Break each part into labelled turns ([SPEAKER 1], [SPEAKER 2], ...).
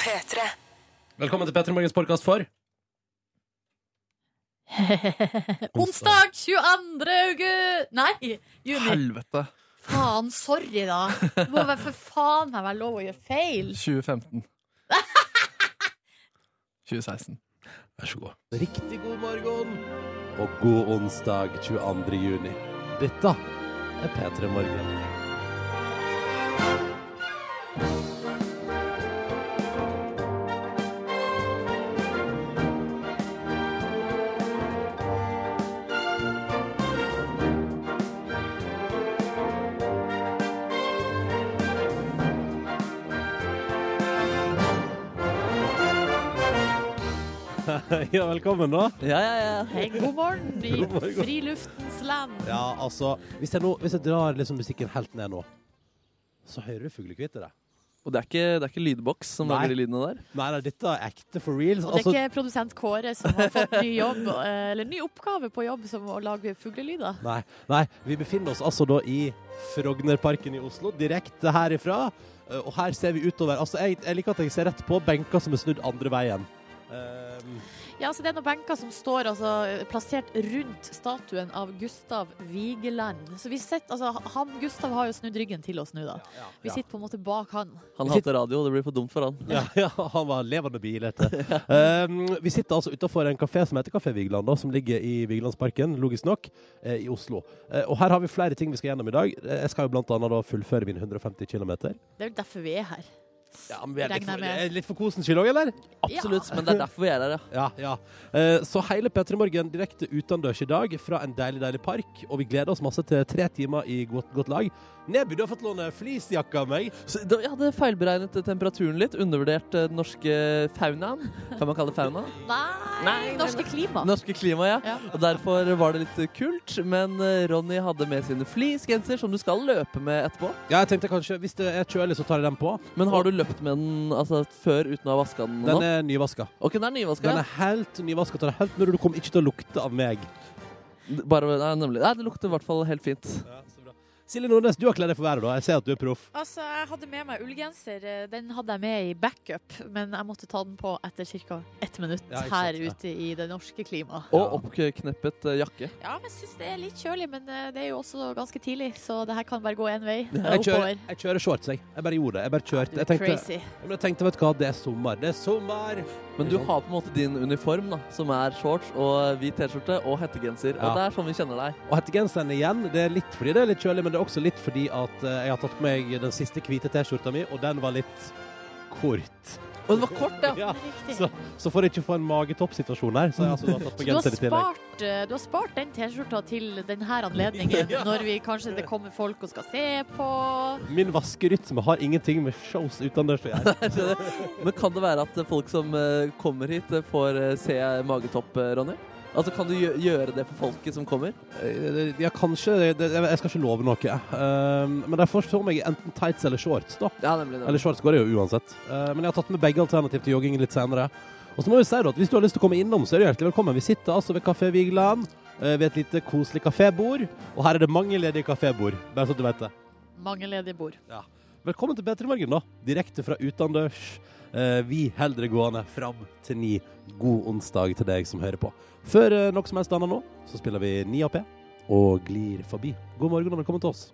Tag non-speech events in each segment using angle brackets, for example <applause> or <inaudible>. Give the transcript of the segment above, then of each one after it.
[SPEAKER 1] P3.
[SPEAKER 2] Velkommen til Petter Morgens podkast for
[SPEAKER 3] Onsdag 22. august Nei, juni.
[SPEAKER 4] Helvete.
[SPEAKER 3] Faen, sorry, da. Det må være for faen meg være lov å gjøre feil.
[SPEAKER 4] 2015. 2016.
[SPEAKER 2] Vær så god. Riktig god morgen og god onsdag 22. juni. Dette er P3 Morgen. <laughs> Ja, velkommen, da.
[SPEAKER 5] Ja, ja, ja.
[SPEAKER 3] Hei, god morgen i
[SPEAKER 2] God morgen.
[SPEAKER 3] friluftens land.
[SPEAKER 2] Ja, altså Hvis jeg, nå, hvis jeg drar liksom musikken helt ned nå, så hører du fuglekvitteret.
[SPEAKER 5] Og det er ikke, det er ikke lydboks som
[SPEAKER 2] Nei.
[SPEAKER 5] lager de lydene der.
[SPEAKER 2] Nei, nei, dette er ekte for real.
[SPEAKER 3] Og det
[SPEAKER 2] Altså,
[SPEAKER 3] er ikke produsent Kåre som har fått ny jobb, eh, eller ny oppgave på jobb, som å lage fuglelyder.
[SPEAKER 2] nei, nei, vi befinner oss altså da i Frognerparken i Oslo, direkte herifra. Eh, Og her ser vi utover. Altså, jeg, jeg liker at jeg ser rett på benker som er snudd andre veien. Ehm,
[SPEAKER 3] Ja, så Det er noen benker som står altså, plassert rundt statuen av Gustav Vigeland. Så vi sitter, altså, han, Gustav har jo snudd ryggen til oss nå, da. Vi
[SPEAKER 2] ja.
[SPEAKER 3] sitter på en måte bak han.
[SPEAKER 5] Han
[SPEAKER 2] Vi sitter-
[SPEAKER 5] hater radio, og det blir for dumt for han.
[SPEAKER 2] Ja, ja, han var levende bilete.
[SPEAKER 5] <laughs>
[SPEAKER 2] Um, vi sitter altså utafor en kafé som heter Kafé Vigeland, da, som ligger i Vigelandsparken, logisk nok, eh, i Oslo. Eh, og her har vi flere ting vi skal gjennom i dag. Eh, Jeg skal jo blant annet da fullføre min 150 km.
[SPEAKER 3] Det er jo derfor vi er her.
[SPEAKER 2] Ja, men vi er litt
[SPEAKER 3] Regner
[SPEAKER 2] for,
[SPEAKER 3] jeg med.
[SPEAKER 2] eh, litt for kosens skyld òg, eller?
[SPEAKER 5] Absolutt, men det
[SPEAKER 2] <laughs>
[SPEAKER 5] er derfor vi er her, ja.
[SPEAKER 2] Ja, ja. Eh, så hele P3 Morgen direkte utendørs i dag fra en deilig, deilig park. Og vi gleder oss masse til tre timer i godt, godt lag. Neby, du har fått låne fleecejakka av meg.
[SPEAKER 5] Så da- jeg hadde feilberegnet eh, temperaturen litt, undervurdert eh, den norske faunaen. Kan man kalle det fauna?
[SPEAKER 3] Nei,
[SPEAKER 5] Nei, nei,
[SPEAKER 3] norske klima.
[SPEAKER 5] Norske klima, ja.
[SPEAKER 3] Ja.
[SPEAKER 5] Og derfor var det litt kult. Men eh, Ronny hadde med sine fleecegenser, som du skal løpe med etterpå.
[SPEAKER 2] Ja, jeg tenkte kanskje, Hvis det er kjølig, så tar jeg den på.
[SPEAKER 5] Men har du løpt med den altså, før uten å ha vaska den?
[SPEAKER 2] Den
[SPEAKER 5] nå?
[SPEAKER 2] er nyvaska.
[SPEAKER 5] Ok, den er nyvaska.
[SPEAKER 2] Den
[SPEAKER 5] ja.
[SPEAKER 2] er helt nyvaska. Den er helt nydelig. Du kommer ikke til å lukte av meg.
[SPEAKER 5] Bare, nei, nemlig. Nei, det lukter i hvert fall helt fint.
[SPEAKER 2] Silje Nordnes, du har kledd deg for været, da. Jeg ser at du er proff.
[SPEAKER 3] Altså, Jeg hadde med meg ullgenser. eh, Den hadde jeg med i backup, men jeg måtte ta den på etter ca. ett minutt
[SPEAKER 2] Ja, ikke sant,
[SPEAKER 3] her
[SPEAKER 2] ja.
[SPEAKER 3] ute i det norske klimaet.
[SPEAKER 5] Og oppkneppet eh, jakke.
[SPEAKER 3] Ja, men jeg syns det er litt kjølig, men eh, det er jo også ganske tidlig, så det her kan bare gå én vei eh,
[SPEAKER 2] Jeg kjører,
[SPEAKER 3] oppover.
[SPEAKER 2] jeg kjører shorts, jeg. Jeg bare gjorde det. Jeg bare
[SPEAKER 3] Du
[SPEAKER 2] kjørte.
[SPEAKER 3] er
[SPEAKER 2] Jeg tenkte,
[SPEAKER 3] crazy.
[SPEAKER 2] Ja, men jeg tenkte, vet du hva, det er sommer. Det er sommer!
[SPEAKER 5] Men du har på en måte din uniform, da, som er shorts og hvit T-skjorte og hettegenser.
[SPEAKER 2] Ja.
[SPEAKER 5] Og det er sånn vi kjenner deg.
[SPEAKER 2] Og hettegenseren igjen, det er litt fordi det er litt kjølig, men det er også litt fordi at eh, jeg har tatt på meg den siste hvite T-skjorta mi, og den var litt kort.
[SPEAKER 5] Og det var kort, ja!
[SPEAKER 2] Ja,
[SPEAKER 3] Riktig.
[SPEAKER 2] så, så for ikke å få en magetoppsituasjon her, så har jeg altså da tatt
[SPEAKER 3] Du
[SPEAKER 2] på
[SPEAKER 3] har,
[SPEAKER 2] genser i tillegg.
[SPEAKER 3] spart, eh, du har spart den T-skjorta til denne anledningen, når vi kanskje det kommer folk og skal se på.
[SPEAKER 2] Min vaskerytme har ingenting med shows utendørs å
[SPEAKER 5] <laughs>
[SPEAKER 2] gjøre.
[SPEAKER 5] Men kan det være at folk som eh, kommer hit, eh, får eh, se magetopp, eh, Ronny? Altså, Kan du gjø- gjøre det for folket som kommer?
[SPEAKER 2] Eh, Ja, kanskje. Det- det- Jeg skal ikke love noe. Eh, Men de får så meg enten tights eller shorts, da.
[SPEAKER 5] Ja, nemlig.
[SPEAKER 2] Eller
[SPEAKER 5] nemlig.
[SPEAKER 2] shorts går det jo uansett. Eh, Men jeg har tatt med begge alternativ til jogging litt senere. Og så må vi si da at hvis du har lyst til å komme innom, så er du hjertelig velkommen. Vi sitter altså ved Kafé Vigeland. eh, Ved et lite koselig kafébord. Og her er det mange ledige kafébord. Bare så du vet det.
[SPEAKER 3] Mange ledige bord.
[SPEAKER 2] Velkommen til P3 Morgen, da. Direkte fra utendørs. Eh, Vi holder det gående fram til ni. God onsdag til deg som hører på. Før eh, noe som helst annet nå, så spiller vi 9AP og glir forbi. God morgen og velkommen til oss.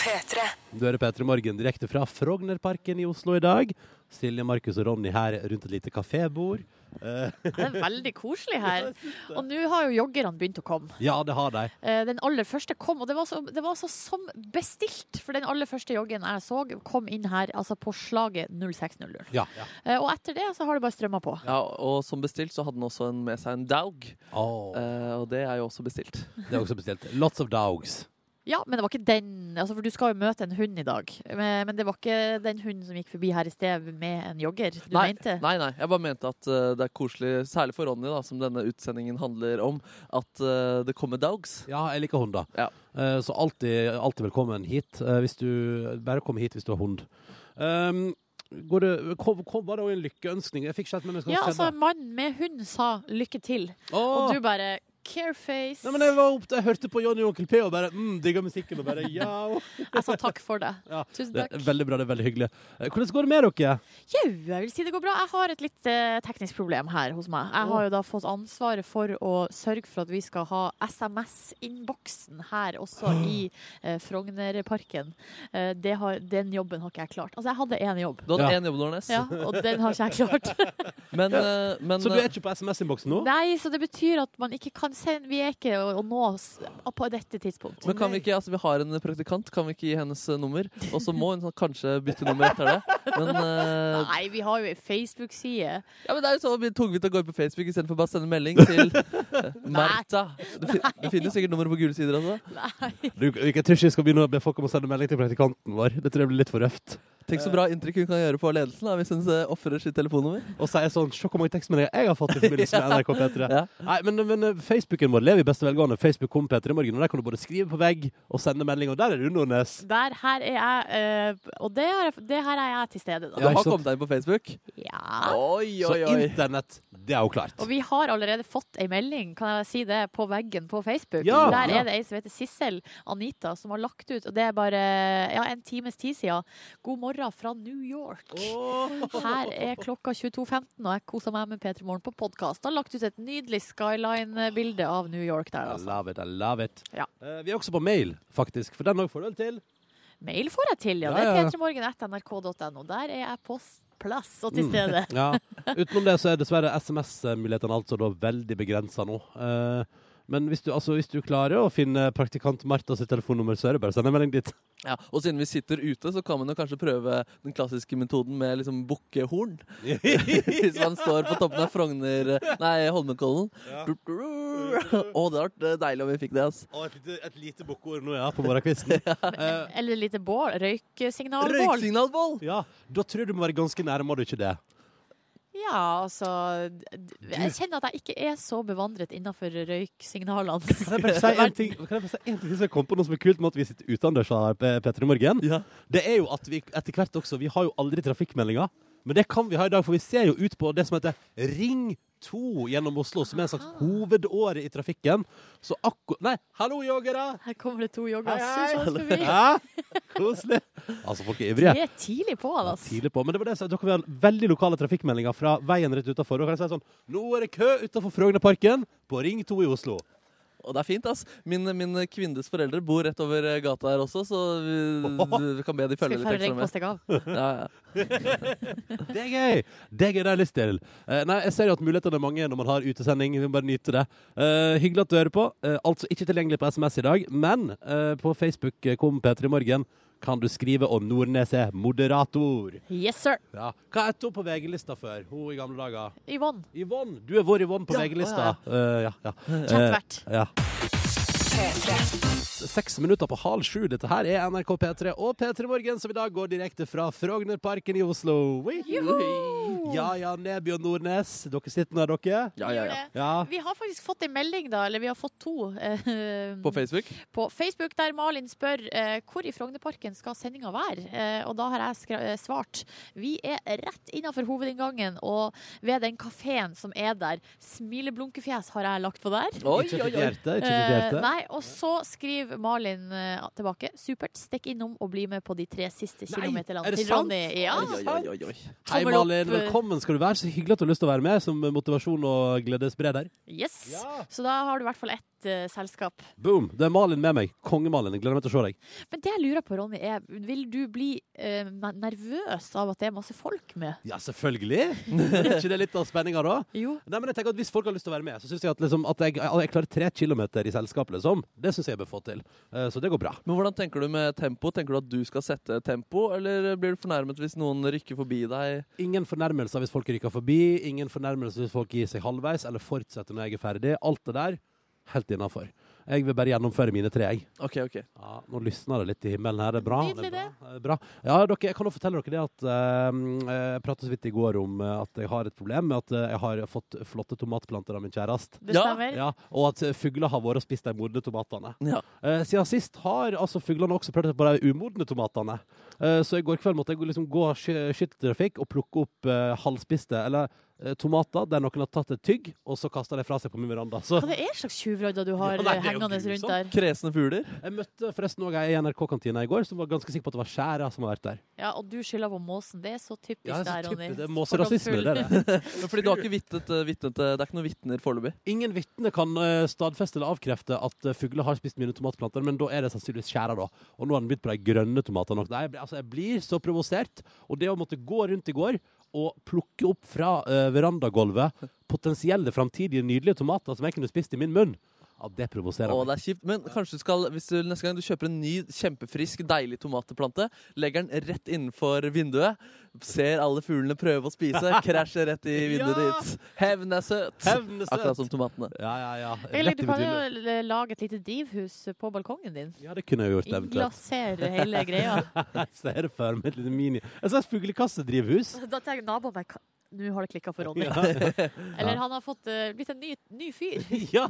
[SPEAKER 1] P3.
[SPEAKER 2] Du hører P3 Morgen direkte fra Frognerparken i Oslo i dag. Silje, Markus og Ronny her rundt et lite kafébord. Eh,
[SPEAKER 3] Det er veldig koselig her. Og nå har jo joggerne begynt å komme.
[SPEAKER 2] ja, det har de.
[SPEAKER 3] Eh, Den aller første kom, og det var, så, det var så som bestilt. For den aller første joggen jeg så, kom inn her altså på slaget 06.00.
[SPEAKER 2] Ja.
[SPEAKER 3] Eh, Og etter det så har det bare strømma på.
[SPEAKER 5] Ja, og som bestilt så hadde han også en, med seg en daug,
[SPEAKER 2] Åh,
[SPEAKER 5] eh, og det er jo også bestilt.
[SPEAKER 2] det er også bestilt. Lots of dogs.
[SPEAKER 3] Ja, men det var ikke den altså, For du skal jo møte en hund i dag. Men, men det var ikke den hunden som gikk forbi her i sted med en jogger. Du
[SPEAKER 5] nei,
[SPEAKER 3] mente?
[SPEAKER 5] nei, nei, jeg bare mente at eh, det er koselig, særlig for Ronny, da, som denne utsendingen handler om, at eh, det kommer daugs.
[SPEAKER 2] Ja, jeg liker hund, da.
[SPEAKER 5] Ja.
[SPEAKER 2] Eh, så alltid, alltid velkommen hit. eh, hvis du, bare kom hit hvis du har hund. Um, går det, kom, kom, var det òg en lykkeønskning? Jeg fikk ikke helt med meg hva
[SPEAKER 3] Ja,
[SPEAKER 2] som
[SPEAKER 3] altså,
[SPEAKER 2] skjedde.
[SPEAKER 3] mannen med hund sa lykke til,
[SPEAKER 2] Åh,
[SPEAKER 3] og du bare Careface.
[SPEAKER 2] Nei, men jeg, var opp, jeg hørte på Johnny og Onkel P og bare mm, digga musikken og bare
[SPEAKER 3] <laughs>
[SPEAKER 2] ja.
[SPEAKER 3] Jeg sa takk for det.
[SPEAKER 2] Ja,
[SPEAKER 3] Tusen
[SPEAKER 2] Det
[SPEAKER 3] takk.
[SPEAKER 2] er veldig bra, det er veldig hyggelig. Eh, Hvordan går det med dere?
[SPEAKER 3] Jau, jeg vil si det går bra. Jeg har et litt eh, teknisk problem her hos meg. Jeg har jo da fått ansvaret for å sørge for at vi skal ha SMS-innboksen her også i eh, Frognerparken. Eh, det har, den jobben har ikke jeg klart. Altså, jeg hadde én jobb.
[SPEAKER 5] Du hadde
[SPEAKER 2] Ja.
[SPEAKER 5] én jobb, Nordnes.
[SPEAKER 3] Ja, og den har ikke jeg klart.
[SPEAKER 5] Men, eh, men
[SPEAKER 2] Så du er
[SPEAKER 5] eh,
[SPEAKER 2] ikke på SMS-innboksen <laughs> nå?
[SPEAKER 3] Nei, så det betyr at man ikke kan sende Vi er ikke å å nå oss på dette tidspunkt.
[SPEAKER 5] men
[SPEAKER 3] <laughs>
[SPEAKER 5] kan vi ikke, altså vi har en praktikant, kan vi ikke gi hennes eh, nummer? Og så må hun sånn kanskje bytte nummer etter det. Men, eh,
[SPEAKER 3] Nei, vi har jo ei Facebook-side.
[SPEAKER 5] ja, men det er jo sånn så tungvint å gå inn på Facebook istedenfor bare å sende melding til eh, Marta. Det, fin det finnes sikkert nummer på gule sider også.
[SPEAKER 2] Du, jeg tror ikke vi skal begynne å be folk om å sende melding til praktikanten vår. Det tror jeg blir litt for røft.
[SPEAKER 5] Tenk så bra inntrykk hun kan gjøre på ledelsen da, hvis hun eh, ofrer sitt telefonnummer.
[SPEAKER 2] Og si sånn Se hvor mange tekstmeldinger jeg har fått i forbindelse med NRK P3.
[SPEAKER 5] <laughs> Ja.
[SPEAKER 2] Nei, men, men eh, Facebooken vår lever i beste velgående. Facebook kom P3 i morgen, og der kan du både skrive på vegg og sende melding, og der er du, Nordnes.
[SPEAKER 3] Der her er jeg, eh, og det, er, det her er jeg til stede,
[SPEAKER 2] Ja,
[SPEAKER 5] Du
[SPEAKER 3] da.
[SPEAKER 2] ikke
[SPEAKER 5] har
[SPEAKER 2] sant.
[SPEAKER 5] kommet deg inn på Facebook?
[SPEAKER 3] Ja.
[SPEAKER 5] Oi,
[SPEAKER 2] Så internett, det er jo klart.
[SPEAKER 3] Og vi har allerede fått ei melding, kan jeg si det, på veggen på Facebook.
[SPEAKER 2] Ja,
[SPEAKER 3] Der
[SPEAKER 2] ja.
[SPEAKER 3] er det ei som heter Sissel Anita, som har lagt ut, og det er bare ja, en times tid siden, 'God morgen fra New York'. Her er klokka 22.15, og jeg koser meg med P3 Morgen på podkast. Har lagt ut et nydelig skyline-bilde av New York der,
[SPEAKER 2] I
[SPEAKER 3] altså.
[SPEAKER 2] love it, I love it.
[SPEAKER 3] Ja.
[SPEAKER 2] Eh, vi er også på mail, faktisk, for den òg får du vel til.
[SPEAKER 3] Mail får jeg til, ja. Det
[SPEAKER 2] Ja, ja,
[SPEAKER 3] er
[SPEAKER 2] ja.
[SPEAKER 3] p3morgen.nrk.no. Der er jeg på s- plass og til stede.
[SPEAKER 2] Mm. Ja. Utenom det så er dessverre SMS-mulighetene altså da veldig begrensa nå. Eh, men hvis du, altså, hvis du klarer å finne praktikant Martha sitt telefonnummer, så er det bare å sende en melding dit.
[SPEAKER 5] Ja, og siden vi sitter ute, så kan man jo kanskje prøve den klassiske metoden med liksom
[SPEAKER 2] <laughs>
[SPEAKER 5] bukkehorn. Hvis man står på toppen av Frogner eh, Nei, Holmenkollen. Å, det hadde vært eh, deilig om vi fikk det, ass.
[SPEAKER 2] Og et lite, et lite bukkord nå, ja, på
[SPEAKER 5] <laughs>
[SPEAKER 2] morgenkvisten. Eh,
[SPEAKER 3] Eller et lite bål. Røyksignalbål.
[SPEAKER 5] Røyksignalboll!
[SPEAKER 2] ja, da tror jeg du må være ganske nærme, må du ikke det?
[SPEAKER 3] Ja, altså d- d- Jeg kjenner at jeg ikke er så bevandret innafor røyksignalene.
[SPEAKER 2] Kan jeg
[SPEAKER 3] <laughs>
[SPEAKER 2] bare si en ting, kan jeg bare si en ting som jeg kom på noe som er kult med at vi sitter utendørs her, P- Petter, i morgen?
[SPEAKER 5] Ja.
[SPEAKER 2] Det er jo at vi etter hvert også Vi har jo aldri trafikkmeldinger, men det kan vi ha i dag, for vi ser jo ut på det som heter Ring 2 gjennom Oslo, som er en slags
[SPEAKER 3] Ah.
[SPEAKER 2] hovedåre i trafikken. Så akkurat Nei, hallo, joggere!
[SPEAKER 3] Her kommer det to
[SPEAKER 2] Hei,
[SPEAKER 3] joggas
[SPEAKER 2] hei!
[SPEAKER 3] susende sånn forbi. <laughs>
[SPEAKER 2] Hæ? Koselig. Altså, folk er
[SPEAKER 3] Vi
[SPEAKER 2] ivrige.
[SPEAKER 3] er tidlig på, <laughs> altså.
[SPEAKER 2] Tidlig på. Men det var det, jeg sa, da kan vi ha veldig lokale trafikkmeldinger fra veien rett utafor. Da kan jeg si sånn Nå er det kø utafor Frognerparken på Ring 2 i Oslo.
[SPEAKER 5] Og det er fint, ass. Min, min kvinnes foreldre bor rett over eh, gata her også, så vi, du kan be de
[SPEAKER 3] Skal vi
[SPEAKER 5] følge litt
[SPEAKER 3] fare
[SPEAKER 5] ekstra
[SPEAKER 3] røyk på
[SPEAKER 5] med.
[SPEAKER 3] stikk av?
[SPEAKER 2] <laughs>
[SPEAKER 5] Ja, ja.
[SPEAKER 2] Det er gøy! Det er gøy, det har jeg lyst til. Eh, nei, Jeg ser jo at mulighetene er mange når man har utesending. Vi må bare nyte det. Eh, hyggelig at du hører på. Eh, altså ikke tilgjengelig på SMS i dag, men eh, på Facebook eh, kom Peter i morgen. Kan du skrive om Nordnes er moderator?
[SPEAKER 3] Yes, sir.
[SPEAKER 2] Ja. Hva het hun på VG-lista før? Hun i gamle dager.
[SPEAKER 3] Yvonne.
[SPEAKER 2] Yvonne! Du er vår Yvonne på VG-lista. Eh, ja, ja.
[SPEAKER 3] Chatvert.
[SPEAKER 2] Eh, ja.
[SPEAKER 1] P3.
[SPEAKER 2] Seks minutter på halv sju. Dette her er NRK P3 og P3 Morgen, som i dag går direkte fra Frognerparken i Oslo. Wee! Ja, ja, Neby og Nordnes. Dere sitter nå, dere.
[SPEAKER 5] ja, ja, ja.
[SPEAKER 2] Ja.
[SPEAKER 3] Vi har faktisk fått en melding, da. Eller vi har fått to. eh,
[SPEAKER 5] På Facebook.
[SPEAKER 3] på Facebook, der Malin spør eh, hvor i Frognerparken skal sendinga være. Eh, og da har jeg skra- eh, svart vi er rett innafor hovedinngangen og ved den kafeen som er der. Smileblunkefjes har jeg lagt på der.
[SPEAKER 5] Oi,
[SPEAKER 2] Ikke
[SPEAKER 5] oi,
[SPEAKER 2] sitt
[SPEAKER 5] oi.
[SPEAKER 2] hjerte. Ikke sitt
[SPEAKER 3] Eh,
[SPEAKER 2] hjerte.
[SPEAKER 3] nei, og så skriver Malin eh, tilbake. Supert. Stikk innom og bli med på de tre siste
[SPEAKER 2] Nei,
[SPEAKER 3] kilometerne
[SPEAKER 2] er det
[SPEAKER 3] til
[SPEAKER 2] sant?
[SPEAKER 3] Ronny. Ja.
[SPEAKER 5] Oi, oi, oi, oi, oi.
[SPEAKER 2] Hei,
[SPEAKER 3] tommel opp,
[SPEAKER 2] Malin.
[SPEAKER 3] eh.
[SPEAKER 2] Velkommen skal du være. Så hyggelig at du har lyst til å være med som motivasjon og gledesspreder.
[SPEAKER 3] Yes.
[SPEAKER 2] Ja.
[SPEAKER 3] Så da har du i hvert fall ett eh, selskap.
[SPEAKER 2] Boom. Det er Malin med meg. Konge-Malin. Jeg Gleder meg til å se deg.
[SPEAKER 3] Men det jeg lurer på, Ronny, er vil du bli eh, nervøs av at det er masse folk med?
[SPEAKER 2] Ja, selvfølgelig. Er ikke det litt av spenninga, da?
[SPEAKER 3] Jo.
[SPEAKER 2] Nei, men jeg tenker at Hvis folk har lyst til å være med, så syns jeg at, liksom, at jeg, jeg klarer tre kilometer i selskap. Liksom. Det syns jeg jeg bør få til. Eh, Så det går bra.
[SPEAKER 5] Men hvordan tenker du med tempo? Tenker du at du skal sette tempo, eller blir du fornærmet hvis noen rykker forbi <laughs> deg?
[SPEAKER 2] Ingen fornærmelser hvis folk rykker forbi, ingen fornærmelser hvis folk gir seg halvveis eller fortsetter når jeg er ferdig. Alt det der, helt innafor. Jeg vil bare gjennomføre mine tre, jeg.
[SPEAKER 5] Ok, ok.
[SPEAKER 2] Ja, nå lysner det litt i himmelen her. Det er bra.
[SPEAKER 3] Nydelig
[SPEAKER 2] er bra. er bra. Ja, dere, jeg kan jo fortelle dere det at eh, Jeg pratet så vidt i går om eh, at jeg har et problem med at eh, jeg har fått flotte tomatplanter av min kjæreste.
[SPEAKER 3] Det
[SPEAKER 5] Ja.
[SPEAKER 3] stemmer.
[SPEAKER 2] Ja, og at eh, fugler har vært og spist de modne tomatene.
[SPEAKER 5] Ja.
[SPEAKER 2] Eh, siden sist har altså fuglene også prøvd på de umodne tomatene. Eh, så i går kveld måtte jeg gå- liksom gå sky- skytteltrafikk og plukke opp eh, halvspiste, eller eh, tomater der noen har tatt et tygg, og så kasta de fra seg på min veranda. Så
[SPEAKER 3] Hva det er slags tjuvrodder du har
[SPEAKER 2] Ja, nei, det er jo
[SPEAKER 3] hengende rundt
[SPEAKER 2] grusomt.
[SPEAKER 3] der?
[SPEAKER 5] Kresne fugler.
[SPEAKER 2] jeg møtte forresten òg ei i NRK-kantina i går som var ganske sikker på at det var skjæra som hadde vært der.
[SPEAKER 3] Ja, Og du skylder på måsen. Det er så typisk
[SPEAKER 2] Ja, det er
[SPEAKER 3] deg,
[SPEAKER 2] så
[SPEAKER 3] Ronny.
[SPEAKER 2] typisk. Det er måserasisme, det er det.
[SPEAKER 3] <laughs>
[SPEAKER 2] <laughs>
[SPEAKER 5] Fordi du har ikke vitnet, eh, vitnet eh, Det er ikke noen vitner foreløpig.
[SPEAKER 2] Ingen vitne kan eh, stadfeste eller avkrefte at eh, fugler har spist mine tomatplanter, men da er det sannsynligvis skjæra, da. Og nå har den begynt på de grønne tomatene. Nei, jeg, blir- altså, jeg blir så provosert. Og det å måtte gå rundt i går og plukke opp fra eh, verandagulvet potensielle framtidige nydelige tomater som jeg kunne spist i min munn, ja, det provoserer
[SPEAKER 5] Å,
[SPEAKER 2] meg.
[SPEAKER 5] det er kjipt. Men kanskje du skal, hvis du neste gang du kjøper en ny, kjempefrisk, deilig tomatplante, legger den rett innenfor vinduet, ser alle fuglene prøve å spise,
[SPEAKER 2] <laughs>
[SPEAKER 5] krasjer rett i vinduet
[SPEAKER 2] Ja!
[SPEAKER 5] ditt. Hevn er søt!
[SPEAKER 2] Hevn er søt.
[SPEAKER 5] Akkurat som tomatene.
[SPEAKER 2] Ja, ja, ja.
[SPEAKER 3] Eller
[SPEAKER 2] Rett
[SPEAKER 3] du
[SPEAKER 2] i
[SPEAKER 3] kan
[SPEAKER 2] vinduet.
[SPEAKER 3] jo l- lage et lite drivhus på balkongen din.
[SPEAKER 2] Ja, det kunne jeg gjort, eventuelt.
[SPEAKER 3] Inglasere hele greia.
[SPEAKER 2] <laughs> Jeg ser det for meg et lite mini... Et slags fuglekassedrivhus.
[SPEAKER 3] Da tenker naboen meg "Ka- Nå har det klikka for Ronny. <laughs> Eller han har fått, eh, blitt en ny, ny fyr.
[SPEAKER 2] <laughs> Ja!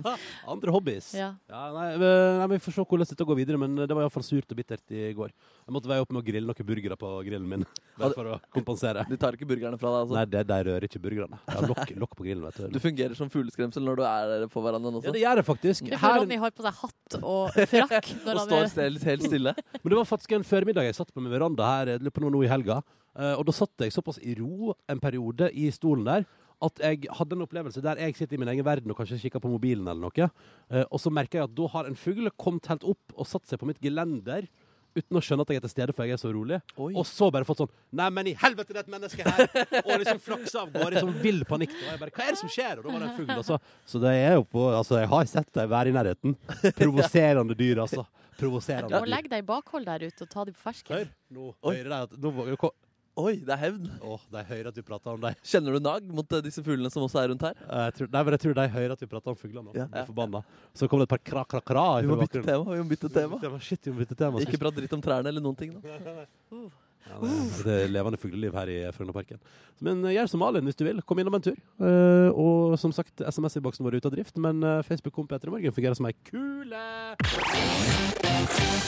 [SPEAKER 2] Andre hobbies.
[SPEAKER 3] Ja.
[SPEAKER 2] Ja, nei, men- nei, men Vi får se hvordan dette går videre, men det var iallfall surt og bittert i går. Jeg måtte veie opp med å grille noen burgere på grillen min. <laughs> Bare for å kompensere.
[SPEAKER 5] De tar ikke burgerne fra deg, altså.
[SPEAKER 2] Nei, det der rører ikke burgerne. Jeg har <laughs> lokk, lokk på grillen, vet
[SPEAKER 5] Du
[SPEAKER 2] du.
[SPEAKER 5] fungerer som fugleskremsel når du er på verandaen
[SPEAKER 2] Ja,
[SPEAKER 5] også.
[SPEAKER 2] det gjør jeg faktisk.
[SPEAKER 3] Det er
[SPEAKER 2] Her-
[SPEAKER 3] for Ronny har på seg hatt og
[SPEAKER 2] <laughs>
[SPEAKER 3] frakk. Når
[SPEAKER 5] Og
[SPEAKER 3] han
[SPEAKER 5] står
[SPEAKER 3] er,
[SPEAKER 5] still- helt stille.
[SPEAKER 2] men det var faktisk en formiddag jeg satt på min veranda her jeg lurer på noe nå i helga. eh, Og da satt jeg såpass i ro en periode i stolen der at jeg hadde en opplevelse der jeg sitter i min egen verden og kanskje kikker på mobilen eller noe. eh, Og så merker jeg at da har en fugl kommet helt opp og satt seg på mitt gelender. Uten å skjønne at jeg er til stede, for jeg er så rolig.
[SPEAKER 5] Oi.
[SPEAKER 2] Og så bare fått sånn Nei, men i helvete, det er et menneske her! Og liksom flaksa av gårde i sånn vill panikk. Og jeg bare Hva er det som skjer? Og da var det en fugl, altså. Så det er jo på Altså, jeg har sett deg være i
[SPEAKER 5] <laughs>
[SPEAKER 2] nærheten. Provoserende dyr, altså.
[SPEAKER 3] du
[SPEAKER 2] Provoserende
[SPEAKER 3] må legge deg i bakhold der ute og ta dem på fersken.
[SPEAKER 2] Hør, nå hører de at nå, våger- ko-
[SPEAKER 5] Oi, det er hevn.
[SPEAKER 2] Åh, de hører at vi prater om dem.
[SPEAKER 5] Kjenner du nag mot eh, disse fuglene som også er rundt her?
[SPEAKER 2] Jeg tror, nei, men jeg tror de hører at vi prater om fugler nå.
[SPEAKER 5] Ja.
[SPEAKER 2] Blir forbanna. Så kom det et par kra-kra-kra.
[SPEAKER 5] Vi må bytte tema. Vi må bytte tema.
[SPEAKER 2] Shit, vi må bytte tema.
[SPEAKER 5] Ikke prat dritt om trærne eller noen
[SPEAKER 2] <laughs>
[SPEAKER 5] ting. da. Uh.
[SPEAKER 2] Ja, det, er- det er levende fugleliv her i Frognerparken. Men eh, gjør som Malin hvis du vil. Kom innom en tur. Eh, og som sagt, SMS-innboksen vår er ute av drift, men eh, Facebook-kom Peter i morgen fungerer som ei kule.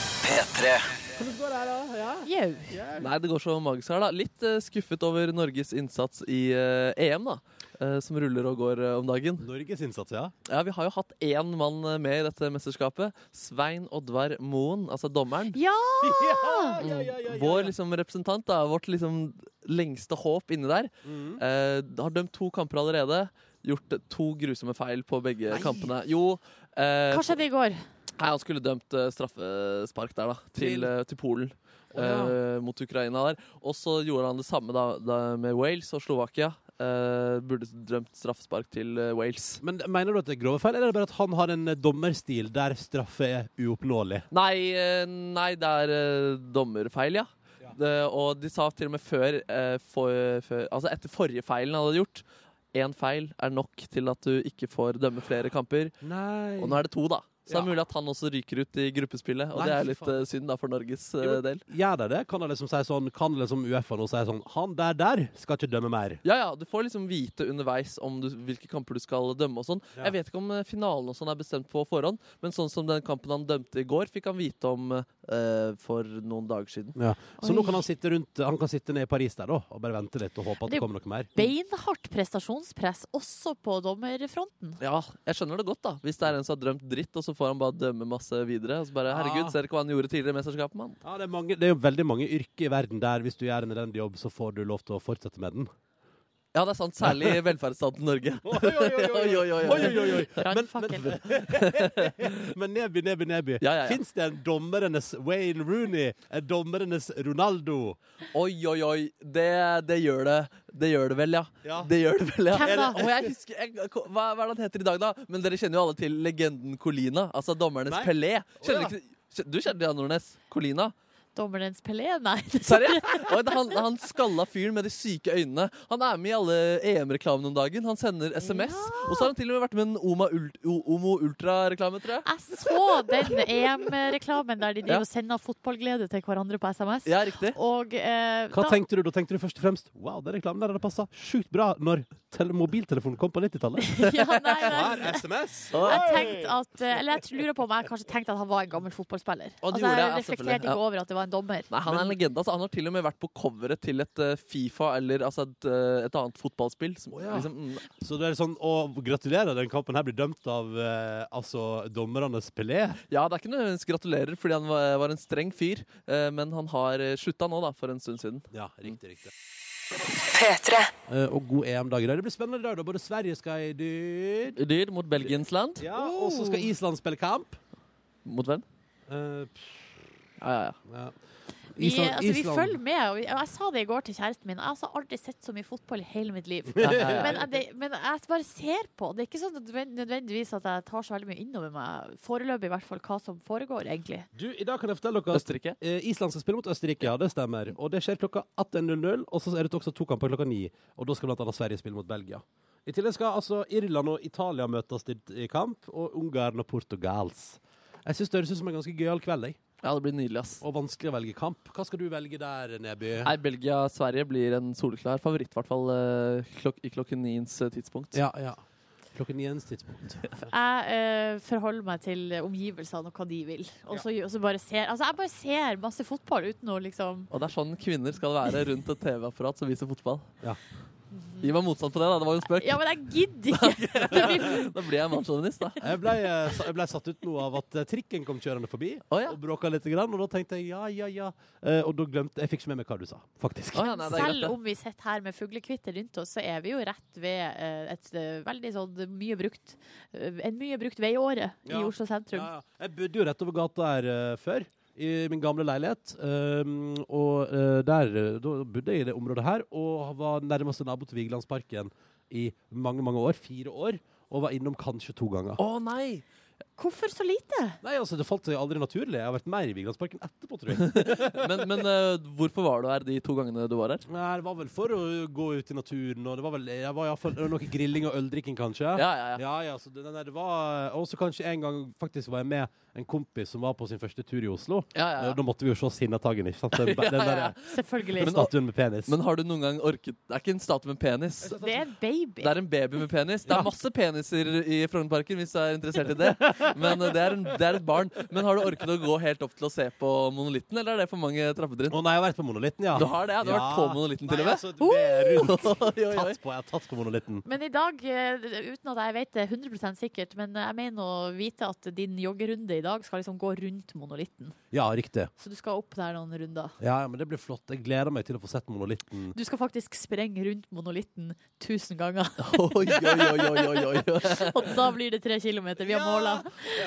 [SPEAKER 2] Hvordan går det her, da? Ja?
[SPEAKER 3] Jau.
[SPEAKER 5] Nei, det går så magisk her, da. Litt eh, skuffet over Norges innsats i eh, EM, da. eh, som ruller og går eh, om dagen.
[SPEAKER 2] Norges innsats, ja.
[SPEAKER 5] Ja, Vi har jo hatt én mann eh, med i dette mesterskapet. Svein Oddvar Moen, altså dommeren.
[SPEAKER 3] Ja!
[SPEAKER 2] <laughs> Ja, ja, ja, ja, ja.
[SPEAKER 5] Vår liksom representant, da, vårt liksom lengste håp inni der.
[SPEAKER 2] Mhm.
[SPEAKER 5] Eh, har dømt to kamper allerede. Gjort to grusomme feil på begge kampene. Jo. eh,
[SPEAKER 3] Hva skjedde i går?
[SPEAKER 5] Nei, han skulle dømt eh, straffespark der, da. Til,
[SPEAKER 2] Til?
[SPEAKER 5] eh, til Polen. eh, mot Ukraina der. Og så gjorde han det samme da, da med Wales og Slovakia. Eh, burde dømt straffespark til eh, Wales.
[SPEAKER 2] Men Mener du at det er grove feil, eller er det bare at han har en eh, dommerstil der straffe er uoppnåelig?
[SPEAKER 5] Nei, eh, nei det er eh, dommerfeil, ja. Eh, og de sa til og med før, eh, for, før Altså etter forrige feilen han hadde gjort. Én feil er nok til at du ikke får dømme flere kamper.
[SPEAKER 2] Nei
[SPEAKER 5] Og nå er det to, da. Så det
[SPEAKER 2] Ja.
[SPEAKER 5] er mulig at han også ryker ut i gruppespillet. Og
[SPEAKER 2] Nei,
[SPEAKER 5] det er
[SPEAKER 2] fy
[SPEAKER 5] litt
[SPEAKER 2] faen.
[SPEAKER 5] eh, synd da for Norges eh,
[SPEAKER 2] Jo,
[SPEAKER 5] del.
[SPEAKER 2] Gjør de det? Kan de liksom si sånn Kan liksom UFA nå si sånn Han der der skal ikke dømme mer.
[SPEAKER 5] Ja, ja, du får liksom vite underveis om du, hvilke kamper du skal dømme og sånn.
[SPEAKER 2] Ja.
[SPEAKER 5] Jeg vet ikke om eh, finalen og sånn er bestemt på forhånd, men sånn som den kampen han dømte i går, fikk han vite om eh, for noen dager siden.
[SPEAKER 2] Ja. Så
[SPEAKER 3] Oi.
[SPEAKER 2] nå kan han sitte rundt Han kan sitte ned i Paris der da og bare vente litt og håpe
[SPEAKER 3] Det
[SPEAKER 2] at
[SPEAKER 3] er
[SPEAKER 2] det
[SPEAKER 3] jo
[SPEAKER 2] kommer noe mer.
[SPEAKER 3] Beinhardt prestasjonspress også på dommerfronten.
[SPEAKER 5] Ja, jeg skjønner det godt, da. Hvis det er en som har drømt dritt, og så får han bare dømme masse videre. Og så bare,
[SPEAKER 2] Ja.
[SPEAKER 5] herregud, ser du ikke hva han gjorde tidligere i mesterskapet, mann?
[SPEAKER 2] Ja, det, er mange, det er jo veldig mange yrker i verden der hvis du gjør en elendig jobb, så får du lov til å fortsette med den.
[SPEAKER 5] Ja, det er sant. Særlig i velferdsstaten Norge.
[SPEAKER 2] <laughs> Oi, oi,
[SPEAKER 5] <laughs> Oi, oi, oi.
[SPEAKER 3] Brannfakkel.
[SPEAKER 2] <laughs> Men Neby, Neby, Neby.
[SPEAKER 5] Ja, ja, ja.
[SPEAKER 2] Fins det en dommerenes Wayne Rooney? En dommerenes Ronaldo?
[SPEAKER 5] Oi, oi, oi. Det, det gjør det. Det gjør det vel, ja.
[SPEAKER 2] Ja.
[SPEAKER 5] Det gjør det vel, ja.
[SPEAKER 3] Hvem da?
[SPEAKER 5] Å, jeg husker, jeg, hva, hva er det han heter i dag, da? Men dere kjenner jo alle til legenden Colina. Altså dommernes
[SPEAKER 2] Nei.
[SPEAKER 5] Pelé.
[SPEAKER 2] Å, ja.
[SPEAKER 5] Kjenner du ikke, kjen- du kjenner Jan Nordnes? Colina?
[SPEAKER 3] Dommerens Pelé? Nei. <laughs>
[SPEAKER 5] Seriøst? Oi, det er han, han skalla fyren med de syke øynene. Han er med i alle EM-reklamene om dagen. Han sender SMS. Og så har han til og med vært med i en Oma Ult O- Omo Ultra-reklame, tror jeg.
[SPEAKER 3] Jeg så den E EM-reklamen der de driver
[SPEAKER 5] Ja.
[SPEAKER 3] og sender fotballglede til hverandre på SMS.
[SPEAKER 5] Ja, riktig.
[SPEAKER 3] Og eh,
[SPEAKER 2] Hva
[SPEAKER 3] da-
[SPEAKER 2] tenkte du? Da tenkte du først og fremst Wow, den reklamen der hadde passa sjukt bra når tele mobiltelefonen kom på
[SPEAKER 5] <laughs>
[SPEAKER 2] 90-tallet.
[SPEAKER 3] ja, nei, nei.
[SPEAKER 2] SMS.
[SPEAKER 3] Jeg tenkte at, eh, eller jeg lurer på om jeg kanskje tenkte at han var en gammel fotballspiller.
[SPEAKER 5] Å, det
[SPEAKER 3] altså,
[SPEAKER 5] gjorde jeg,
[SPEAKER 3] jeg
[SPEAKER 5] ja, selvfølgelig.
[SPEAKER 3] reflekterte ikke
[SPEAKER 5] Ja.
[SPEAKER 3] over at det var av en dommer.
[SPEAKER 5] Nei, Han er en legende. altså Han har til og med vært på coveret til et eh, Fifa eller altså et, eh, et annet fotballspill. Som,
[SPEAKER 2] Å, ja.
[SPEAKER 5] liksom, mm,
[SPEAKER 2] Så det er sånn, og gratulerer, den kampen her blir dømt av eh, altså, dommernes Pelé.
[SPEAKER 5] ja, det er ikke nødvendigvis gratulerer, fordi han var, var en streng fyr. eh, men han har eh, slutta nå, da, for en stund siden.
[SPEAKER 2] Ja, riktig, riktig.
[SPEAKER 1] P3.
[SPEAKER 2] Eh, og god EM-dag i dag. Det blir spennende i dag, da. Både Sverige skal i dyr
[SPEAKER 5] Dyr mot Belgiens land.
[SPEAKER 2] Ja, og så skal Island spille kamp.
[SPEAKER 5] Mot hvem?
[SPEAKER 2] Oh. Eh, pff,
[SPEAKER 5] Ja, ja, ja.
[SPEAKER 2] ja.
[SPEAKER 3] Vi,
[SPEAKER 2] Island-
[SPEAKER 3] altså, vi
[SPEAKER 2] Island-
[SPEAKER 3] følger med. Og vi, og jeg sa det i går til kjæresten min. Jeg har altså aldri sett så mye fotball i hele mitt liv.
[SPEAKER 5] <laughs> ja, ja, ja.
[SPEAKER 3] Men, jeg- det, men jeg bare ser på. Det er ikke sånn nødven- nødvendigvis at jeg tar så veldig mye innover meg, foreløpig i hvert fall, hva som foregår, egentlig.
[SPEAKER 2] Du, i dag kan jeg fortelle dere at
[SPEAKER 5] Østerrike.
[SPEAKER 2] eh, Island skal spille mot Østerrike, ja, det stemmer. Og det skjer klokka 18.00, og så er det også to kamper klokka 9. Og da skal blant annet Sverige spille mot Belgia. I tillegg skal altså Irland og Italia møtes i, i kamp, og Ungarn og Portugals. Jeg syns det høres ut som en ganske gøyal kveld, jeg.
[SPEAKER 5] Ja, det blir nydelig, ass.
[SPEAKER 2] Og vanskelig å velge kamp. Hva skal du velge der, Neby?
[SPEAKER 5] Nei, Belgia-Sverige blir en soleklar favoritt, i hvert fall eh, klok i klokken niens eh, tidspunkt.
[SPEAKER 2] Ja, ja. Klokken niens tidspunkt.
[SPEAKER 3] Jeg eh, forholder meg til omgivelsene og hva de vil. Og så, og så bare ser Altså, jeg bare ser masse fotball uten å liksom
[SPEAKER 5] <laughs> Og det er sånn kvinner skal være rundt et TV-apparat som viser fotball.
[SPEAKER 2] Ja.
[SPEAKER 5] Gi meg motstand på det, da. Det var jo en spøk.
[SPEAKER 3] Ja, men jeg gidder ikke!
[SPEAKER 5] <laughs>
[SPEAKER 3] Det blir-
[SPEAKER 5] Da blir jeg mannssjåvinist, da.
[SPEAKER 2] Jeg ble, eh, sa- jeg ble satt ut nå av at eh, trikken kom kjørende forbi
[SPEAKER 5] Å, ja.
[SPEAKER 2] og bråka litt. Grann, og da tenkte jeg ja, ja, ja. Eh, og da glemte jeg fikk ikke med meg hva du sa, faktisk.
[SPEAKER 5] Å, ja, nei, det er greit,
[SPEAKER 3] Selv
[SPEAKER 5] det.
[SPEAKER 3] om vi sitter her med fuglekvitter rundt oss, så er vi jo rett ved eh, et eh, veldig sånn mye brukt eh, En mye brukt veiåre i
[SPEAKER 2] Ja.
[SPEAKER 3] Oslo sentrum.
[SPEAKER 2] Ja, ja. Jeg bodde jo rett over gata her eh, før, i min gamle leilighet. Um, og eh, der eh, da bodde jeg i det området her, og var nærmeste nabo til Vigelandsparken i mange, mange år. Fire år. Og var innom kanskje to ganger.
[SPEAKER 5] Å nei!
[SPEAKER 3] Hvorfor så lite?
[SPEAKER 2] Nei, altså, det falt seg aldri naturlig. Jeg har vært mer i Vigelandsparken etterpå, tror jeg.
[SPEAKER 5] <laughs> Men, men eh, hvorfor var du her de to gangene du var her?
[SPEAKER 2] Nei, det var vel for å gå ut i naturen, og det var vel jeg var i hvert fall- det var noe grilling og øldrikking, kanskje.
[SPEAKER 5] Ja, ja, ja.
[SPEAKER 2] Ja, ja, så det, nei, det var eh, Og så kanskje en gang faktisk var jeg med en kompis som var på sin første tur i Oslo.
[SPEAKER 5] ja, ja,
[SPEAKER 2] Eh, Da
[SPEAKER 5] ja.
[SPEAKER 2] måtte vi jo se Sinnataggen, ikke
[SPEAKER 5] <laughs>
[SPEAKER 2] sant? Den,
[SPEAKER 3] <laughs>
[SPEAKER 2] den der,
[SPEAKER 3] Selvfølgelig.
[SPEAKER 2] Men statuen med penis.
[SPEAKER 5] Men har du noen gang orket Det er ikke en statue med penis.
[SPEAKER 3] det sånn er en baby.
[SPEAKER 5] Det er en baby med penis. Det er masse peniser i Frognerparken, hvis du er interessert i det. Men eh, det er, en, det er et barn. Men har du orket å gå helt opp til å se på monolitten, eller er det for mange trappetrinn?
[SPEAKER 2] Å nei, jeg har vært på monolitten, ja.
[SPEAKER 5] Du har det, ja. Du har vært på monolitten til og
[SPEAKER 2] Nei,
[SPEAKER 5] med.
[SPEAKER 2] altså,
[SPEAKER 5] <laughs>
[SPEAKER 2] det er rundt.
[SPEAKER 5] Oi, oi, oi.
[SPEAKER 2] Tatt på, jeg har tatt på monolitten.
[SPEAKER 3] Men i dag, eh, uten at jeg vet det 100 sikkert, men jeg mener å vite at din joggerunde i dag skal liksom gå rundt monolitten.
[SPEAKER 2] Ja, riktig.
[SPEAKER 3] Så du skal opp der noen runder.
[SPEAKER 2] Ja, ja, men det blir flott. Jeg gleder meg til å få sett monolitten.
[SPEAKER 3] Du skal faktisk sprenge rundt monolitten 1000 ganger,
[SPEAKER 5] <laughs> Oi, oi, oi, oi, oi, oi.
[SPEAKER 3] <laughs> og da blir det tre kilometer. Vi har måla.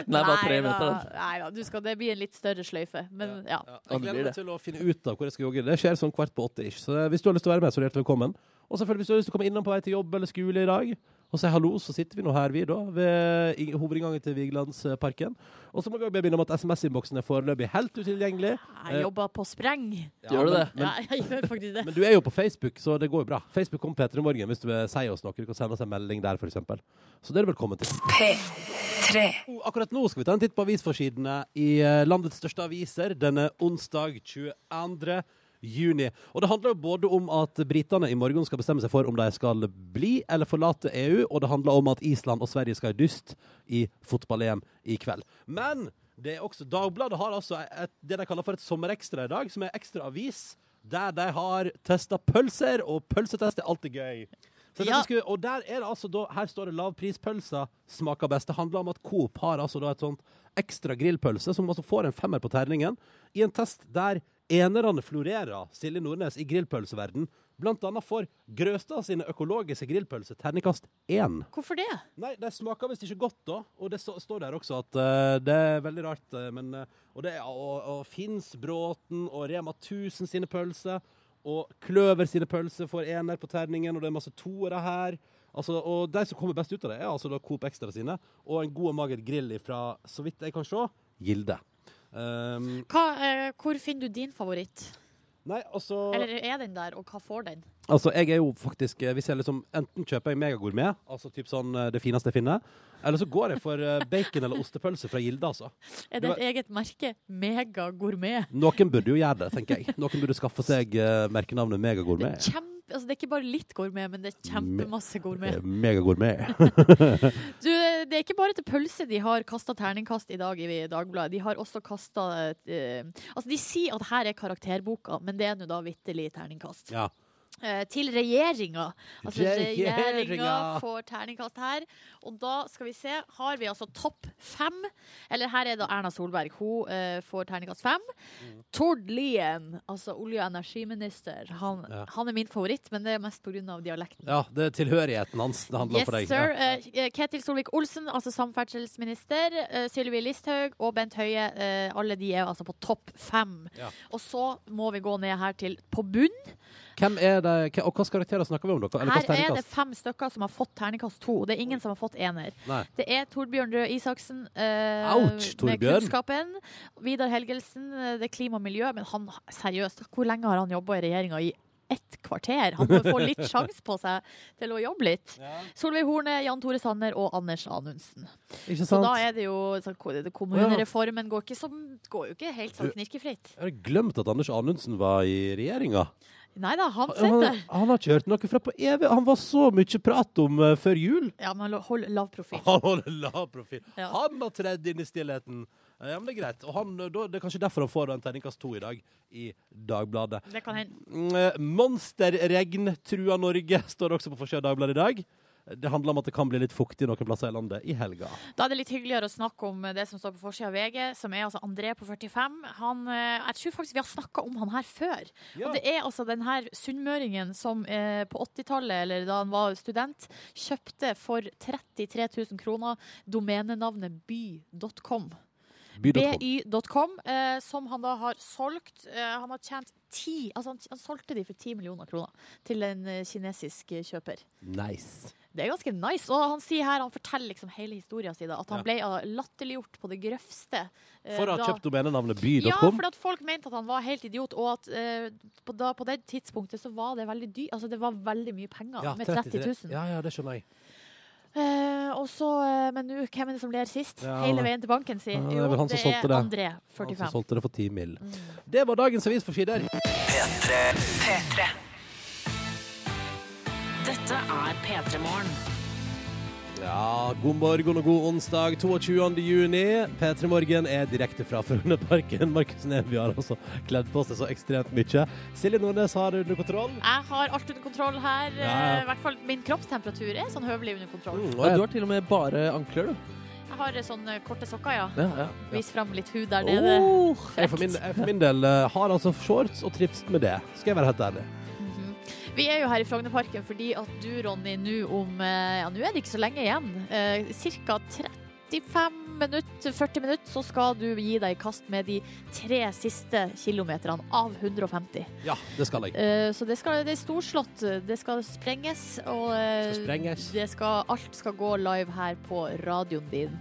[SPEAKER 5] Nei, bare tre
[SPEAKER 3] da-
[SPEAKER 5] meter. den.
[SPEAKER 3] Nei da, du skal, det blir en litt større sløyfe. Men ja.
[SPEAKER 5] Ja,
[SPEAKER 2] Jeg
[SPEAKER 5] det blir
[SPEAKER 2] gleder
[SPEAKER 5] det.
[SPEAKER 2] meg til å finne ut av hvor jeg skal jogge. Det skjer sånn kvart på åtte ish. Så hvis du har lyst til å være med, så er du hjertelig velkommen. Og selvfølgelig hvis du har lyst til å komme innom på vei til jobb eller skole i dag. Og si hallo, så sitter vi nå her, vi, da, ved i- hovedinngangen til Vigelandsparken. Og så må vi også minne om at SMS-innboksen er foreløpig helt utilgjengelig.
[SPEAKER 3] Jeg jobber på spreng.
[SPEAKER 5] Gjør du
[SPEAKER 2] men-
[SPEAKER 5] det?
[SPEAKER 3] Ja, jeg gjør faktisk det.
[SPEAKER 2] Men du er jo på Facebook, så det går jo bra. Facebook om Peter i morgen hvis du vil si oss noe. Du kan sende oss en melding der, f.eks. Så det er du velkommen til.
[SPEAKER 1] P3.
[SPEAKER 2] Og Akkurat nå skal vi ta en titt på avisforsidene i eh, landets største aviser denne onsdag 22. Juni. Og Det handler jo både om at britene i morgen skal bestemme seg for om de skal bli eller forlate EU, og det handler om at Island og Sverige skal i dyst i fotball-EM i kveld. Men det er også Dagbladet har altså et, det de kaller for et sommerekstra i dag, som er ekstra avis der de har testa pølser, og pølsetest er alltid gøy. Så jeg tenkte
[SPEAKER 3] Ja.
[SPEAKER 2] jeg skulle og der er det altså da, her står det lavprispølser smaker best. Det handler om at Coop har altså da et sånt ekstra grillpølse, som altså får en femmer på terningen, i en test der enerne florerer Silje Nordnes i grillpølseverden. Blant annet får Grøstad sine økologiske grillpølser terningkast én.
[SPEAKER 3] Hvorfor det?
[SPEAKER 2] Nei, de smaker visst ikke godt, da. Og det så- står der også at eh, det er veldig rart. eh, men, eh, og det er og, og Finns Bråten og Rema 1000 sine pølser. Og Kløver sine pølser får ener på terningen, og det er masse toere her. Altså, og de som kommer best ut av det, er altså da Coop Extra sine. Og en god og mager grill fra, så vidt jeg kan se, Gilde. Ehm,
[SPEAKER 3] Hva, eh, hvor finner du din favoritt?
[SPEAKER 2] nei, altså
[SPEAKER 3] Eller er den der, og hva får den?
[SPEAKER 2] Altså, jeg er jo faktisk eh, Hvis jeg liksom Enten kjøper jeg megagourmet, altså typ sånn eh, det fineste jeg finner, eller så går jeg for eh, bacon- eller ostepølse fra Gilde, altså.
[SPEAKER 3] Er det et eget merke? Mega gourmet.
[SPEAKER 2] Noen burde jo gjøre det, tenker jeg. Noen burde skaffe seg eh, merkenavnet
[SPEAKER 3] Det er,
[SPEAKER 2] Megagourmet.
[SPEAKER 3] kjempe, altså det er ikke bare litt gourmet, men det er kjempemasse gourmet.
[SPEAKER 2] Eh, Megagourmet. <laughs>
[SPEAKER 3] Du, det er ikke bare til pølse de har kasta terningkast i dag i Dagbladet. De har også kasta Altså, de sier at her er karakterboka, men det er nå da vitterlig terningkast.
[SPEAKER 2] Ja.
[SPEAKER 3] Eh, til regjeringa. Altså
[SPEAKER 2] Regjeringa.
[SPEAKER 3] regjeringa får terningkast her. Og da skal vi se, har vi altså topp fem. Eller her er da Erna Solberg. Hun eh, får terningkast fem. Tord Lien, altså olje- og energiminister, han,
[SPEAKER 2] Ja.
[SPEAKER 3] han er min favoritt, men det er mest pga. dialekten.
[SPEAKER 2] ja, det er tilhørigheten hans det handler om
[SPEAKER 3] Yes,
[SPEAKER 2] for deg.
[SPEAKER 3] sir. Eh, Ketil Solvik-Olsen, altså samferdselsminister. eh, Sylvi Listhaug og Bent Høie. eh, alle de er altså på topp fem.
[SPEAKER 2] Ja.
[SPEAKER 3] Og så må vi gå ned her til på bunn.
[SPEAKER 2] Ja. Hvem er det, hva- og hvilke karakterer snakker vi om, dere? Eller
[SPEAKER 3] Her
[SPEAKER 2] hvilke
[SPEAKER 3] er det
[SPEAKER 2] terningkast?
[SPEAKER 3] fem stykker som har fått terningkast to. og Det er ingen som har fått ener.
[SPEAKER 2] Nei.
[SPEAKER 3] Det er Torbjørn Røe Isaksen eh,
[SPEAKER 2] Ouch,
[SPEAKER 3] med
[SPEAKER 2] Torbjørn.
[SPEAKER 3] kunnskapen. Vidar Helgelsen, eh, det er klima og miljø. Men han, seriøst, hvor lenge har han jobba i regjeringa? I ett kvarter? Han må få litt sjanse på seg til å jobbe litt. Solveig Horne, Jan Tore Sanner og Anders Anundsen.
[SPEAKER 2] Ikke
[SPEAKER 3] Så
[SPEAKER 2] sant?
[SPEAKER 3] da er det jo sånn, ko- det- Kommunereformen går, ikke som, går jo ikke helt sånn knirkefritt.
[SPEAKER 2] Jeg har glemt at Anders Anundsen var i regjeringa.
[SPEAKER 3] Nei da, han
[SPEAKER 2] Han,
[SPEAKER 3] sitter.
[SPEAKER 2] han har ikke hørt noe fra på evig. Han var så mye prat om eh, før jul.
[SPEAKER 3] Ja, men lo- hold lav profil.
[SPEAKER 2] Han holder lav profil.
[SPEAKER 3] Ja.
[SPEAKER 2] Han har tredd inn i stillheten. Eh, Ja, men Det er greit. Og han, eh, da, det er kanskje derfor han får den terningkast to i dag i Dagbladet.
[SPEAKER 3] Det kan hende.
[SPEAKER 2] Mm, eh, Monsterregn trua Norge, <laughs> står det også på forsida av Dagbladet i dag. Det handler om at det kan bli litt fuktig noen plasser i landet i helga.
[SPEAKER 3] Da er det litt hyggeligere å snakke om det som står på forsida av VG, som er altså André på 45. Han, eh, jeg tror faktisk vi har snakka om han her før.
[SPEAKER 2] Ja.
[SPEAKER 3] Og det er altså den her sunnmøringen som eh, på 80-tallet, eller da han var student, kjøpte for 33 000 kroner domenenavnet by.com.
[SPEAKER 2] By.com.
[SPEAKER 3] by.com, eh, som han da har solgt. Eh, han har tjent ti Altså, han, han solgte de for 10 millioner kroner til en eh, kinesisk eh, kjøper.
[SPEAKER 2] Nice.
[SPEAKER 3] Det er ganske nice. Og han sier her, han forteller liksom hele historien sin, da, at han
[SPEAKER 2] Ja.
[SPEAKER 3] ble eh, latterliggjort på det grøvste. eh,
[SPEAKER 2] For å ha
[SPEAKER 3] da-
[SPEAKER 2] kjøpt
[SPEAKER 3] ja,
[SPEAKER 2] domenenavnet by.com.
[SPEAKER 3] for at folk mente at han var helt idiot, og at eh, på, da, på det tidspunktet så var det veldig dyr, altså det var veldig mye penger med 30 000.
[SPEAKER 2] Ja, ja, det skjønner jeg.
[SPEAKER 3] Eh, og så, eh, men nå, hvem er det som ler sist?
[SPEAKER 2] Ja,
[SPEAKER 3] Hele
[SPEAKER 2] det-
[SPEAKER 3] veien til banken, sier
[SPEAKER 2] Ja, Ah, det er
[SPEAKER 3] jo,
[SPEAKER 2] vel han som
[SPEAKER 3] det
[SPEAKER 2] solgte
[SPEAKER 3] er
[SPEAKER 2] det.
[SPEAKER 3] André, Mm.
[SPEAKER 2] Han
[SPEAKER 3] 45.
[SPEAKER 2] som solgte det for 10 mill. Det var dagens avisforsider.
[SPEAKER 1] P3.
[SPEAKER 4] Dette er P3 Morgen.
[SPEAKER 2] Ja, god morgen og god onsdag 22. juni. P3 Morgen er direkte fra Frognerparken. Markus Neby har altså kledd på seg så ekstremt mye. Silje Nordnes har det under kontroll.
[SPEAKER 3] Jeg har alt under kontroll her.
[SPEAKER 2] Ja.
[SPEAKER 3] eh, I hvert fall min kroppstemperatur er sånn høvelig under kontroll.
[SPEAKER 2] Mm, og
[SPEAKER 5] Ja,
[SPEAKER 2] jeg-
[SPEAKER 5] du har til og med bare ankler, du.
[SPEAKER 3] Jeg har eh, sånne korte sokker, ja.
[SPEAKER 5] Ja, ja.
[SPEAKER 3] Vis fram litt hud der nede.
[SPEAKER 2] Oh, jeg, for min, jeg for min del eh, har altså shorts og trives med det. Skal jeg være helt ærlig.
[SPEAKER 3] Mhm. Vi er jo her i Frognerparken fordi at du, Ronny, nå om eh, Ja, nå er det ikke så lenge igjen. Eh, cirka 35 minutter, 40 minutter, så skal du gi deg i kast med de tre siste kilometerne av 150.
[SPEAKER 2] Ja, det skal jeg.
[SPEAKER 3] Eh, så det, skal, det er storslått. Det skal sprenges, og eh,
[SPEAKER 2] Det skal sprenges.
[SPEAKER 3] det skal, alt skal gå live her på radioen din.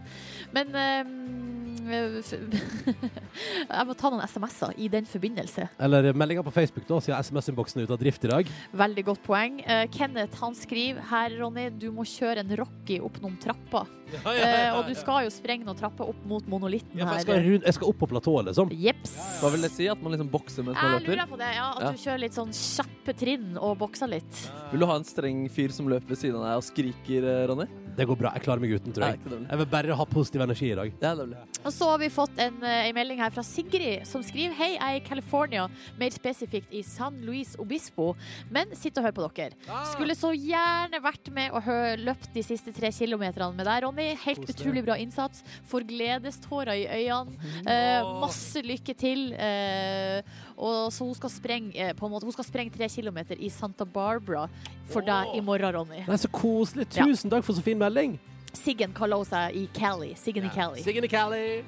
[SPEAKER 3] Men eh, f- <laughs> jeg må ta noen SMS-er i den forbindelse.
[SPEAKER 2] Eller meldinga på Facebook, da, siden SMS-innboksen er ute av drift i dag.
[SPEAKER 3] Veldig godt poeng. Eh, Kenneth han skriver her, Ronny, du må kjøre en Rocky opp noen trapper. Eh, og du skal jo sprenge noen trapper opp mot monolitten
[SPEAKER 2] Ja, for jeg, skal
[SPEAKER 3] her.
[SPEAKER 2] rund, jeg skal opp på platået, liksom.
[SPEAKER 3] Jeps.
[SPEAKER 5] Hva vil det si? At man liksom bokser mens man
[SPEAKER 3] Jeg
[SPEAKER 5] løper?
[SPEAKER 3] lurer på det, ja. At
[SPEAKER 5] Ja.
[SPEAKER 3] du kjører litt sånn kjappe trinn og bokser litt.
[SPEAKER 5] Vil du ha en streng fyr som løper ved siden av deg og skriker, eh, Ronny?
[SPEAKER 2] Det går bra. Jeg klarer meg uten, tror
[SPEAKER 5] Nei,
[SPEAKER 2] jeg.
[SPEAKER 5] ikke dårlig.
[SPEAKER 2] Jeg vil bare ha positiv energi i dag.
[SPEAKER 5] Det er dårlig.
[SPEAKER 3] Og så har vi fått en, eh, en melding her fra Sigrid som skriver Hei, jeg er i California, mer spesifikt i San Luis Obispo, men sitt og hør på dere. Skulle så gjerne vært med og hø- løpt de siste tre kilometerne med deg, Ronny. Helt
[SPEAKER 2] Kos deg.
[SPEAKER 3] utrolig bra innsats. Får gledestårer i øynene. Eh, masse lykke til. Eh, og så hun skal sprenge eh, på en måte, hun skal sprenge tre kilometer i Santa Barbara for deg i morgen, Ronny.
[SPEAKER 2] Nei, Eh, så koselig.
[SPEAKER 3] Ja.
[SPEAKER 2] Tusen takk for så fin melding.
[SPEAKER 3] Siggen kaller hun seg i Cali. Siggen i Cali.
[SPEAKER 2] Signe Cali.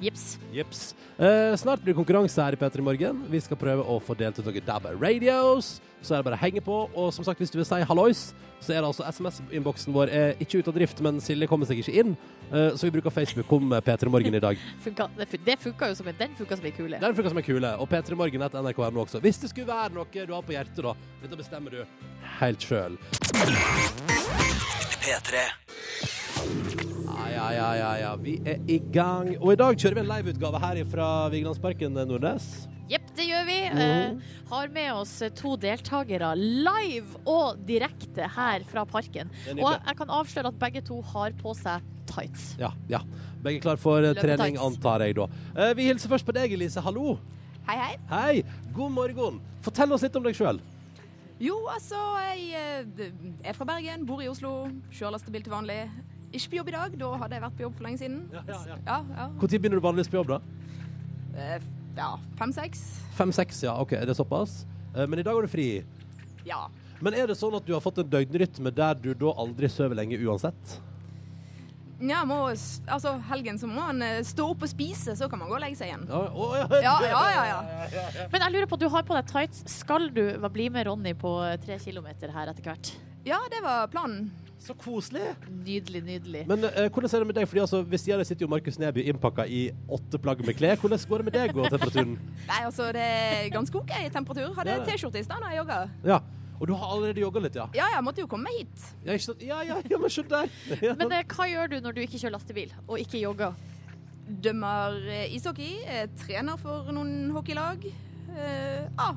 [SPEAKER 3] Jips.
[SPEAKER 2] Jeps. Eh, snart blir det konkurranse her i P3 Morgen. Vi skal prøve å få delt ut noen DAB radios. Så er det bare å henge på. Og som sagt, hvis du vil si hallois, så er det altså SMS-innboksen vår er ikke ute av drift, men Silje kommer seg ikke inn. Eh, så vi bruker Facebook om P3 Morgen i dag.
[SPEAKER 3] Funka, det fun- det funka jo som en Den funka som ei kule.
[SPEAKER 2] Den funker som er kule. Og P3 Morgen etter nrk.no også. Hvis det skulle være noe du har på hjertet, da. Dette bestemmer du helt sjøl. Ja, ja, ja, ja, ja. Vi er i gang. Og i dag kjører vi en liveutgave her fra Vigelandsparken, eh, Nordnes.
[SPEAKER 3] Jepp, det gjør vi. Eh, har med oss to deltakere live og direkte her fra parken.
[SPEAKER 2] Det er
[SPEAKER 3] Og
[SPEAKER 2] nydelig.
[SPEAKER 3] jeg kan avsløre at begge to har på seg tights.
[SPEAKER 2] Ja, ja. Begge klar for eh,
[SPEAKER 3] Løpetights.
[SPEAKER 2] trening, antar jeg da. Eh, Vi hilser først på deg, Elise. Hallo.
[SPEAKER 6] Hei, hei.
[SPEAKER 2] Hei. God morgen. Fortell oss litt om deg sjøl.
[SPEAKER 6] Jo, altså, jeg eh, d- er fra Bergen, bor i Oslo, kjører lastebil til vanlig. Ikke på jobb i dag, da hadde jeg vært på jobb for lenge siden.
[SPEAKER 2] Ja, ja, ja.
[SPEAKER 6] Ja, ja.
[SPEAKER 2] Når begynner du vanligvis på jobb, da?
[SPEAKER 6] Eh, ja Fem-seks?
[SPEAKER 2] Fem-seks, ja. OK, er det såpass? Eh, Men i dag har du fri.
[SPEAKER 6] Ja.
[SPEAKER 2] Men er det sånn at du har fått en døgnrytme der du da aldri sover lenge uansett?
[SPEAKER 6] Nja, må, s- altså, helgen så må han eh, stå opp og spise, så kan man gå og legge seg igjen.
[SPEAKER 2] Ja, å, ja.
[SPEAKER 6] Ja, ja, ja. ja.
[SPEAKER 3] Men jeg lurer på, du har på deg tights. Skal du bli med Ronny på eh, tre kilometer her etter hvert?
[SPEAKER 6] ja det var planen.
[SPEAKER 2] Så koselig.
[SPEAKER 3] Nydelig, nydelig.
[SPEAKER 2] Men eh, hvordan er det med deg? Fordi altså, Ved siden av deg sitter jo Markus Neby innpakka i åtte plagg med klær. Hvordan går det med deg og temperaturen?
[SPEAKER 6] Nei, altså, det er ganske OK temperatur. Hadde
[SPEAKER 2] Det er det.
[SPEAKER 6] T-skjorte i stad da jeg jogga.
[SPEAKER 2] <laughs> Ja. Og du har allerede jogga litt, ja?
[SPEAKER 6] Ja ja, måtte jo komme meg hit.
[SPEAKER 2] Ja, ikke sant? ja, ja, ja men se der. <laughs> Ja.
[SPEAKER 3] Men eh, hva gjør du når du ikke kjører lastebil og ikke jogger?
[SPEAKER 6] Dømmer eh, ishockey, eh, trener for noen hockeylag. Eh, ah,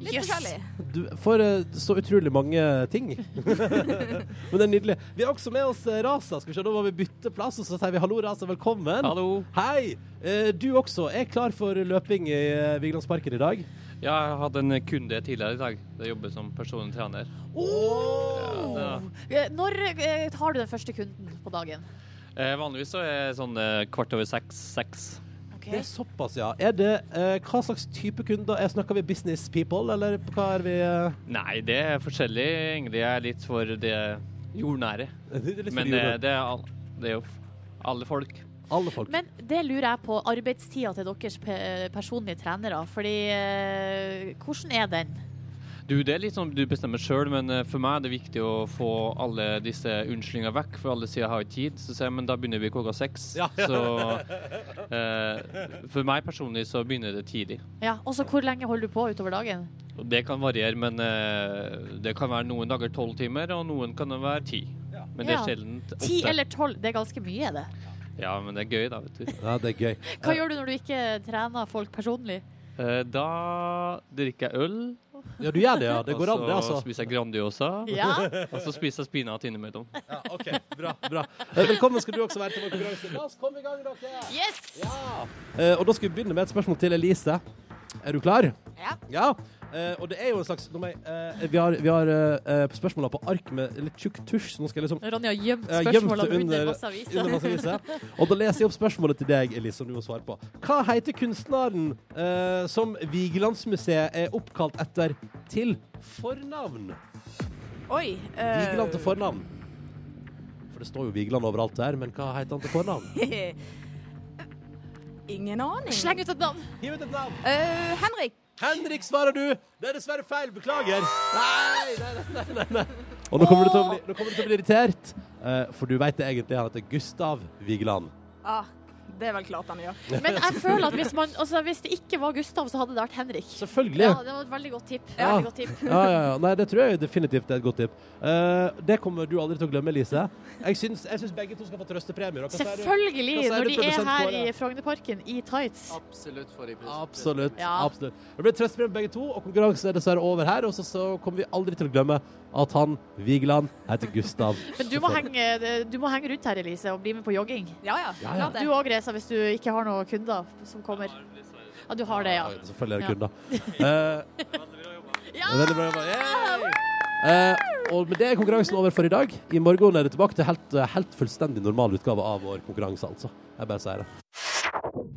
[SPEAKER 6] litt
[SPEAKER 3] Jøss.
[SPEAKER 6] forskjellig.
[SPEAKER 2] Du får eh, så utrolig mange ting. <laughs> men det er nydelig. Vi har også med oss eh, Rasa. Skal vi se, Da må vi bytte plass, og så sier vi hallo, Rasa. Velkommen.
[SPEAKER 7] Hallo.
[SPEAKER 2] Hei. Eh, Du også er klar for løping i eh, Vigelandsparken i dag.
[SPEAKER 7] Ja, jeg hadde en kunde tidligere i dag. Jeg jobber som personlig trener. Ja, det-
[SPEAKER 3] Eh, Når eh, tar du den første kunden på dagen?
[SPEAKER 7] eh, vanligvis så er jeg sånn eh, kvart over seks, seks.
[SPEAKER 2] Det er såpass, ja. Er det, eh, hva slags type kunder? Er snakker vi business people, eller hva er vi eh?
[SPEAKER 7] Nei, det er forskjellig. Egentlig er jeg litt for det jordnære.
[SPEAKER 2] Det er litt for
[SPEAKER 7] Men eh,
[SPEAKER 2] jorda.
[SPEAKER 7] det er, all, det er jo f- alle folk.
[SPEAKER 2] Alle folk.
[SPEAKER 3] Men det lurer jeg på arbeidstida til deres pe personlige trenere. Fordi eh, hvordan er den?
[SPEAKER 7] Du, det er litt sånn du bestemmer sjøl, men eh, for meg er det viktig å få alle disse unnskyldningene vekk, for alle sier jeg har ikke tid. Så sier jeg, men da begynner vi klokka seks.
[SPEAKER 2] Ja.
[SPEAKER 7] Så eh, for meg personlig så begynner det tidlig.
[SPEAKER 3] Ja, Og så hvor lenge holder du på utover dagen?
[SPEAKER 7] Og Det kan variere, men eh, det kan være noen dager tolv timer, og noen kan det være ti. Men det
[SPEAKER 3] Ja.
[SPEAKER 7] er sjelden åtte.
[SPEAKER 3] Ti eller tolv? Det er ganske mye, det.
[SPEAKER 7] Ja, men det er gøy, da, vet du.
[SPEAKER 2] Ja, det er gøy.
[SPEAKER 3] Hva gjør du når du ikke trener folk personlig?
[SPEAKER 7] Eh, da drikker jeg øl,
[SPEAKER 2] Ja, du gjør det, ja. Det går an,
[SPEAKER 7] og
[SPEAKER 2] det,
[SPEAKER 7] så
[SPEAKER 2] altså.
[SPEAKER 7] spiser jeg Grandiosa,
[SPEAKER 3] Ja,
[SPEAKER 7] <laughs> og så spiser jeg spinat innimellom.
[SPEAKER 2] Ja, OK. Bra. bra. Eh, Velkommen skal du også være til vår konkurranse. La oss komme i gang, dere.
[SPEAKER 3] yes!
[SPEAKER 2] Eh, og da skal vi begynne med et spørsmål til Elise. Er du klar?
[SPEAKER 6] Ja.
[SPEAKER 2] Ja. Eh, og det er jo en slags nå må jeg, eh, Vi har, vi har eh, eh, spørsmåla på ark med litt tjukk tusj, så nå skal jeg liksom
[SPEAKER 3] Ronny har gjemt
[SPEAKER 2] Jeg har gjemt
[SPEAKER 3] spørsmålene
[SPEAKER 2] det
[SPEAKER 3] under
[SPEAKER 2] under-
[SPEAKER 3] masse aviser.
[SPEAKER 2] under masse viser. Og da leser jeg opp spørsmålet til deg, Elise, som du må svare på. Hva heter kunstneren eh, som Vigelandsmuseet er oppkalt etter til fornavn?
[SPEAKER 6] Oi. eh,
[SPEAKER 2] Vigeland til fornavn. For det står jo Vigeland overalt der, men hva heter han til fornavn?
[SPEAKER 6] <laughs> Ingen aning.
[SPEAKER 3] Sleng ut et navn.
[SPEAKER 2] Hiv ut et navn.
[SPEAKER 6] Eh, Henrik.
[SPEAKER 2] Henrik, svarer du. Det er dessverre feil. Beklager. Nei, nei, nei. nei, nei. Og nå kommer du til å bli, nå kommer du til å bli irritert, eh, for du veit det egentlig han heter Gustav Vigeland.
[SPEAKER 6] Ah, det er vel klart han gjør.
[SPEAKER 3] <laughs> Men jeg føler at hvis, man, altså, hvis det ikke var Gustav, så hadde det vært Henrik.
[SPEAKER 2] Selvfølgelig.
[SPEAKER 3] Ja, det var et veldig godt tipp.
[SPEAKER 2] Ja.
[SPEAKER 3] Veldig godt tipp.
[SPEAKER 2] Ja, ja, ja. Nei, det tror jeg definitivt er et godt tipp. Eh, det kommer du aldri til å glemme, Elise. Jeg syns, jeg syns begge to skal få trøstepremier. og hva sier du?
[SPEAKER 3] Selvfølgelig,
[SPEAKER 2] Hva sier
[SPEAKER 3] når
[SPEAKER 2] du,
[SPEAKER 3] de er
[SPEAKER 2] produsent
[SPEAKER 3] her i
[SPEAKER 2] Kåre?
[SPEAKER 3] Frognerparken i tights.
[SPEAKER 5] Absolutt for
[SPEAKER 2] Absolutt.
[SPEAKER 3] Ja.
[SPEAKER 2] absolutt. Det blir trøstepremie begge to, og konkurransen er dessverre over her. Og så, så kommer vi aldri til å glemme at han, Vigeland, heter Gustav.
[SPEAKER 3] <laughs> Men du må, henge, du må henge rundt her, Elise, og bli med på jogging.
[SPEAKER 6] Ja ja,
[SPEAKER 2] Ja, ja.
[SPEAKER 6] klart
[SPEAKER 3] Du
[SPEAKER 6] det.
[SPEAKER 3] òg, Reza, hvis du ikke har noen kunder som kommer. Ja, du har det, ja.
[SPEAKER 2] Selvfølgelig er det
[SPEAKER 3] Ja.
[SPEAKER 2] kunder. Eh,
[SPEAKER 3] <laughs> Ja!
[SPEAKER 2] Veldig bra jobba. Yay! Eh, og med det er konkurransen over for i dag. I morgen er det tilbake til helt, helt fullstendig normal utgave av vår konkurranse, altså. Jeg bare sier det.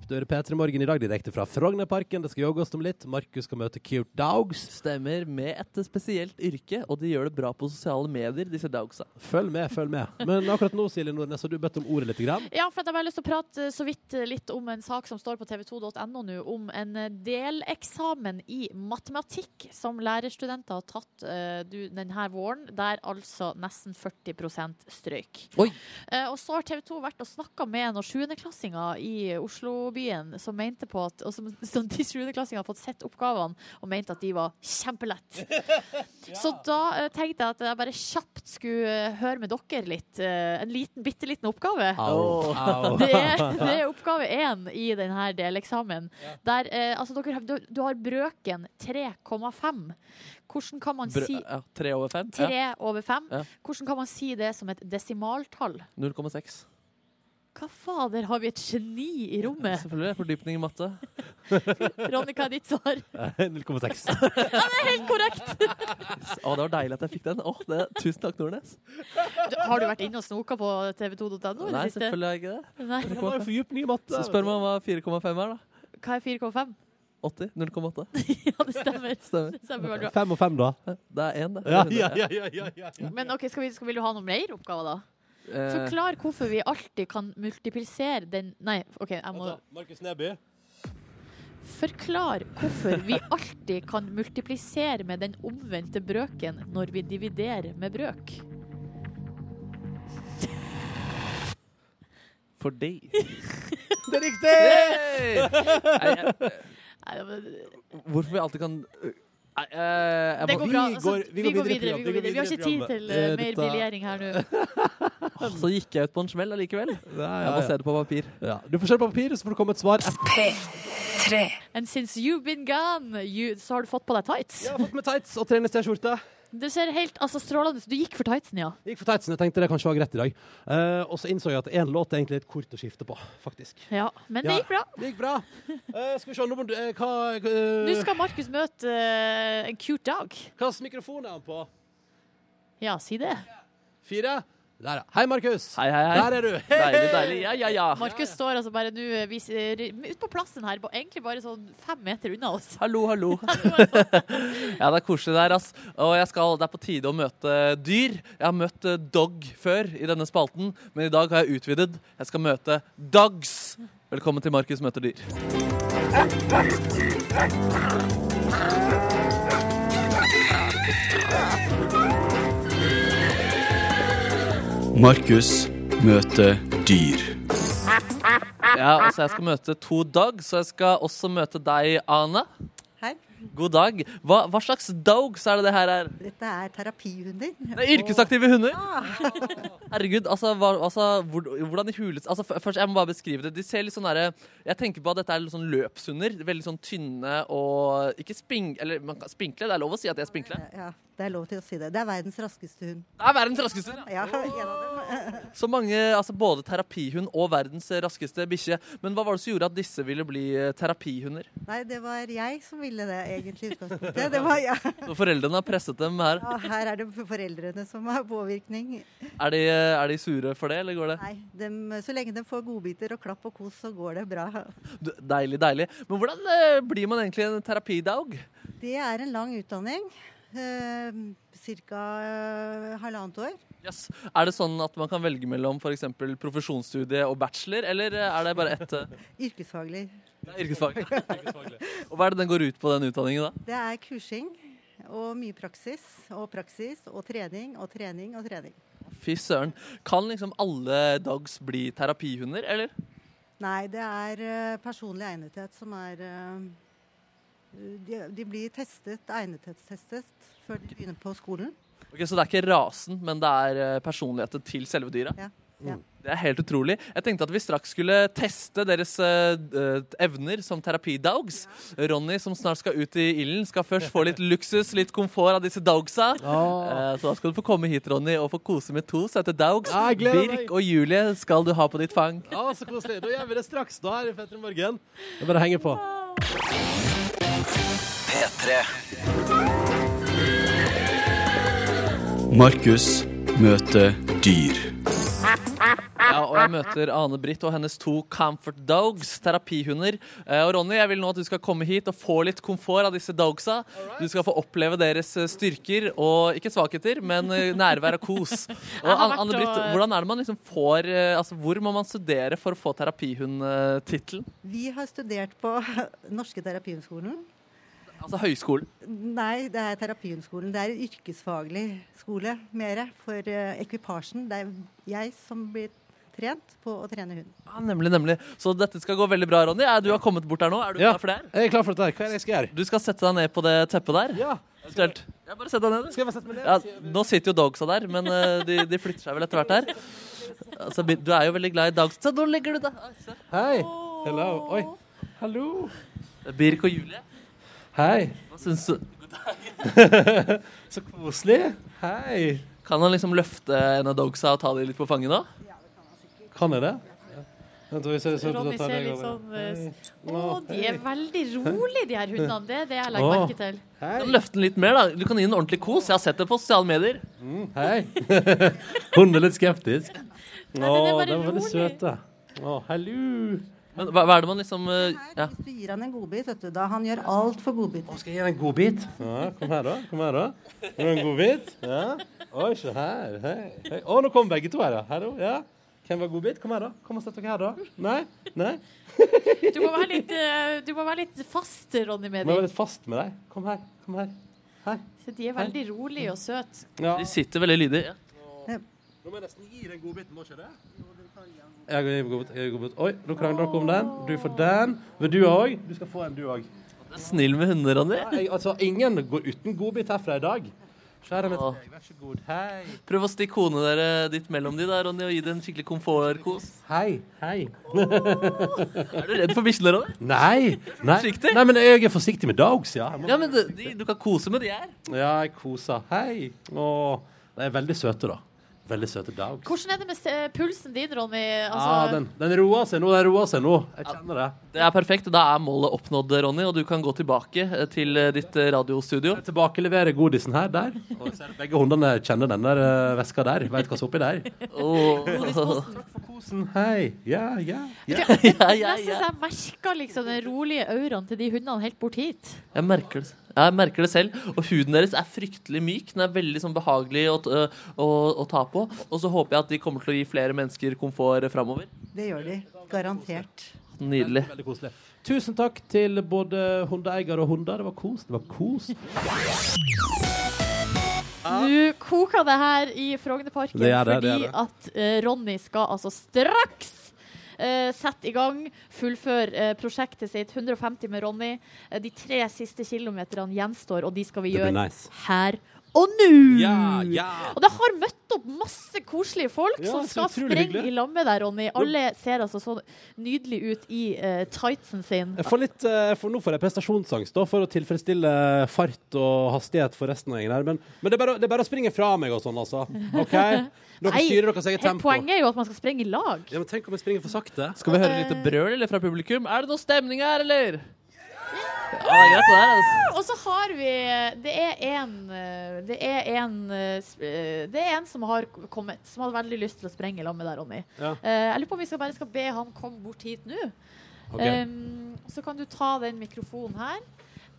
[SPEAKER 2] Du hører P3 Morgen i dag direkte fra Frognerparken. Det skal jogges om litt. Markus skal møte Cute Dogs.
[SPEAKER 5] Stemmer med et spesielt yrke, og de gjør det bra på sosiale medier, disse dogsa.
[SPEAKER 2] Følg med, følg med. Men akkurat nå, Silje Nordnes, har du bedt om ordet litt. Grann.
[SPEAKER 3] Ja, for at jeg bare har lyst til å prate eh, så vidt eh, litt om en sak som står på tv2.no nå, om en eh, deleksamen i matematikk som lærerstudenter har tatt eh, du, denne våren, der altså nesten 40 strøyk.
[SPEAKER 5] Oi.
[SPEAKER 3] Eh, og så har TV 2 vært og snakka med noen sjuendeklassinger i Oslo by byen som mente på at Og som som de 7.-klassingene har fått sett oppgavene og mente at de var kjempelett. Så da eh, tenkte jeg at jeg bare kjapt skulle eh, høre med dere litt. eh, en liten, bitte liten oppgave.
[SPEAKER 2] Au. Au.
[SPEAKER 3] Det er, det er oppgave én i denne deleksamen. Der, eh, altså dere, har- du, du har brøken 3,5. Hvordan kan man
[SPEAKER 5] Brø
[SPEAKER 3] si
[SPEAKER 5] ja, tre over fem? Ja.
[SPEAKER 3] 3 over 5?
[SPEAKER 5] Ja.
[SPEAKER 3] Hvordan kan man si det som et desimaltall?
[SPEAKER 5] 0,6.
[SPEAKER 3] Hva fader, har vi et geni i
[SPEAKER 5] <laughs>
[SPEAKER 3] rommet?
[SPEAKER 5] Selvfølgelig. Fordypning i matte.
[SPEAKER 3] Ronny, hva er ditt svar?
[SPEAKER 2] Eh,
[SPEAKER 3] <laughs>
[SPEAKER 2] 0,6.
[SPEAKER 3] Helt korrekt!
[SPEAKER 5] Å, det var deilig at jeg fikk den. Å, det, tusen takk, Nordnes.
[SPEAKER 3] Du, har du vært inne og snoka på tv2.no? i det
[SPEAKER 5] Nei,
[SPEAKER 3] siste?
[SPEAKER 5] selvfølgelig er jeg ikke det.
[SPEAKER 3] Nei.
[SPEAKER 2] Det var jo fordypning i matte.
[SPEAKER 5] Så spør man hva 4,5 er, da.
[SPEAKER 3] Hva er 4,5?
[SPEAKER 5] 80? 0,8?
[SPEAKER 3] <laughs> Ja, det stemmer.
[SPEAKER 5] Stemmer.
[SPEAKER 3] Det stemmer veldig bra.
[SPEAKER 2] Fem og fem, da.
[SPEAKER 5] Det er én, det.
[SPEAKER 2] Ja, ja, ja, ja, ja, ja.
[SPEAKER 3] Men ok, skal vi, skal, vil du ha noen mer oppgaver, da?
[SPEAKER 5] Eh,
[SPEAKER 3] Forklar hvorfor vi alltid kan multiplisere den Nei, OK, jeg må
[SPEAKER 2] Markus Neby.
[SPEAKER 3] Forklar hvorfor vi alltid kan multiplisere med den omvendte brøken når vi dividerer med brøk.
[SPEAKER 5] <laughs> Fordi
[SPEAKER 2] Det er riktig!
[SPEAKER 5] Nei, jeg-
[SPEAKER 3] Nei, det var-
[SPEAKER 5] Hvorfor vi alltid kan Nei, eh,
[SPEAKER 3] Det
[SPEAKER 5] jeg må
[SPEAKER 3] går
[SPEAKER 2] vi
[SPEAKER 3] bra. Altså,
[SPEAKER 2] går-
[SPEAKER 3] vi, går videre, vi går videre. Vi har
[SPEAKER 2] i
[SPEAKER 3] ikke tid
[SPEAKER 2] programmet.
[SPEAKER 3] til eh,
[SPEAKER 2] Eh,
[SPEAKER 3] mer
[SPEAKER 2] dette-
[SPEAKER 3] briljering her nå.
[SPEAKER 5] Åh, <laughs> Så gikk jeg ut på en smell allikevel. Jeg må se det på papir.
[SPEAKER 2] Ja, du får se på papiret, så får du komme et svar. Jeg
[SPEAKER 1] P3.
[SPEAKER 3] And since you've been gone, you, så har du fått på deg tights.
[SPEAKER 2] har fått med tights og treningst-skjorte.
[SPEAKER 3] Du ser helt altså, strålende ut. Du gikk for tightsen, ja.
[SPEAKER 2] Gikk for tightsen. Jeg tenkte det kanskje var greit i dag. Eh, og så innså jeg at én låt er egentlig litt kort å skifte på, faktisk.
[SPEAKER 3] ja. Men det
[SPEAKER 2] Ja.
[SPEAKER 3] gikk bra.
[SPEAKER 2] Det gikk bra. Eh, skal vi se, nå må du eh, Hva eh,
[SPEAKER 3] Nå skal Markus møte eh, en cute dog.
[SPEAKER 2] Hvilken mikrofon er han på?
[SPEAKER 3] Ja, si det.
[SPEAKER 2] Fire? Der, ja. Hei, Markus.
[SPEAKER 5] Hei, hei, hei.
[SPEAKER 2] Der er du.
[SPEAKER 5] Deilig, deilig. Ja, ja, ja.
[SPEAKER 3] Markus står altså bare nå eh, vis- eh, ute på plassen her, ba- egentlig bare sånn fem meter unna oss.
[SPEAKER 5] Hallo,
[SPEAKER 3] <laughs>
[SPEAKER 5] hallo. ja, det er koselig der, ass. Og jeg skal, det er på tide å møte dyr. Jeg har møtt eh, dog før i denne spalten, men i dag har jeg utvidet. Jeg skal møte dogs. Velkommen til Markus møter dyr.
[SPEAKER 8] Markus møter dyr.
[SPEAKER 5] Ja, altså jeg skal møte to dogs, og jeg skal også møte deg, Ana.
[SPEAKER 9] Hei.
[SPEAKER 5] God dag. Hva, hva slags dogs er det det her er?
[SPEAKER 9] Dette er terapihunder.
[SPEAKER 5] Det er yrkesaktive hunder. Herregud, altså, hva, altså hvor, hvordan i huleste altså, f- Først, jeg må bare beskrive det. De ser litt sånn derre Jeg tenker på at dette er litt sånn løpshunder. Veldig sånn tynne og Ikke spink... Eller man kan, spinkle. Det er lov å si at de er spinkle.
[SPEAKER 9] Ja, det er lov til å si det. Det er verdens raskeste hund.
[SPEAKER 5] Det er verdens raskeste hund. ja.
[SPEAKER 9] Ja, en av dem. <laughs>
[SPEAKER 5] Så mange Altså både terapihund og verdens raskeste bikkje. Men hva var det som gjorde at disse ville bli eh, terapihunder?
[SPEAKER 9] Nei, det var jeg som ville det, egentlig. i utgangspunktet. Det var jeg.
[SPEAKER 5] Så foreldrene har presset dem her.
[SPEAKER 9] Ja, her er det foreldrene som har påvirkning.
[SPEAKER 5] Er de, eh, er de sure for det, eller går det?
[SPEAKER 9] Nei, dem, så lenge de får godbiter og klapp og kos, så går det bra.
[SPEAKER 5] Du- Deilig, deilig. Men hvordan eh, blir man egentlig en terapidog?
[SPEAKER 9] Det er en lang utdanning. Eh, Cirka eh, halvannet år.
[SPEAKER 5] Yes. Er det sånn at man kan velge mellom for eksempel profesjonsstudie og bachelor, eller eh, er det bare ett eh,
[SPEAKER 9] Yrkesfaglig.
[SPEAKER 5] det er yrkesfag? og hva er det den går ut på, den utdanningen, da?
[SPEAKER 9] Det er kursing og mye praksis og praksis og trening og trening og trening.
[SPEAKER 5] Fy søren. Kan liksom alle dogs bli terapihunder, eller?
[SPEAKER 9] Nei, det er eh, personlig egnethet som er eh, de, de blir testet, egnethetstestet, før de begynner på skolen.
[SPEAKER 5] Ok, Så det er ikke rasen, men det er eh, personligheten til selve dyret?
[SPEAKER 9] Ja, ja.
[SPEAKER 2] Mm.
[SPEAKER 5] Det er helt utrolig. Jeg tenkte at vi straks skulle teste deres eh, eh, evner som terapidogs. Ronny, som snart skal ut i ilden, skal først få litt luksus, litt komfort av disse dogsa. Eh, så da skal du få komme hit, Ronny, og få kose med to søte dogs.
[SPEAKER 2] Ja, jeg gleder meg.
[SPEAKER 5] Birk og Julie skal du ha på ditt fang.
[SPEAKER 2] Ja, så koselig. Da gjør vi det straks, da, her i Petter i morgen. Det er bare å henge på.
[SPEAKER 1] P3.
[SPEAKER 8] Markus møter dyr.
[SPEAKER 5] Ja, og jeg møter Ane-Britt og hennes to comfort dogs, terapihunder. Eh, og Ronny, jeg vil nå at du skal komme hit og få litt komfort av disse dogsa. Du skal få oppleve deres eh, styrker, og ikke svakheter, men eh, nærvær og
[SPEAKER 3] <laughs>
[SPEAKER 5] kos.
[SPEAKER 3] Jeg
[SPEAKER 5] Og
[SPEAKER 3] har
[SPEAKER 5] An-
[SPEAKER 3] vært
[SPEAKER 5] Ane-Britt,
[SPEAKER 3] og-
[SPEAKER 5] hvordan er det man liksom får eh, Altså, hvor må man studere for å få terapihundtittelen?
[SPEAKER 9] Vi har studert på <laughs> Norske terapihundskolen.
[SPEAKER 5] Altså høyskolen.
[SPEAKER 9] Nei, det er terapihundskolen. Det er en yrkesfaglig skole mere for eh, ekvipasjen. Det er jeg som blir trent på å trene hund.
[SPEAKER 5] Ja, nemlig, nemlig. Så dette skal gå veldig bra, Ronny. Er du har kommet bort her nå. Er du
[SPEAKER 2] Ja.
[SPEAKER 5] klar for det her?
[SPEAKER 2] Jeg er klar for dette. her. Hva er det jeg skal gjøre?
[SPEAKER 5] Du skal sette deg ned på det teppet der.
[SPEAKER 2] Ja,
[SPEAKER 5] Eventuelt. Ja, bare sett deg ned. du.
[SPEAKER 2] skal jeg bare sette meg ned?
[SPEAKER 5] Ja, nå sitter jo dogsa der, men eh, de, de flytter seg vel etter hvert her. Altså, be- du er jo veldig glad i dogs. Så nå legger du deg. Oi, se.
[SPEAKER 2] Hei. Hello. Oi. Hallo.
[SPEAKER 5] Det er Birk og Julie.
[SPEAKER 2] Hei.
[SPEAKER 5] Hva syns du?
[SPEAKER 2] <laughs> Så koselig. <laughs> Hei.
[SPEAKER 5] Kan han liksom løfte en av dogsa og ta de litt på fanget da?
[SPEAKER 2] Kan jeg det? Vent, vi ser, ser,
[SPEAKER 3] Ronny
[SPEAKER 2] da tar
[SPEAKER 3] ser
[SPEAKER 2] jeg
[SPEAKER 3] litt
[SPEAKER 2] over.
[SPEAKER 3] sånn eh, s- Å, de
[SPEAKER 2] Hei.
[SPEAKER 3] er veldig rolige, de her hundene. Det er det jeg legger
[SPEAKER 2] Å.
[SPEAKER 3] merke til.
[SPEAKER 5] Kan
[SPEAKER 2] Hei.
[SPEAKER 5] Løfte den litt mer, da. Du kan gi den en ordentlig kos. Jeg har sett det på sosiale medier.
[SPEAKER 2] Mm,
[SPEAKER 3] <laughs>
[SPEAKER 2] Hei. Hun er litt skeptisk. Nei,
[SPEAKER 3] den er bare
[SPEAKER 2] den var
[SPEAKER 3] rolig.
[SPEAKER 2] veldig søt, da. Å, hallo.
[SPEAKER 5] Men hva, hva er det man liksom eh,
[SPEAKER 9] Her,
[SPEAKER 5] Ja.
[SPEAKER 9] Hvis du gir han en godbit, vet du, da han gjør alt for godbiter.
[SPEAKER 2] Skal jeg gi deg en godbit? Ja, kom her, da. Kom her, da. Vil du ha en godbit? Ja. Oi, se her. Hei. Hei. Å, nå kom begge to her, ja. Hallo. Ja. Hvem var godbit? Kom her, da. Kom og sett dere her, da. Nei? Nei?
[SPEAKER 3] Du må være litt, eh, du må være litt fast, Ronny, med
[SPEAKER 2] Må jeg
[SPEAKER 3] dem.
[SPEAKER 2] være litt fast med deg. Kom her. Kom her.
[SPEAKER 3] Så de er veldig rolige og søte.
[SPEAKER 2] Ja.
[SPEAKER 5] De sitter veldig lydig. Ja.
[SPEAKER 2] Nå må jeg nesten gi deg en godbit, må ikke det? Jeg gir godbit. Jeg gir godbit. Oi, nå krangler dere om den. Du får den. Vil du òg? Du skal få en, du òg.
[SPEAKER 5] Snill med hunder, Ronny.
[SPEAKER 2] Nei, altså, ingen går uten godbit herfra i dag. Skjæra mitt
[SPEAKER 5] Åh.
[SPEAKER 2] deg, vær så god. Hei.
[SPEAKER 5] Prøv å stikke hodet dere ditt mellom de der, Ronny, og gi det en skikkelig komfortkos.
[SPEAKER 2] Hei. Hei. <laughs>
[SPEAKER 5] Er du redd for bikkjene, Ronny?
[SPEAKER 2] Nei. Nei.
[SPEAKER 5] Forsiktig.
[SPEAKER 2] Nei, men jeg er forsiktig med dogs, ja. Jeg må-
[SPEAKER 5] Ja, men det- de, du kan kose med de her.
[SPEAKER 2] Ja, jeg koser. Hei. Åh. De er veldig søte, da. Veldig søte dogs.
[SPEAKER 3] Hvordan er det med s- eh, pulsen din, Ronny?
[SPEAKER 2] Ja,
[SPEAKER 3] Altså,
[SPEAKER 2] den, den roer seg nå. Den roer seg nå. Jeg kjenner det.
[SPEAKER 5] Det er perfekt. Da er målet oppnådd, Ronny, og du kan gå tilbake eh, til eh, ditt eh, radiostudio.
[SPEAKER 2] Tilbakelevere godisen her, der. Og så er det begge hundene kjenner den der eh, veska der. Veit hva som er oppi der.
[SPEAKER 5] Åh.
[SPEAKER 2] For kosen. Hei. Ja, ja. ja.
[SPEAKER 5] <laughs> Ja, ja,
[SPEAKER 3] nesten
[SPEAKER 5] ja.
[SPEAKER 3] så jeg merker liksom den rolige auraen til de hundene helt bort hit.
[SPEAKER 5] Jeg merker det. Jeg merker det selv. Og huden deres er fryktelig myk. Den er veldig sånn behagelig å, t- å, å ta på. Og så håper jeg at de kommer til å gi flere mennesker komfort framover.
[SPEAKER 9] Det gjør de. Garantert.
[SPEAKER 5] Nydelig.
[SPEAKER 2] Veldig koselig. Tusen takk til både hundeeier og hunder. Det var kos. Det var kos.
[SPEAKER 3] Nå koker det her i Frognerparken
[SPEAKER 2] Det gjør det, det
[SPEAKER 3] fordi
[SPEAKER 2] gjør det.
[SPEAKER 3] at eh, Ronny skal altså straks eh, sette i gang, fullføre eh, prosjektet sitt 150 med Ronny. Eh, de tre siste kilometerne gjenstår, og de skal vi gjøre
[SPEAKER 2] nice.
[SPEAKER 3] her og nå.
[SPEAKER 2] Ja, ja.
[SPEAKER 3] Og det har møtt opp masse koselige folk
[SPEAKER 2] Ja,
[SPEAKER 3] som
[SPEAKER 2] så
[SPEAKER 3] skal
[SPEAKER 2] utrolig
[SPEAKER 3] sprenge
[SPEAKER 2] hyggelig.
[SPEAKER 3] i lag med deg, Ronny. Alle ser altså så nydelig ut i eh, tightsen sin.
[SPEAKER 2] Jeg får litt, eh, for nå får jeg prestasjonsangst da, for å tilfredsstille fart og hastighet for resten av gjengen her. Men, men det, er bare, å- det er bare å springe fra meg og sånn, altså.
[SPEAKER 3] <laughs>
[SPEAKER 2] OK? Dere
[SPEAKER 3] Nei,
[SPEAKER 2] styrer deres eget
[SPEAKER 3] Hele
[SPEAKER 2] tempo.
[SPEAKER 3] poenget er jo at man skal sprenge i lag.
[SPEAKER 2] Ja, men tenk om jeg springer for sakte?
[SPEAKER 5] Skal vi høre litt brøl eller, fra publikum? Er det noe stemning her, eller? Ja, det
[SPEAKER 10] Ah,
[SPEAKER 5] er greit, det der. Altså.
[SPEAKER 3] Ah, Og så har vi Det er en eh, Det er en, eh, sp- eh, det er en som har k- kommet, som hadde veldig lyst til å sprenge i lag med deg, Ronny.
[SPEAKER 2] Ja.
[SPEAKER 3] Eh, Jeg lurer på om vi skal bare skal be han komme bort hit nå.
[SPEAKER 2] Ok.
[SPEAKER 3] Um, så kan du ta den mikrofonen her.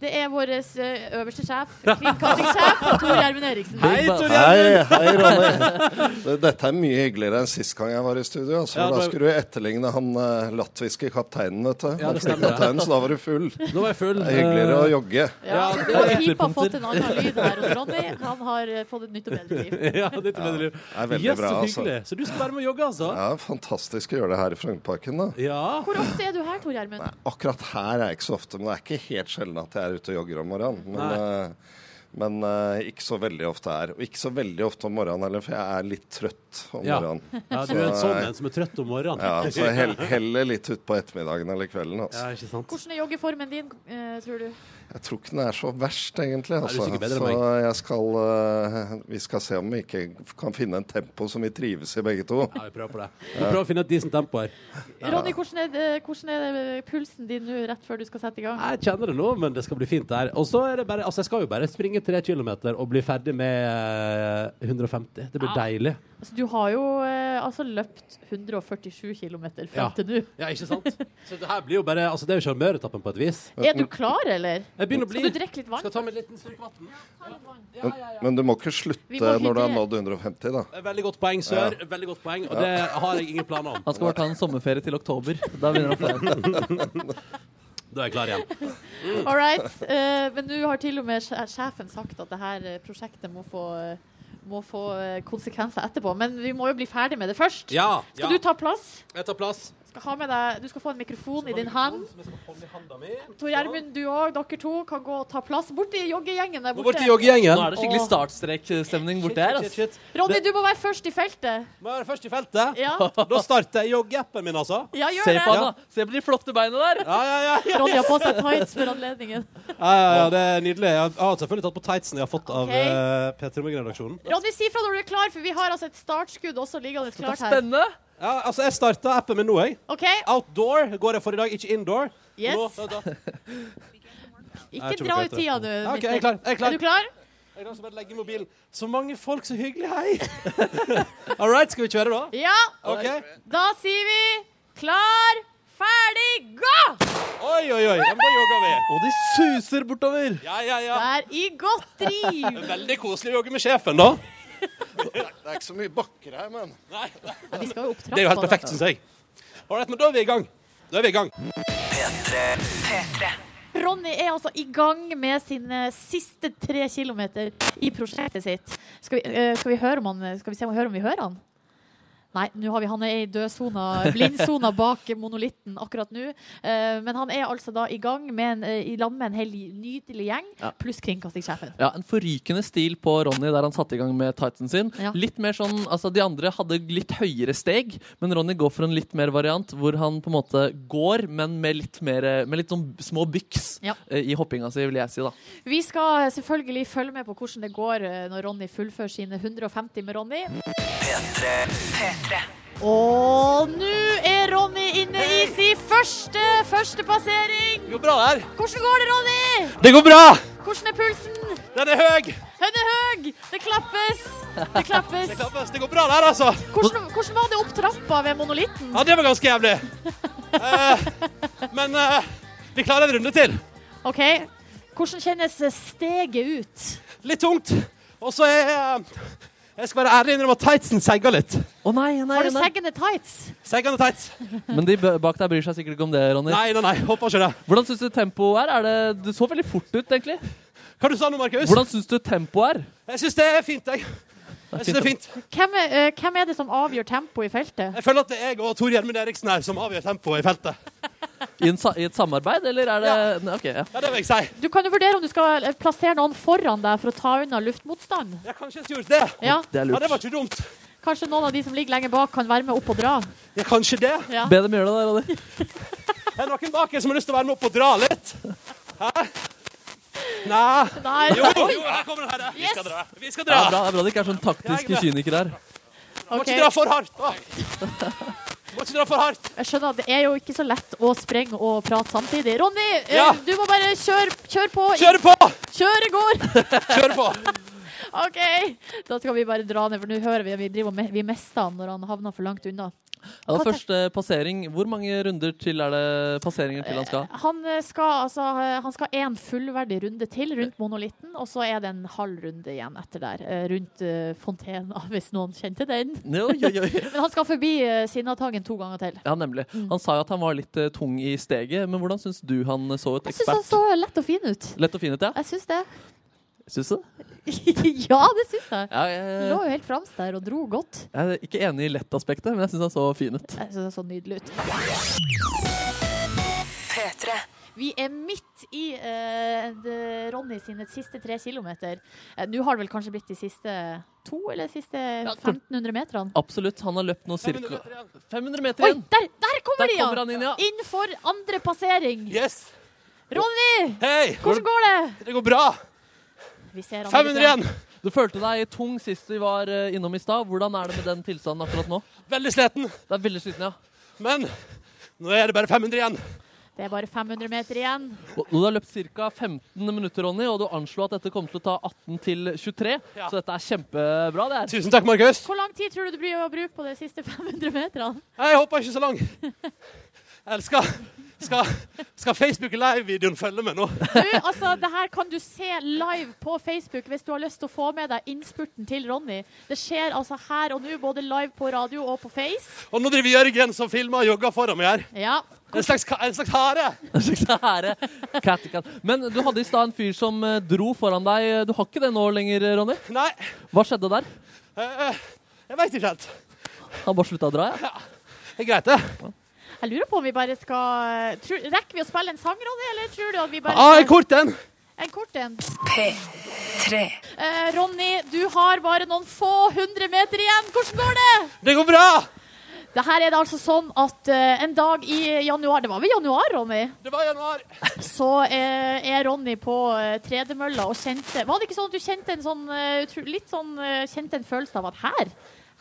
[SPEAKER 3] Det er vår eh, øverste sjef, kringkastingssjef, Tor Gjermund Eriksen.
[SPEAKER 10] Hei, hei, Ronny. <laughs> Du, Dette er mye hyggeligere enn sist gang jeg var i studio. Altså,
[SPEAKER 2] Ja,
[SPEAKER 10] for
[SPEAKER 2] da-
[SPEAKER 10] Da skulle du etterligne han eh, latviske kapteinen, vet du.
[SPEAKER 2] Ja, det stemmer.
[SPEAKER 10] Kapteinen, så da var du full. Det
[SPEAKER 2] Nå var jeg full. Eh,
[SPEAKER 10] er hyggeligere å jogge.
[SPEAKER 3] Ja,
[SPEAKER 2] Ja,
[SPEAKER 3] du
[SPEAKER 2] det er
[SPEAKER 3] har pipa
[SPEAKER 2] ytterpunkter.
[SPEAKER 3] fått en annen lyd her hos
[SPEAKER 2] <laughs>
[SPEAKER 3] Ronny. Han har eh, fått et nytt og bedre liv.
[SPEAKER 2] ja, dette ble det.
[SPEAKER 10] er veldig
[SPEAKER 2] Jøss,
[SPEAKER 10] bra,
[SPEAKER 2] så
[SPEAKER 10] altså.
[SPEAKER 2] hyggelig. Så du skal være med og jogge, altså?
[SPEAKER 10] Ja, fantastisk å gjøre det her i Frognerparken, da.
[SPEAKER 2] Ja.
[SPEAKER 3] Hvor ofte er du her, Tor Gjermund?
[SPEAKER 10] Akkurat her er jeg ikke så ofte, men det er ikke helt sjelden at jeg er ute og jogger om morgenen. Men, eh, men eh, ikke så veldig ofte her. Og ikke så veldig ofte om morgenen heller, for jeg er litt trøtt om
[SPEAKER 2] Ja.
[SPEAKER 10] morgenen.
[SPEAKER 2] ja, du er en sånn en som er trøtt om morgenen.
[SPEAKER 10] Ja, så jeg hell- heller litt utpå ettermiddagen eller kvelden. Altså.
[SPEAKER 2] Ja, ikke sant?
[SPEAKER 3] Hvordan er joggeformen din, eh, tror du?
[SPEAKER 10] Jeg tror ikke den er så verst, egentlig.
[SPEAKER 2] er
[SPEAKER 10] Altså.
[SPEAKER 2] sikkert bedre enn
[SPEAKER 10] så jeg skal, eh, vi skal se om vi ikke kan finne en tempo som vi trives i, begge to.
[SPEAKER 2] Ja, vi prøver på det. Vi prøver å finne et decent tempo her.
[SPEAKER 3] <laughs> Ronny, hvordan er, det, hvordan er det pulsen din nå rett før du skal sette i gang?
[SPEAKER 2] Jeg kjenner det nå, men det skal bli fint der. Og så er det bare Altså, jeg skal jo bare springe tre kilometer og bli ferdig med eh, 150. Det blir
[SPEAKER 3] Ja.
[SPEAKER 2] deilig.
[SPEAKER 3] Altså, du har jo eh, altså løpt 147 km
[SPEAKER 2] Ja.
[SPEAKER 3] frem til nå.
[SPEAKER 2] <laughs> Ja, ikke sant? Så det her blir jo bare Altså, det er jo sjarmøretappen på et vis.
[SPEAKER 3] Er du klar, eller?
[SPEAKER 2] Jeg begynner å bli
[SPEAKER 3] Skal du drikke litt vann?
[SPEAKER 2] Skal ta meg en liten slurk vann.
[SPEAKER 10] Men, men du må ikke
[SPEAKER 3] Vi
[SPEAKER 10] slutte
[SPEAKER 3] må
[SPEAKER 10] når du har
[SPEAKER 3] hydrere.
[SPEAKER 10] nådd 150, da.
[SPEAKER 2] Det er Veldig godt poeng, sør. Veldig godt poeng. Og det har jeg ingen planer om.
[SPEAKER 5] Han skal bare ta en sommerferie til oktober. Da begynner han på det.
[SPEAKER 2] Da er jeg klar igjen.
[SPEAKER 3] <laughs> All right. Eh, men nå har til og med sje- sjefen sagt at det her eh, prosjektet må få eh, må få eh, konsekvenser etterpå. Men vi må jo bli ferdig med det først.
[SPEAKER 2] Ja,
[SPEAKER 3] skal
[SPEAKER 2] ja.
[SPEAKER 3] du ta plass?
[SPEAKER 2] Jeg tar plass.
[SPEAKER 3] Skal ha med deg, du skal få en mikrofon i din hand. Tor
[SPEAKER 2] Sånn.
[SPEAKER 3] Gjermund, du òg, dere to, kan gå og ta plass. Bort i joggegjengen der borte.
[SPEAKER 5] Nå er det skikkelig
[SPEAKER 3] Åh.
[SPEAKER 5] startstrekstemning borti her.
[SPEAKER 2] Shit, shit, shit.
[SPEAKER 3] Ronny, du må være først i feltet.
[SPEAKER 2] Må være først i feltet.
[SPEAKER 3] Ja.
[SPEAKER 2] <laughs> Da starter jeg joggeappen min, altså.
[SPEAKER 3] Ja, gjør Se det. på han, da.
[SPEAKER 5] Se på de flotte beina der.
[SPEAKER 2] Ja, ja, ja. ja.
[SPEAKER 3] <laughs> Ronny har på seg tights for anledningen.
[SPEAKER 2] Ja, ja, ja, det er nydelig. Jeg har- jeg har selvfølgelig tatt på tightsen jeg har fått av
[SPEAKER 3] Ok.
[SPEAKER 2] eh, P3 Morgen-redaksjonen.
[SPEAKER 3] Ronny, si fra når du er klar, for vi har altså et startskudd også liggende klart her.
[SPEAKER 5] Spennende.
[SPEAKER 2] Ja, altså, jeg starta appen min nå, jeg.
[SPEAKER 3] OK.
[SPEAKER 2] Outdoor går jeg for i dag, ikke indoor.
[SPEAKER 3] Yes.
[SPEAKER 2] Og nå- da- da- Jeg
[SPEAKER 3] Ikke dra
[SPEAKER 2] tror jeg
[SPEAKER 3] ut
[SPEAKER 2] vet
[SPEAKER 3] tida nå.
[SPEAKER 2] det. Ja, ok,
[SPEAKER 3] Mikkel.
[SPEAKER 2] jeg er klar, jeg er klar.
[SPEAKER 3] Er du klar?
[SPEAKER 2] Jeg kan også bare legge mobilen. Så mange folk, så hyggelig, hei! <laughs> All right, skal vi kjøre, da?
[SPEAKER 3] Ja.
[SPEAKER 2] Ok.
[SPEAKER 3] Da sier vi klar, ferdig, gå!
[SPEAKER 2] Oi, oi, oi. Ja, men da jogger vi.
[SPEAKER 5] Og de suser bortover.
[SPEAKER 2] Ja, ja, ja.
[SPEAKER 3] Vær i godt driv.
[SPEAKER 2] Veldig koselig å jogge med sjefen, da.
[SPEAKER 10] Det er ikke så mye bakker her, men
[SPEAKER 3] Vi skal jo opp trappa.
[SPEAKER 2] Det er jo helt perfekt, syns jeg.
[SPEAKER 3] altså.
[SPEAKER 2] All right, men da er vi i gang. Da er vi i gang.
[SPEAKER 3] Ronny er altså i gang med sine siste tre kilometer i prosjektet sitt. Skal vi, eh, skal vi, høre, om han, skal vi se om vi hører om vi hører han? Nei, nå har vi, han er i dødsona, blindsona bak monolitten akkurat nå. Eh, men han er altså da i gang med en, eh, i lag med en hel nydelig gjeng,
[SPEAKER 5] Ja.
[SPEAKER 3] pluss kringkastingssjefen.
[SPEAKER 5] Ja, En forrykende stil på Ronny der han satte i gang med tightsen sin.
[SPEAKER 3] Ja.
[SPEAKER 5] Litt mer sånn, altså De andre hadde litt høyere steg, men Ronny går for en litt mer variant hvor han på en måte går, men med litt, mer, med litt sånn små byks
[SPEAKER 3] Ja.
[SPEAKER 5] eh, i hoppinga si, vil jeg si. da.
[SPEAKER 3] Vi skal selvfølgelig følge med på hvordan det går eh, når Ronny fullfører sine 150 med Ronny. Og nå er Ronny inne i sin første, første passering.
[SPEAKER 2] Det går bra der.
[SPEAKER 3] Hvordan går det, Ronny?
[SPEAKER 2] Det går bra!
[SPEAKER 3] Hvordan er pulsen?
[SPEAKER 2] Den er høy.
[SPEAKER 3] Den er høy! Det klappes! Det klappes.
[SPEAKER 2] <laughs> Det klappes. Det går bra der, altså.
[SPEAKER 3] Hvordan, hvordan var det opp trappa ved monolitten?
[SPEAKER 2] Ja, det var ganske jævlig. Eh, men eh, vi klarer en runde til.
[SPEAKER 3] OK. Hvordan kjennes steget ut?
[SPEAKER 2] Litt tungt. Og så er eh, Jeg skal være ærlig innrømme at tightsen segger litt.
[SPEAKER 5] Å nei, nei,
[SPEAKER 3] Har du
[SPEAKER 5] nei.
[SPEAKER 3] seggende tights?
[SPEAKER 2] Seggende
[SPEAKER 3] <laughs>
[SPEAKER 2] tights.
[SPEAKER 5] Men de b- bak deg bryr seg sikkert ikke om det, Ronny.
[SPEAKER 2] Nei, nei, nei. Håper ikke det.
[SPEAKER 5] Hvordan syns du tempoet er? er det, det så veldig fort ut, egentlig.
[SPEAKER 2] Hva du sa du nå, Markus?
[SPEAKER 5] Hvordan syns du tempoet er?
[SPEAKER 2] Jeg syns det er fint, jeg. Jeg synes det er fint.
[SPEAKER 3] Hvem er, eh, hvem er det som avgjør tempoet i feltet?
[SPEAKER 2] Jeg føler at det er jeg og Tor Gjermund Eriksen her som avgjør tempoet i feltet.
[SPEAKER 5] I, en, sa- I et samarbeid, eller er det Nei, Ok, ja.
[SPEAKER 2] Ja, det vil jeg si.
[SPEAKER 3] Du kan jo vurdere om du skal eh, plassere noen foran deg for å ta unna luftmotstand.
[SPEAKER 2] Jeg kanskje jeg skulle gjort det.
[SPEAKER 3] Ja,
[SPEAKER 5] Det
[SPEAKER 2] Ja, det
[SPEAKER 5] er lurt.
[SPEAKER 2] var ikke dumt.
[SPEAKER 3] Kanskje noen av de som ligger lenger bak, kan være med opp og dra.
[SPEAKER 2] Ja, kanskje det.
[SPEAKER 3] Ja.
[SPEAKER 5] Be dem gjøre det, da, Ronny.
[SPEAKER 2] <laughs> Er det noen bak her som har lyst til å være med opp og dra litt? Hæ? Nei.
[SPEAKER 3] Nei.
[SPEAKER 2] Jo, jo, her kommer den her. Vi skal
[SPEAKER 3] Yes.
[SPEAKER 2] dra. Vi skal
[SPEAKER 5] Det
[SPEAKER 2] dra.
[SPEAKER 5] er bra, det er bra det ikke er sånn taktiske kynikere her.
[SPEAKER 2] Må
[SPEAKER 3] Ok.
[SPEAKER 2] ikke dra for hardt. da. Må ikke dra for hardt.
[SPEAKER 3] Jeg skjønner at det er jo ikke så lett å sprenge og prate samtidig. Ronny, eh,
[SPEAKER 2] Ja.
[SPEAKER 3] du må bare kjøre kjør på.
[SPEAKER 2] Kjøre på!
[SPEAKER 3] Kjøre går!
[SPEAKER 2] Kjøre på.
[SPEAKER 3] <laughs> OK! Da skal vi bare dra ned, for nå hører vi at vi, driver med, vi mister han når han havner for langt unna.
[SPEAKER 5] Ja,
[SPEAKER 3] Hva tenk-
[SPEAKER 5] første passering. Hvor mange runder til er det passeringer til han skal?
[SPEAKER 3] Han eh, skal altså eh, Han skal en fullverdig runde til rundt monolitten, og så er det en halv runde igjen etter der. eh, Rundt eh, fontena, <laughs> hvis noen kjente den.
[SPEAKER 5] Oi, oi, oi.
[SPEAKER 3] <laughs> Men han skal forbi eh, Sinnataggen to ganger til.
[SPEAKER 5] Ja, nemlig. Han sa jo at han var litt eh, tung i steget, men hvordan syns du han så ut?
[SPEAKER 3] Jeg syns han
[SPEAKER 5] Ekspert.
[SPEAKER 3] så lett og fin ut.
[SPEAKER 5] Lett og fin ut, ja?
[SPEAKER 3] Jeg syns det.
[SPEAKER 5] Syns du det?
[SPEAKER 3] <laughs> ja, det syns jeg.
[SPEAKER 5] Ja,
[SPEAKER 3] Han
[SPEAKER 5] jeg,
[SPEAKER 3] lå jo helt fremst der og dro godt.
[SPEAKER 5] jeg er ikke enig i lett-aspektet, men jeg syns han så fin ut.
[SPEAKER 3] Jeg syns det så nydelig ut.
[SPEAKER 1] P3.
[SPEAKER 3] Vi er midt i eh, de- Ronny sine siste tre kilometer. Eh, Nå har det vel kanskje blitt de siste to, eller de siste
[SPEAKER 5] for-
[SPEAKER 3] 1500 meterne?
[SPEAKER 5] Absolutt. Han har løpt nå cirka 500 meter
[SPEAKER 3] Oi,
[SPEAKER 5] igjen!
[SPEAKER 3] der, der kommer
[SPEAKER 5] Der
[SPEAKER 3] de,
[SPEAKER 5] kommer han inn, ja.
[SPEAKER 3] Inn for andre passering.
[SPEAKER 2] Yes.
[SPEAKER 3] Ronny,
[SPEAKER 2] Hei.
[SPEAKER 3] hvordan går det?
[SPEAKER 2] Det går bra.
[SPEAKER 3] Vi ser han
[SPEAKER 2] 500 igjen.
[SPEAKER 5] Du følte deg tung sist vi var eh, innom i stad. Hvordan er det med den tilstanden akkurat nå?
[SPEAKER 2] Veldig sliten.
[SPEAKER 5] Det er veldig sliten, ja.
[SPEAKER 2] Men nå er det bare 500 igjen.
[SPEAKER 3] Det er bare 500 meter igjen.
[SPEAKER 5] Og Du har løpt ca. 15 minutter, Ronny, og du anslo at dette kommer til å ta 18 til 23.
[SPEAKER 2] Ja.
[SPEAKER 5] Så dette er kjempebra. det her.
[SPEAKER 2] Tusen takk, Markus.
[SPEAKER 3] Hvor lang tid tror du det blir å bruke på de siste 500 meterne?
[SPEAKER 2] Jeg håper ikke så
[SPEAKER 11] <laughs>
[SPEAKER 2] lang. Eller skal, skal, skal Facebook Live-videoen følge med nå?
[SPEAKER 3] Du, altså, det her kan du se live på Facebook hvis du har lyst til å få med deg innspurten til Ronny. Det skjer altså her og nå, både live på radio og på Face.
[SPEAKER 2] Og nå driver Jørgen som filmer og jogger foran meg her.
[SPEAKER 3] Ja.
[SPEAKER 5] En slags, hare! En slags hare. Cat, cat. Men du hadde i stad en fyr som eh, dro foran deg. Du har ikke det nå lenger, Ronny?
[SPEAKER 11] Nei.
[SPEAKER 5] Hva skjedde der?
[SPEAKER 11] Eh, jeg veit ikke helt.
[SPEAKER 5] Han bare slutta å dra, ja?
[SPEAKER 11] Det er greit, det.
[SPEAKER 3] Jeg lurer på om vi bare skal eh, tror, Rekker vi å spille en sang, Ronny, eller tror du at vi bare
[SPEAKER 11] Ah, en kort en.
[SPEAKER 3] En kort en. P3. Eh, Ronny, du har bare noen få hundre meter igjen. Hvordan går det?
[SPEAKER 11] Det går bra!
[SPEAKER 3] Det her er det altså sånn at eh, en dag i januar Det var vel januar, Ronny?
[SPEAKER 11] Det var januar.
[SPEAKER 3] <laughs> Så eh, er Ronny på eh, tredemølla og kjente Var det ikke sånn at du kjente en sånn eh, utro- Litt sånn eh, Kjente en følelse av at her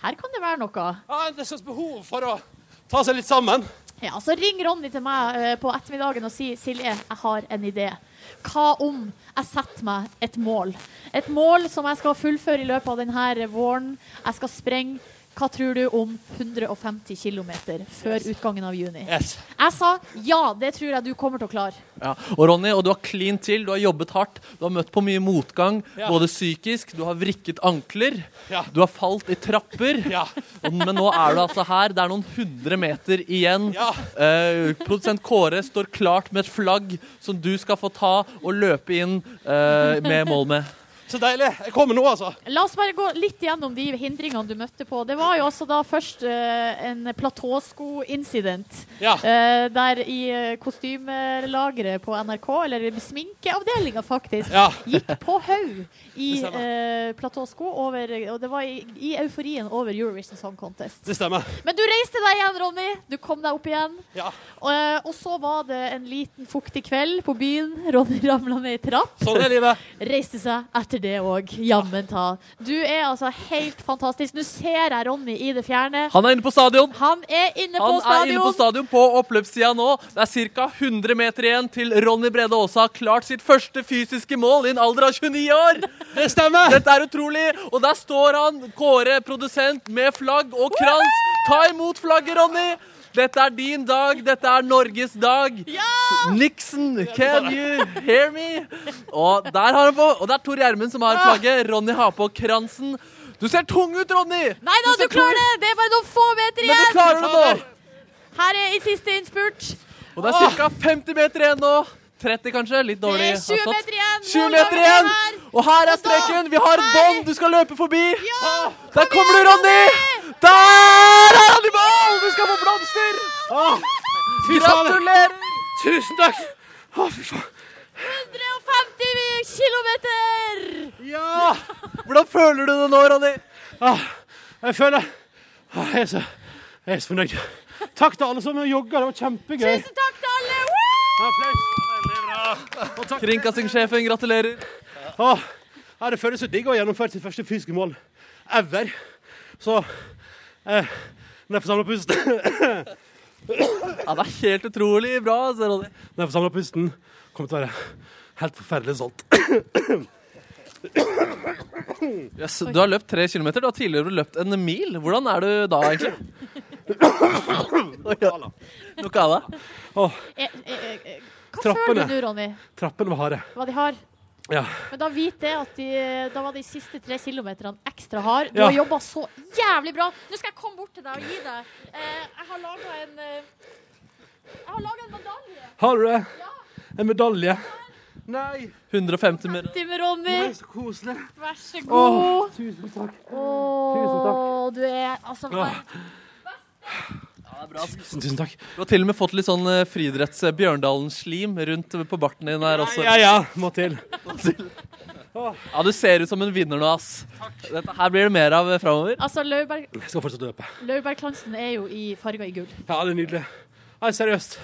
[SPEAKER 3] Her kan det være noe?
[SPEAKER 11] Ja, det er sånn behov for å ta seg litt sammen.
[SPEAKER 3] Ja, så ring Ronny til meg eh, på ettermiddagen og si Silje, jeg har en idé. Hva om jeg setter meg et mål? Et mål som jeg skal fullføre i løpet av denne våren. Jeg skal sprenge hva tror du om 150 km før
[SPEAKER 5] Yes.
[SPEAKER 3] utgangen av juni?
[SPEAKER 5] Yes.
[SPEAKER 3] Jeg sa ja, det tror jeg du kommer til å klare.
[SPEAKER 5] Ja. Og Ronny, og du har klin til, du har jobbet hardt, du har møtt på mye motgang,
[SPEAKER 3] Ja.
[SPEAKER 5] både psykisk, du har vrikket ankler,
[SPEAKER 11] Ja.
[SPEAKER 5] du har falt i trapper, og, men nå er du altså her, det er noen hundre meter igjen. Eh, produsent Kåre står klart med et flagg som du skal få ta og løpe inn eh, med mål med.
[SPEAKER 11] Så deilig. Jeg kommer nå, altså.
[SPEAKER 3] La oss bare gå litt gjennom de hindringene du møtte på. Det var jo altså da først eh, en platåsko-incident.
[SPEAKER 11] Ja.
[SPEAKER 3] Eh, der i eh, kostymelageret på NRK, eller sminkeavdelinga faktisk,
[SPEAKER 11] Ja.
[SPEAKER 3] <laughs> gikk på haug i
[SPEAKER 11] Det
[SPEAKER 3] eh, platåsko. Over, og det var i, i euforien over Eurovision Song Contest.
[SPEAKER 11] Det stemmer.
[SPEAKER 3] Men du reiste deg igjen, Ronny. Du kom deg opp igjen.
[SPEAKER 11] Ja.
[SPEAKER 3] Og, eh, og så var det en liten fuktig kveld på byen. Ronny <laughs> ramla ned i trapp.
[SPEAKER 11] Sånn er livet.
[SPEAKER 3] Reiste seg etter det òg. Jammen ta. Du er altså helt fantastisk. Nå ser jeg Ronny i det fjerne.
[SPEAKER 5] Han er inne på stadion.
[SPEAKER 3] Han er inne på
[SPEAKER 5] Han
[SPEAKER 3] stadion.
[SPEAKER 5] er inne på stadion på oppløpssida nå. Det er ca. 100 meter igjen til Ronny Brede Aase har klart sitt første fysiske mål i en alder av 29 år.
[SPEAKER 11] Det stemmer!
[SPEAKER 5] Dette er utrolig. Og der står han, Kåre, produsent, med flagg og krans. Ta imot flagget, Ronny. Dette er din dag. Dette er Norges dag. Nixon, can you hear me? Og der har han på, og det er Tor Gjermund som har
[SPEAKER 3] Ah.
[SPEAKER 5] flagget. Ronny har på kransen. Du ser tung ut, Ronny!
[SPEAKER 3] Nei da, du
[SPEAKER 5] ser
[SPEAKER 3] klarer
[SPEAKER 5] tung-
[SPEAKER 3] det! Det er bare noen få meter igjen.
[SPEAKER 5] Men du klarer det nå!
[SPEAKER 3] Her er i siste innspurt.
[SPEAKER 5] Og det er ca. 50 meter igjen nå. 30 kanskje, litt
[SPEAKER 3] Det
[SPEAKER 5] dårlig
[SPEAKER 3] er 20
[SPEAKER 5] hastighet.
[SPEAKER 3] meter igjen.
[SPEAKER 5] 20
[SPEAKER 3] Målet
[SPEAKER 5] meter
[SPEAKER 3] er
[SPEAKER 5] igjen!
[SPEAKER 3] her.
[SPEAKER 5] Og her
[SPEAKER 3] Og
[SPEAKER 5] er
[SPEAKER 3] da-
[SPEAKER 5] streken. Vi har et bånd du skal løpe forbi. Ah, Der kommer du,
[SPEAKER 11] igjen,
[SPEAKER 5] Ronny! Der er han i mål! Du skal få blomster!
[SPEAKER 11] fy faen.
[SPEAKER 5] Gratulerer!
[SPEAKER 11] Tusen takk! Å, fy faen.
[SPEAKER 3] 150 kilometer!
[SPEAKER 11] Ja!
[SPEAKER 5] Hvordan føler du det nå, Ronny?
[SPEAKER 11] Ah, jeg føler ah, jeg, er så, jeg er så fornøyd. Takk til alle som jogga. Det var kjempegøy.
[SPEAKER 3] Tusen takk til alle! Woo!
[SPEAKER 5] Kringkastingssjefen, gratulerer.
[SPEAKER 11] Åh, ja, det føles så digg å ha gjennomført sitt første fysiske mål ever. Så eh, Når jeg får samla pusten <coughs>
[SPEAKER 5] Ja, det er helt utrolig bra. altså, Ronny.
[SPEAKER 11] Når jeg får samla pusten, kommer jeg til å være helt forferdelig stolt.
[SPEAKER 5] Yes, du har løpt tre kilometer. Du har tidligere løpt en mil. Hvordan er du da, egentlig? Noe av det?
[SPEAKER 3] Eh, eh, eh, Hva
[SPEAKER 11] Trappene.
[SPEAKER 3] føler du, Ronny?
[SPEAKER 11] Trappene var harde.
[SPEAKER 3] Hva de har?
[SPEAKER 11] Ja.
[SPEAKER 3] Men da vit det at de, da var de siste tre kilometerne ekstra hard. Du
[SPEAKER 11] Ja.
[SPEAKER 3] har jobba så jævlig bra. Nå skal jeg komme bort til deg og gi deg. Eh, jeg har laga en eh, Jeg har laga en medalje.
[SPEAKER 11] Har du det? En medalje? Nei!
[SPEAKER 5] 150 mer.
[SPEAKER 3] Til med Ronny.
[SPEAKER 11] Nei, så koselig.
[SPEAKER 3] Vær så
[SPEAKER 11] Åh,
[SPEAKER 3] god.
[SPEAKER 11] tusen takk.
[SPEAKER 3] Tusen takk. Du er altså
[SPEAKER 5] Åh.
[SPEAKER 3] vær-
[SPEAKER 11] Tusen takk.
[SPEAKER 5] Du har til og med fått litt sånn eh, friidretts eh, Bjørndalen-slim rundt på barten din her også.
[SPEAKER 11] Ja, ja, må til.
[SPEAKER 5] Ja, du ser ut som en vinner nå, ass. Dette her blir det mer av eh, framover.
[SPEAKER 3] Altså, Laurbær
[SPEAKER 11] Jeg skal fortsette å løpe.
[SPEAKER 3] Laurbærkransen er jo i farga i gull.
[SPEAKER 11] Ja, det er nydelig. Nei, seriøst.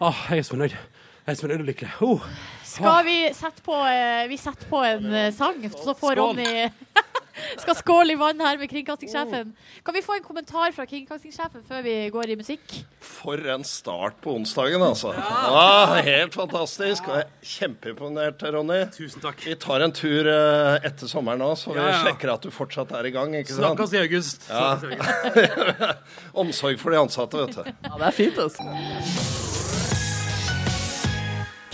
[SPEAKER 11] Åh, jeg er så fornøyd. Jeg er så fornøyd og lykkelig. Oh.
[SPEAKER 3] Skal vi sette på, eh, vi setter på en eh, sang, så får
[SPEAKER 11] Skål.
[SPEAKER 3] Ronny <laughs> Skal skåle i vann her med kringkastingssjefen.
[SPEAKER 2] Oh.
[SPEAKER 3] Kan vi få en kommentar fra kringkastingssjefen før vi går i musikk?
[SPEAKER 10] For en start på onsdagen, altså. Ja, helt fantastisk. Og jeg er kjempeimponert, Ronny.
[SPEAKER 11] Tusen takk.
[SPEAKER 10] Vi tar en tur eh, etter sommeren nå, så vi
[SPEAKER 11] Ja, ja.
[SPEAKER 10] sjekker at du fortsatt er i gang. ikke sant?
[SPEAKER 11] Snakkes i august. Snakkes i
[SPEAKER 10] Ja. <laughs> Omsorg for de ansatte, vet du.
[SPEAKER 5] Ja, det er fint, altså.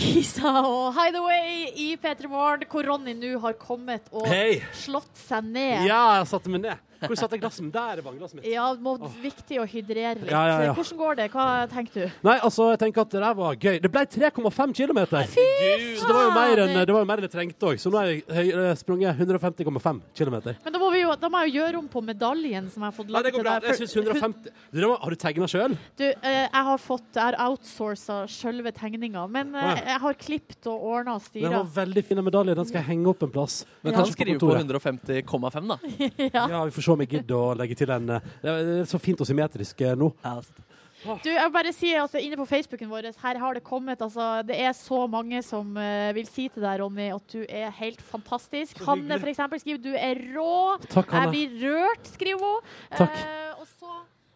[SPEAKER 3] Kisa og Hideaway i P3 Morgen, hvor Ronny nå har kommet og
[SPEAKER 11] Hei.
[SPEAKER 3] slått seg ned.
[SPEAKER 11] Ja, jeg satte meg ned. Hvor satte jeg glasset? mitt? Der var glasset mitt.
[SPEAKER 3] Ja, må, viktig å hydrere litt.
[SPEAKER 11] Ja, ja, ja.
[SPEAKER 3] Hvordan går det? Hva tenker du?
[SPEAKER 2] Nei, altså, jeg tenker at det der var gøy. Det ble 3,5 km. Så det var jo mer enn det, var jo mer enn jeg trengte òg. Så nå har jeg høy- sprunget 150,5 km.
[SPEAKER 3] Men da må, vi jo, da må jeg jo gjøre om på medaljen som jeg har fått
[SPEAKER 2] Nei,
[SPEAKER 3] lagd
[SPEAKER 2] det går
[SPEAKER 3] til
[SPEAKER 2] bra.
[SPEAKER 3] deg.
[SPEAKER 2] Jeg syns 150 du, det var, Har du tegna sjøl?
[SPEAKER 3] Du, eh, jeg har fått, jeg har outsourca sjølve tegninga, men
[SPEAKER 2] Å,
[SPEAKER 3] eh,
[SPEAKER 2] ja.
[SPEAKER 3] jeg har klippet og ordna og
[SPEAKER 2] Den
[SPEAKER 3] styra.
[SPEAKER 2] var veldig fin en medalje. Den skal jeg henge opp en plass.
[SPEAKER 5] Men kan
[SPEAKER 2] Kanskje
[SPEAKER 5] du skrive på
[SPEAKER 2] kontoret.
[SPEAKER 5] 150,5, da?
[SPEAKER 3] <laughs> ja.
[SPEAKER 2] Ja, vi får se om jeg gidder å legge til en eh, Det er det er så fint og symmetrisk eh, nå.
[SPEAKER 5] altså,
[SPEAKER 3] Du, jeg vil bare sier, altså, Inne på Facebooken vår her har det kommet altså, Det er så mange som eh, vil si til deg, Ronny, at du er helt fantastisk.
[SPEAKER 12] Så
[SPEAKER 3] Hanne
[SPEAKER 12] hyggelig.
[SPEAKER 3] for eksempel, skriver du er rå.
[SPEAKER 12] Takk, Hanne.
[SPEAKER 3] Jeg blir rørt, skriver hun.
[SPEAKER 12] Takk.
[SPEAKER 3] Eh, og så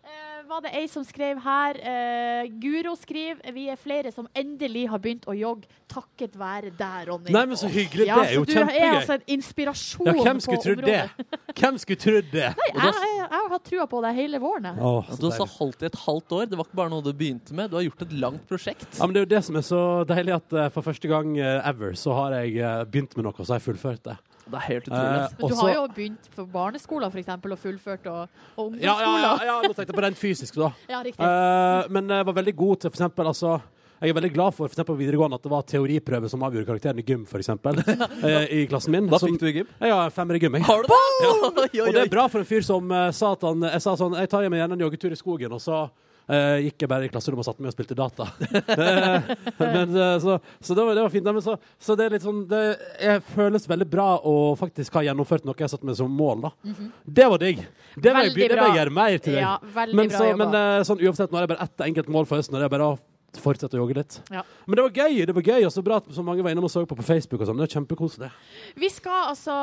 [SPEAKER 3] eh, var det ei som skrev her. eh, Guro skriver vi er flere som endelig har begynt å jogge takket være deg, Ronny.
[SPEAKER 2] Nei, men så hyggelig.
[SPEAKER 3] Ja,
[SPEAKER 2] Det er jo
[SPEAKER 3] så Du
[SPEAKER 2] kjempegøy.
[SPEAKER 3] er altså en inspirasjon
[SPEAKER 2] Ja, hvem
[SPEAKER 3] på
[SPEAKER 2] skulle trodd det?
[SPEAKER 3] området.
[SPEAKER 2] Hvem skulle trodd det?
[SPEAKER 3] Nei, jeg, jeg, jeg har trua på deg hele våren. jeg.
[SPEAKER 5] At du også har holdt i et halvt år. Det var ikke bare noe du begynte med. Du har gjort et langt prosjekt.
[SPEAKER 2] Ja, men Det er jo det som er så deilig, at eh, for første gang eh, ever så har jeg eh, begynt med noe, og så har jeg fullført det. Eh,
[SPEAKER 5] Det er helt altså.
[SPEAKER 2] utrolig.
[SPEAKER 3] Men du har jo begynt på barneskoler for eksempel, og fullført, og, og
[SPEAKER 2] ja, ja, ja,
[SPEAKER 3] ungdomsskoler.
[SPEAKER 2] ja, nå tenkte jeg på den fysiske, da.
[SPEAKER 3] Ja, riktig.
[SPEAKER 2] Eh, men jeg var veldig god til for eksempel, altså jeg er veldig glad for for eksempel, på videregående at det var teoriprøve som avgjorde karakteren i gym.
[SPEAKER 3] <laughs>
[SPEAKER 2] For eksempel, eh, I klassen min. Hva fikk
[SPEAKER 5] du i gym?
[SPEAKER 2] Ja, femmer i gym. jeg.
[SPEAKER 5] Har du det? <laughs> Oi, oi,
[SPEAKER 2] Og det
[SPEAKER 5] oi.
[SPEAKER 2] er bra for en fyr som eh, sa at han Jeg sa sånn Jeg tar meg gjerne en joggetur i skogen, og så eh, gikk jeg bare i klasserommet og satte meg og spilte data. <laughs> Eh, men, eh, så så det, var, det var fint. Nei, men så, så det er litt sånn Det jeg føles veldig bra å faktisk ha gjennomført noe jeg satte meg som mål, da.
[SPEAKER 3] Mhm.
[SPEAKER 2] Det var digg. Det var jeg
[SPEAKER 3] Veldig
[SPEAKER 2] begynner å
[SPEAKER 3] bra.
[SPEAKER 2] gjøre mer til deg.
[SPEAKER 3] Ja, veldig
[SPEAKER 2] men
[SPEAKER 3] bra
[SPEAKER 2] så,
[SPEAKER 3] jobba.
[SPEAKER 2] men eh, sånn, uansett, nå er det bare ett enkelt mål for høsten, og det er bare å fortsette å jogge litt.
[SPEAKER 3] Ja.
[SPEAKER 2] Men det var gøy, det var gøy, og så bra at så mange var innom og så på på Facebook og sånn. Det er kjempekoselig.
[SPEAKER 3] <laughs> Vi skal altså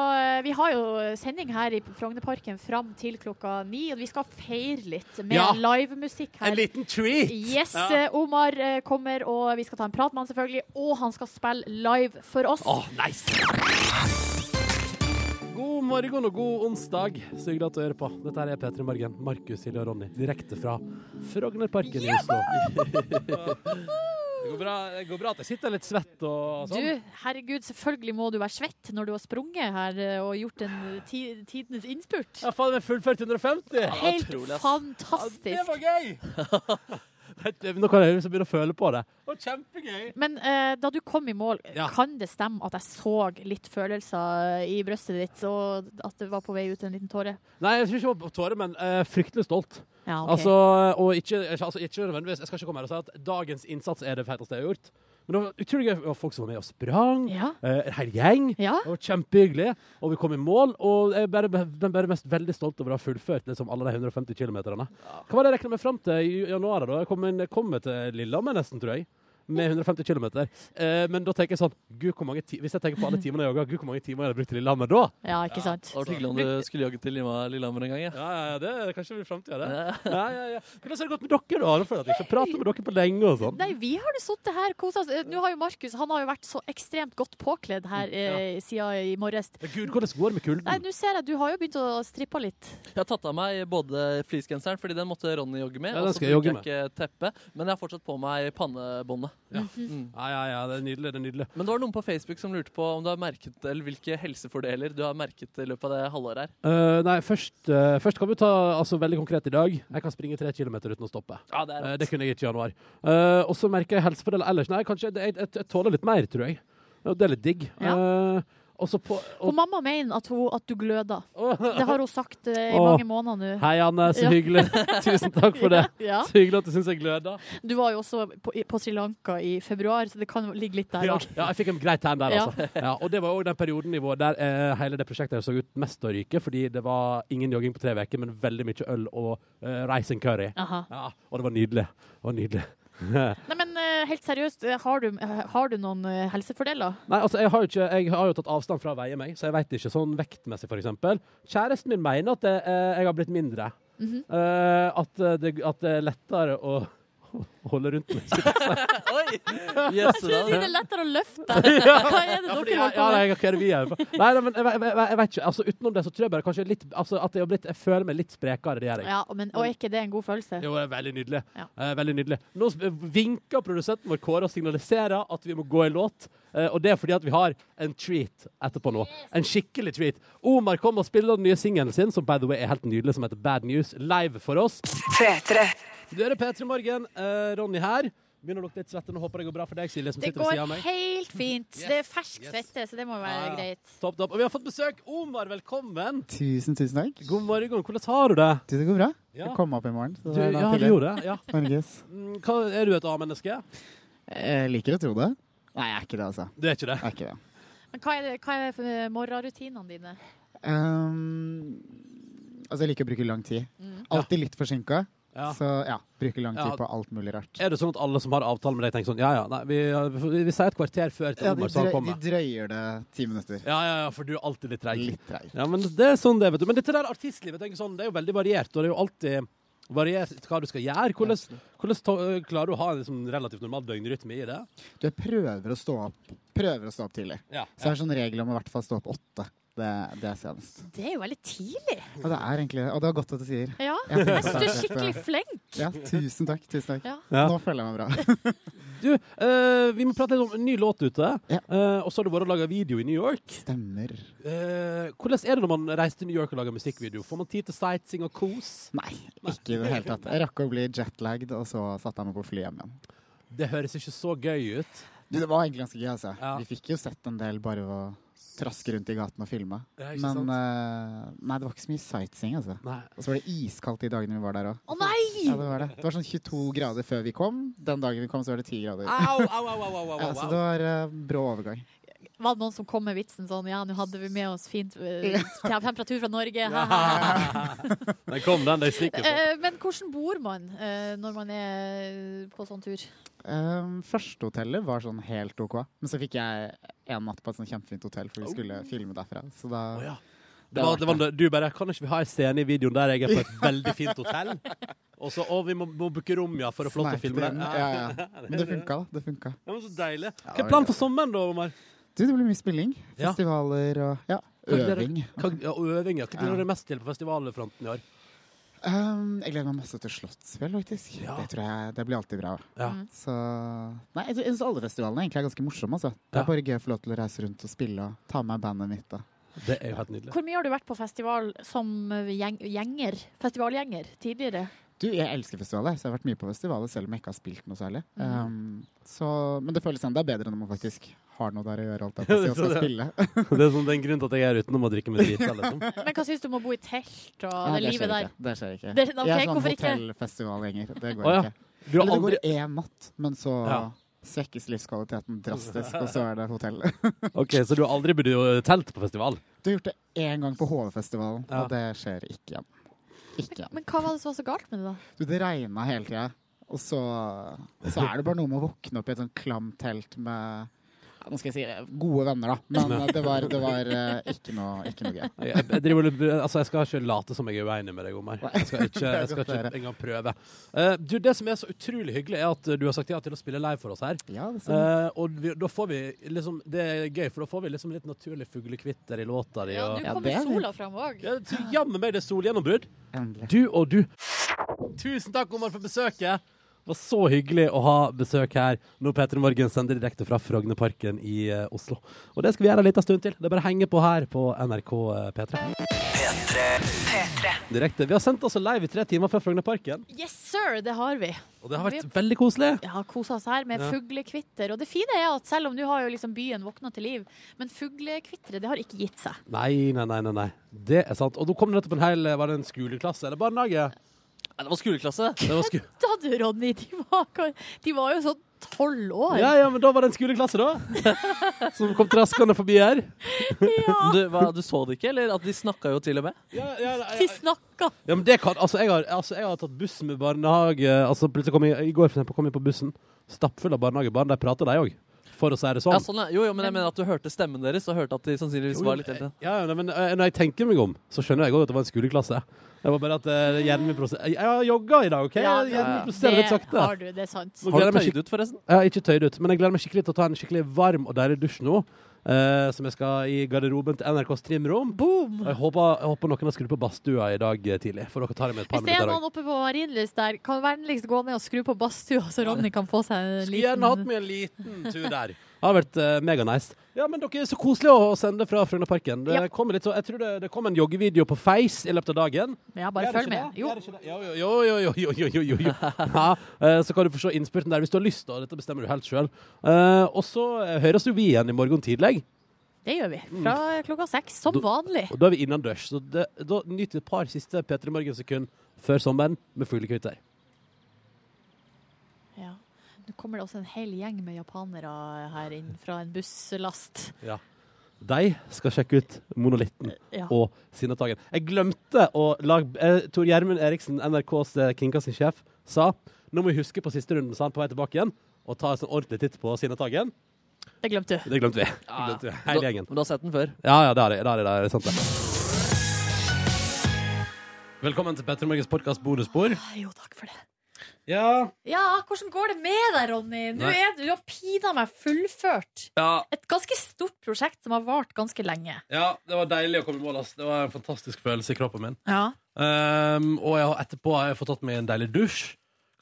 [SPEAKER 3] Vi har jo eh, sending her i Frognerparken fram til klokka ni, og vi skal feire litt med
[SPEAKER 2] Ja.
[SPEAKER 3] livemusikk her.
[SPEAKER 2] En liten treat!
[SPEAKER 3] Yes,
[SPEAKER 2] Ja.
[SPEAKER 3] eh, Omar eh, kommer, og vi skal ta en prat med han selvfølgelig. Og han skal spille live for oss.
[SPEAKER 2] Åh, nice! God morgen og god onsdag. Så hyggelig at du hører på. Dette her er P3 Morgen. Markus, Silje og Ronny direkte fra Frognerparken i Oslo. <laughs> Det går, bra, det går bra at jeg sitter litt svett og sånn.
[SPEAKER 3] Du, herregud, selvfølgelig må du være svett når du har sprunget her eh, og gjort en ti tidenes innspurt.
[SPEAKER 2] Ja, faen, jeg har fullført 150.
[SPEAKER 3] Helt
[SPEAKER 2] utrolig, ass.
[SPEAKER 3] fantastisk.
[SPEAKER 2] Ja, det var gøy! <laughs> Nå kan jeg liksom begynne å føle på det. kjempegøy.
[SPEAKER 3] Men eh, da du kom i mål,
[SPEAKER 2] Ja.
[SPEAKER 3] kan det stemme at jeg så litt følelser i brøstet ditt, og at det var på vei ut en liten tåre?
[SPEAKER 2] Nei, jeg tror ikke jeg var på tårer, men eh, fryktelig stolt.
[SPEAKER 3] Ja, ok.
[SPEAKER 2] Altså, og ikke, altså, ikke nødvendigvis, jeg skal ikke komme her og si at dagens innsats er det feteste jeg har gjort. Men det var utrolig gøy og folk som var med og sprang.
[SPEAKER 3] Ja.
[SPEAKER 2] eh, En hel gjeng. Det var kjempehyggelig. Og vi kom i mål. Og jeg er bare, men bare mest veldig stolt over å ha fullført liksom, alle de 150 kilometerne. Hva var det jeg regna meg fram til i januar? da? Jeg kom, inn, jeg kom meg til Lillehammer nesten, tror jeg. Med 150 km. Eh, men da tenker jeg sånn Gud, hvor mange ti Hvis jeg tenker på alle timene jeg jogga, gud, hvor mange timer jeg hadde brukt til Lillehammer da?
[SPEAKER 3] Ja, ikke sant?
[SPEAKER 5] Det var hyggelig om du skulle jogge til Lima- Lillehammer en gang. Ja,
[SPEAKER 2] det kanskje blir framtida, Ja, ja, ja. Hvordan har det gått med dere, da? Nå føler jeg at jeg ikke har pratet med dere på lenge og sånn.
[SPEAKER 3] Nei, vi har nå sittet her kosa oss. Eh, Nå har jo Markus han har jo vært så ekstremt godt påkledd her eh, siden i morges.
[SPEAKER 2] Gud, hvordan går Mm, det med kulden?
[SPEAKER 3] Nei, nå ser jeg du har jo begynt å strippe litt.
[SPEAKER 5] Jeg har tatt av meg både fleecegenseren, fordi den måtte Ronny jogge med.
[SPEAKER 2] Ja,
[SPEAKER 5] og
[SPEAKER 2] den
[SPEAKER 5] så
[SPEAKER 2] skal jeg
[SPEAKER 5] bruker
[SPEAKER 2] jogge
[SPEAKER 5] jeg ikke teppe, men jeg har fortsatt på meg pannebåndet. Mm.
[SPEAKER 2] Ja, ja, ja, det er nydelig, det er nydelig.
[SPEAKER 5] Men det var noen på Facebook som lurte på om du har merket, eller hvilke helsefordeler du har merket i løpet av det halvåret her.
[SPEAKER 2] Eh, nei, først, eh, først kan vi ta altså, veldig konkret i dag. Jeg kan springe tre kilometer uten å stoppe.
[SPEAKER 5] Ja, det er rått.
[SPEAKER 2] Eh, det kunne jeg ikke i januar. Eh, og så merker jeg helsefordeler ellers. Nei, kanskje det- jeg, jeg, jeg tåler litt mer, tror jeg. Og Det er litt digg. Eh, og så på og,
[SPEAKER 3] Og mamma mener at, hun, at du gløder. Det har hun sagt eh, i
[SPEAKER 2] Åh.
[SPEAKER 3] mange måneder nå.
[SPEAKER 2] Hei, Anne. Så
[SPEAKER 3] Ja. <laughs>
[SPEAKER 2] hyggelig. Tusen takk for det.
[SPEAKER 3] Ja, ja.
[SPEAKER 2] Så hyggelig at du syns jeg gløder.
[SPEAKER 3] Du var jo også på, i- på Sri Lanka i februar, så det kan ligge litt der
[SPEAKER 2] Ja,
[SPEAKER 3] òg.
[SPEAKER 2] ja, jeg fikk en grei tegn der,
[SPEAKER 3] Ja.
[SPEAKER 2] altså. Ja, og det var òg den perioden i vår der eh, hele det prosjektet så ut mest å ryke, fordi det var ingen jogging på tre uker, men veldig mye øl og eh, rice and curry.
[SPEAKER 3] Aha.
[SPEAKER 2] Ja, og det var nydelig. Det var nydelig. <laughs>
[SPEAKER 3] Nei, men eh, helt seriøst, eh, har du, eh, har du noen eh, helsefordeler?
[SPEAKER 2] Nei, altså, jeg har, jo ikke, jeg har jo tatt avstand fra å veie meg, så jeg veit ikke sånn vektmessig, for eksempel. Kjæresten min mener at eh, jeg har blitt mindre.
[SPEAKER 3] Mhm.
[SPEAKER 2] Eh, at, det, at det er lettere å, <laughs> holde
[SPEAKER 3] <laughs>
[SPEAKER 2] rundt meg. skulle jeg
[SPEAKER 5] Oi!
[SPEAKER 3] Jeg skulle si det er lettere å løfte.
[SPEAKER 2] <laughs> Ja.
[SPEAKER 3] Hva er det
[SPEAKER 2] Ja, fordi
[SPEAKER 3] dere
[SPEAKER 2] jeg-
[SPEAKER 3] holder
[SPEAKER 2] ja,
[SPEAKER 3] på
[SPEAKER 2] nei,
[SPEAKER 3] med?
[SPEAKER 2] hva er det vi er på? Nei, nei, men jeg, jeg, jeg, jeg vet ikke. Altså, utenom det så tror jeg bare kanskje litt, altså, at jeg, har blitt, jeg føler meg litt sprekere. Det gjør jeg.
[SPEAKER 3] Ja, men, og er ikke det en god følelse?
[SPEAKER 2] Jo, det er veldig nydelig.
[SPEAKER 3] Ja.
[SPEAKER 2] Eh, veldig nydelig. Nå s- vinker produsenten vår Kåre og signaliserer at vi må gå i låt. Eh, og det er fordi at vi har en treat etterpå nå. En skikkelig treat. Omar kom og spiller den nye singelen sin, som by the way er helt nydelig, som heter Bad News, live for oss. Du hører P3 Morgen. Eh, Ronny her. Begynner å lukte litt svette. Nå håper jeg det går bra for deg, Silje, som
[SPEAKER 3] Det
[SPEAKER 2] sitter ved
[SPEAKER 3] går
[SPEAKER 2] siden av meg.
[SPEAKER 3] helt
[SPEAKER 2] <laughs>
[SPEAKER 3] fint. Det er fersk svette, så det må være
[SPEAKER 2] Ja, ja.
[SPEAKER 3] greit.
[SPEAKER 2] Topp, topp. Og vi har fått besøk. Omar, velkommen.
[SPEAKER 12] Tusen, tusen takk.
[SPEAKER 2] God morgen. Hvordan har du det?
[SPEAKER 12] Du, det går bra.
[SPEAKER 2] Ja.
[SPEAKER 12] Jeg kom opp i morgen. så
[SPEAKER 2] Du,
[SPEAKER 12] det er da
[SPEAKER 2] ja, du
[SPEAKER 12] tidlig. <laughs>
[SPEAKER 2] gjorde det, ja.
[SPEAKER 12] Norges.
[SPEAKER 2] Mm, Hva, er du et A-menneske?
[SPEAKER 12] Jeg liker å tro det. Nei, jeg er ikke det, altså.
[SPEAKER 2] Du er ikke det?
[SPEAKER 12] Jeg er ikke det.
[SPEAKER 3] Men hva er, det, hva er for morgenrutinene dine?
[SPEAKER 12] Ehm, altså, jeg liker å bruke lang tid.
[SPEAKER 6] Mm.
[SPEAKER 12] Alltid litt forsinka.
[SPEAKER 2] Ja.
[SPEAKER 12] Så ja, bruker lang tid
[SPEAKER 2] Ja.
[SPEAKER 12] på alt mulig rart.
[SPEAKER 2] Er det sånn at alle som har avtale med deg, tenker sånn Ja, ja, nei, vi, vi, vi sier et kvarter før til
[SPEAKER 12] Ja, de,
[SPEAKER 2] Omar, så
[SPEAKER 12] drøy,
[SPEAKER 2] han
[SPEAKER 12] de
[SPEAKER 2] kommer.
[SPEAKER 12] drøyer det ti minutter.
[SPEAKER 2] Ja, ja, ja, for du er alltid litt treig.
[SPEAKER 12] Litt treig.
[SPEAKER 2] Ja, men det er sånn det, vet du. Men dette der artistlivet tenker sånn, det er jo veldig variert, og det er jo alltid variert hva du skal gjøre. Hvordan, hvordan to, klarer du å ha en liksom, relativt normal døgnrytme i det?
[SPEAKER 12] Du jeg prøver å stå opp, prøver å stå opp tidlig.
[SPEAKER 2] Ja,
[SPEAKER 12] Så er det sånn regel om å i hvert fall stå opp åtte. Det, det er senest.
[SPEAKER 3] Det er jo veldig tidlig.
[SPEAKER 12] Og det er egentlig Og det var godt at du sier.
[SPEAKER 3] Ja, jeg
[SPEAKER 12] Jeg prøver
[SPEAKER 3] synes
[SPEAKER 12] å
[SPEAKER 3] du er
[SPEAKER 12] stå opp,
[SPEAKER 3] skikkelig
[SPEAKER 12] eh,
[SPEAKER 3] flink.
[SPEAKER 12] Ja, tusen takk. Tusen takk.
[SPEAKER 2] Ja.
[SPEAKER 12] Nå føler jeg meg bra.
[SPEAKER 2] <laughs> Du, eh, vi må prate litt om en ny låt ute. Eh, og så har du vært og laga video i New York.
[SPEAKER 12] Stemmer.
[SPEAKER 2] Eh, hvordan er det når man reiser til New York og lager musikkvideo? Får man tid til sightseeing og kos?
[SPEAKER 12] Nei, ikke i det hele tatt. Jeg rakk å bli jetlagd, og så satte jeg meg på flyet hjem igjen.
[SPEAKER 2] Det høres ikke så gøy ut.
[SPEAKER 12] Du, det var egentlig ganske gøy, altså. Vi fikk jo sett en del bare ved å traske rundt i gaten og filme.
[SPEAKER 2] Ja, ikke
[SPEAKER 12] Men
[SPEAKER 2] sant?
[SPEAKER 12] eh, nei, det var ikke så mye sightseeing, altså. Og så var det iskaldt de dagene vi var der òg.
[SPEAKER 3] Å nei!
[SPEAKER 12] Ja, det var det. Det var sånn 22 grader før vi kom. Den dagen vi kom, så var det 10 grader.
[SPEAKER 2] Au, au, au, au, au, au,
[SPEAKER 12] Ja, så det var eh, brå overgang.
[SPEAKER 3] Var det noen som kom med vitsen sånn Ja, nå hadde vi med oss fint eh, <laughs> temperatur fra Norge.
[SPEAKER 2] <laughs> Den kom, den. Det
[SPEAKER 3] <laughs>
[SPEAKER 2] er sikkert.
[SPEAKER 3] Eh, Men hvordan bor man eh, når man er på sånn tur?
[SPEAKER 12] Um, første hotellet var sånn helt OK, men så fikk jeg en natt på et sånn kjempefint hotell, for vi skulle filme derfra. Så da
[SPEAKER 2] Det var, det
[SPEAKER 12] verdt
[SPEAKER 2] var, du bare Kan ikke vi ha en scene i videoen der jeg er på
[SPEAKER 12] <laughs>
[SPEAKER 2] et veldig fint hotell? Og så Å, vi må, må booke rom, ja, for å få lov til å
[SPEAKER 12] Sneik
[SPEAKER 2] filme
[SPEAKER 12] det
[SPEAKER 2] <laughs> det.
[SPEAKER 12] inn. Ja, ja. <laughs> Men det funka, da. Det funka.
[SPEAKER 2] Ja, men så deilig. Hva
[SPEAKER 12] det
[SPEAKER 2] er
[SPEAKER 12] var
[SPEAKER 2] planen for sommeren, da, Omar?
[SPEAKER 12] Du, det blir mye spilling.
[SPEAKER 2] Ja.
[SPEAKER 12] Festivaler og ja,
[SPEAKER 2] Hva gleder-
[SPEAKER 12] øving.
[SPEAKER 2] Hva, ja, øving, ja. Hva gleder
[SPEAKER 12] Ja.
[SPEAKER 2] du deg mest til på festivalfronten i år?
[SPEAKER 12] Um, jeg gleder meg masse til Slottsfjell, faktisk. Det tror jeg det blir alltid bra.
[SPEAKER 2] Ja.
[SPEAKER 12] Så Nei, jeg syns alle festivalene egentlig er ganske morsomme, altså. Det er bare gøy å få lov til å reise rundt og spille og ta med bandet mitt. Da.
[SPEAKER 2] Det er jo helt nydelig.
[SPEAKER 3] Hvor mye har du vært på festival som eh, gjeng gjenger? Festivalgjenger tidligere?
[SPEAKER 12] Du, jeg elsker festivaler, så jeg har vært mye på festivaler selv om jeg ikke har spilt noe særlig.
[SPEAKER 2] Mm.
[SPEAKER 3] Mhm.
[SPEAKER 12] Um, så, men det føles enda bedre når man faktisk har noe der å gjøre, alt
[SPEAKER 2] <laughs>
[SPEAKER 12] det,
[SPEAKER 2] Ja,
[SPEAKER 12] og skal spille.
[SPEAKER 2] det er sånn, det er en grunn til at jeg er utenom å drikke med drita,
[SPEAKER 12] <laughs>
[SPEAKER 2] liksom.
[SPEAKER 3] <laughs> Men hva syns du om å bo i telt og
[SPEAKER 12] Nei,
[SPEAKER 3] det livet
[SPEAKER 12] skjer
[SPEAKER 3] der?
[SPEAKER 12] Ikke. Det skjer ikke.
[SPEAKER 3] Det- ok,
[SPEAKER 12] jeg er sånn
[SPEAKER 3] hvorfor ikke?
[SPEAKER 12] hotellfestivalgjenger. <laughs> Det går
[SPEAKER 2] Å, ja.
[SPEAKER 12] ikke.
[SPEAKER 2] Du har
[SPEAKER 12] Eller det går
[SPEAKER 2] aldri-
[SPEAKER 12] én natt, men så
[SPEAKER 2] Ja.
[SPEAKER 12] svekkes livskvaliteten
[SPEAKER 2] <laughs>
[SPEAKER 12] drastisk, og så er det hotell. <laughs>
[SPEAKER 2] OK, så du har aldri bodd i ø, telt på festival?
[SPEAKER 12] Du har gjort det én gang på HV-festivalen,
[SPEAKER 2] Ja.
[SPEAKER 12] og det skjer ikke igjen. Ikke igjen.
[SPEAKER 3] Men hva var det som var så galt med det, da?
[SPEAKER 12] Du, det regna hele tida, og så, så er det bare noe med å våkne opp i et sånn klamt telt med ja, nå skal jeg si eh, gode venner, da. Men
[SPEAKER 2] <laughs>
[SPEAKER 12] eh, det var, det var eh, ikke, noe, ikke noe gøy.
[SPEAKER 2] Jeg, <laughs> jeg, jeg, driver, og- altså, jeg skal ikke late som jeg er uenig med deg, Omar. Jeg skal ikke,
[SPEAKER 12] <laughs> Det er
[SPEAKER 2] jeg skal ikke
[SPEAKER 12] godt å
[SPEAKER 2] engang prøve. Eh, du, det som er så utrolig hyggelig, er at eh, du har sagt ja til å spille live for oss her.
[SPEAKER 12] stemmer.
[SPEAKER 2] Eh, og vi, da får vi liksom Det er gøy, for da får vi liksom litt naturlig fuglekvitter i låta di.
[SPEAKER 3] Ja,
[SPEAKER 2] og-
[SPEAKER 3] nå kommer sola fram òg.
[SPEAKER 2] Ja, så Jammen meg det er solgjennombrudd.
[SPEAKER 12] Endelig.
[SPEAKER 2] Du og du. Tusen takk, Omar, for besøket. Det var så hyggelig å ha besøk her når Peter Morgen sender direkte fra Frognerparken i eh, Oslo. Og det skal vi gjøre en liten stund til. Det er bare å henge på her på NRK eh, P3. Direkte. Vi har sendt oss live i tre timer fra Frognerparken.
[SPEAKER 3] Yes, sir! Det har vi.
[SPEAKER 2] Og det har vært veldig koselig.
[SPEAKER 3] Ja, kosa oss her med
[SPEAKER 2] Ja.
[SPEAKER 3] fuglekvitter. Og det fine er at selv om nå har jo liksom byen våkna til liv, men fuglekvitteret det har ikke gitt seg.
[SPEAKER 2] Nei, nei, nei, nei, nei. Det er sant. Og da kom det nettopp en hel eh, Var det en skoleklasse eller barnehage?
[SPEAKER 5] Nei, det var skoleklasse.
[SPEAKER 2] Det var sku
[SPEAKER 3] Da du, Ronny, de var, kan- de var jo sånn tolv år.
[SPEAKER 2] ja, ja, men da var det en skoleklasse, da. Som kom traskende
[SPEAKER 3] <laughs>
[SPEAKER 2] forbi her.
[SPEAKER 5] Du, hva, du så det ikke, eller? At de snakka jo til og med.
[SPEAKER 3] De snakka.
[SPEAKER 2] Ja, men det kan, altså, jeg har, altså, jeg har tatt bussen med barnehage altså, plutselig kom jeg, I går for eksempel, kom jeg på bussen stappfull av barnehagebarn. De prata, de òg. for å si det sånn.
[SPEAKER 5] Ja, sånn ja. Jo, jo, men jeg mener at du hørte stemmen deres, og hørte at de sannsynligvis
[SPEAKER 2] Jo,
[SPEAKER 5] var
[SPEAKER 2] jo,
[SPEAKER 5] litt eldre.
[SPEAKER 2] Ja, ja, nei, men eh, Når jeg tenker meg om, så skjønner jeg også at det var en skoleklasse. Det var bare at eh, hjernen min prosesserer Jeg har jogga i dag, OK?
[SPEAKER 3] Ja,
[SPEAKER 2] hjernen min prosesserer litt sakte.
[SPEAKER 3] har du, det er sant.
[SPEAKER 2] Nå gleder jeg meg skik- Jeg har ikke tøyd ut, men jeg gleder meg skikkelig til å ta en skikkelig varm og deilig dusj nå. eh, som jeg skal i garderoben til NRKs trimrom.
[SPEAKER 3] Boom!
[SPEAKER 2] Jeg håper, jeg håper noen har skrudd på badstua i dag eh, tidlig. For dere tar det med et par
[SPEAKER 3] Hvis det er
[SPEAKER 2] minutter. i
[SPEAKER 3] noen
[SPEAKER 2] dag.
[SPEAKER 3] oppe på Marienlyst der, kan vennligst gå ned og skru på badstua, så Ronny kan få seg en
[SPEAKER 2] Skulle
[SPEAKER 3] liten
[SPEAKER 2] gjerne hatt meg en liten tur der. Det har vært uh, meganice. Ja, men dere er så koselige å å sende fra Frognerparken. Det,
[SPEAKER 3] Ja.
[SPEAKER 2] kommer litt så- jeg tror det, det kom en joggevideo på Face i løpet av dagen.
[SPEAKER 3] Ja, bare
[SPEAKER 2] Gjør det
[SPEAKER 3] følg
[SPEAKER 2] ikke
[SPEAKER 3] med.
[SPEAKER 2] det?
[SPEAKER 3] Jo.
[SPEAKER 2] Jo, jo, jo, jo, jo, jo, jo, jo. Ja, eh, så kan du få se innspurten der hvis du har lyst. Da. Dette bestemmer du helt sjøl. Og så eh, høres jo vi igjen i morgen tidlig.
[SPEAKER 3] Det gjør vi. Fra klokka seks, som
[SPEAKER 2] Da-
[SPEAKER 3] vanlig.
[SPEAKER 2] Og da er vi innendørs. Så det, da nyter vi et par siste P3 Morgen-sekund før sommeren med fuglekvitter.
[SPEAKER 3] Ja. Nå kommer det også en hel gjeng med japanere her inn fra en busslast.
[SPEAKER 2] Ja. De skal sjekke ut Monolitten
[SPEAKER 3] Eh, Ja.
[SPEAKER 2] og Sinnatagen. Jeg glemte å lage eh, Tor Gjermund Eriksen, NRKs eh, kringkastingssjef, sa nå må vi huske på siste runden, sa han på vei tilbake igjen, og ta en sånn ordentlig titt på Sinnatagen.
[SPEAKER 3] Det glemte du.
[SPEAKER 2] Det glemte vi.
[SPEAKER 5] Ja,
[SPEAKER 2] Det glemte vi.
[SPEAKER 5] Da-
[SPEAKER 2] Hele gjengen.
[SPEAKER 5] Men du har sett den før?
[SPEAKER 2] Ja, ja, det har jeg. Det har jeg, det har jeg sant det. Velkommen til Petter Morgens podkast bonusbord.
[SPEAKER 3] Ah, Jo, takk for det.
[SPEAKER 2] Ja.
[SPEAKER 3] Ja, hvordan går det med deg, Ronny? Nå
[SPEAKER 2] Nei.
[SPEAKER 3] er du du har pinadø meg fullført et ganske stort prosjekt som har vart ganske lenge.
[SPEAKER 2] ja, det var deilig å komme i mål. ass. Det var en fantastisk følelse i kroppen min.
[SPEAKER 3] Ja.
[SPEAKER 2] Um, og jeg har, etterpå har jeg fått tatt meg en deilig dusj.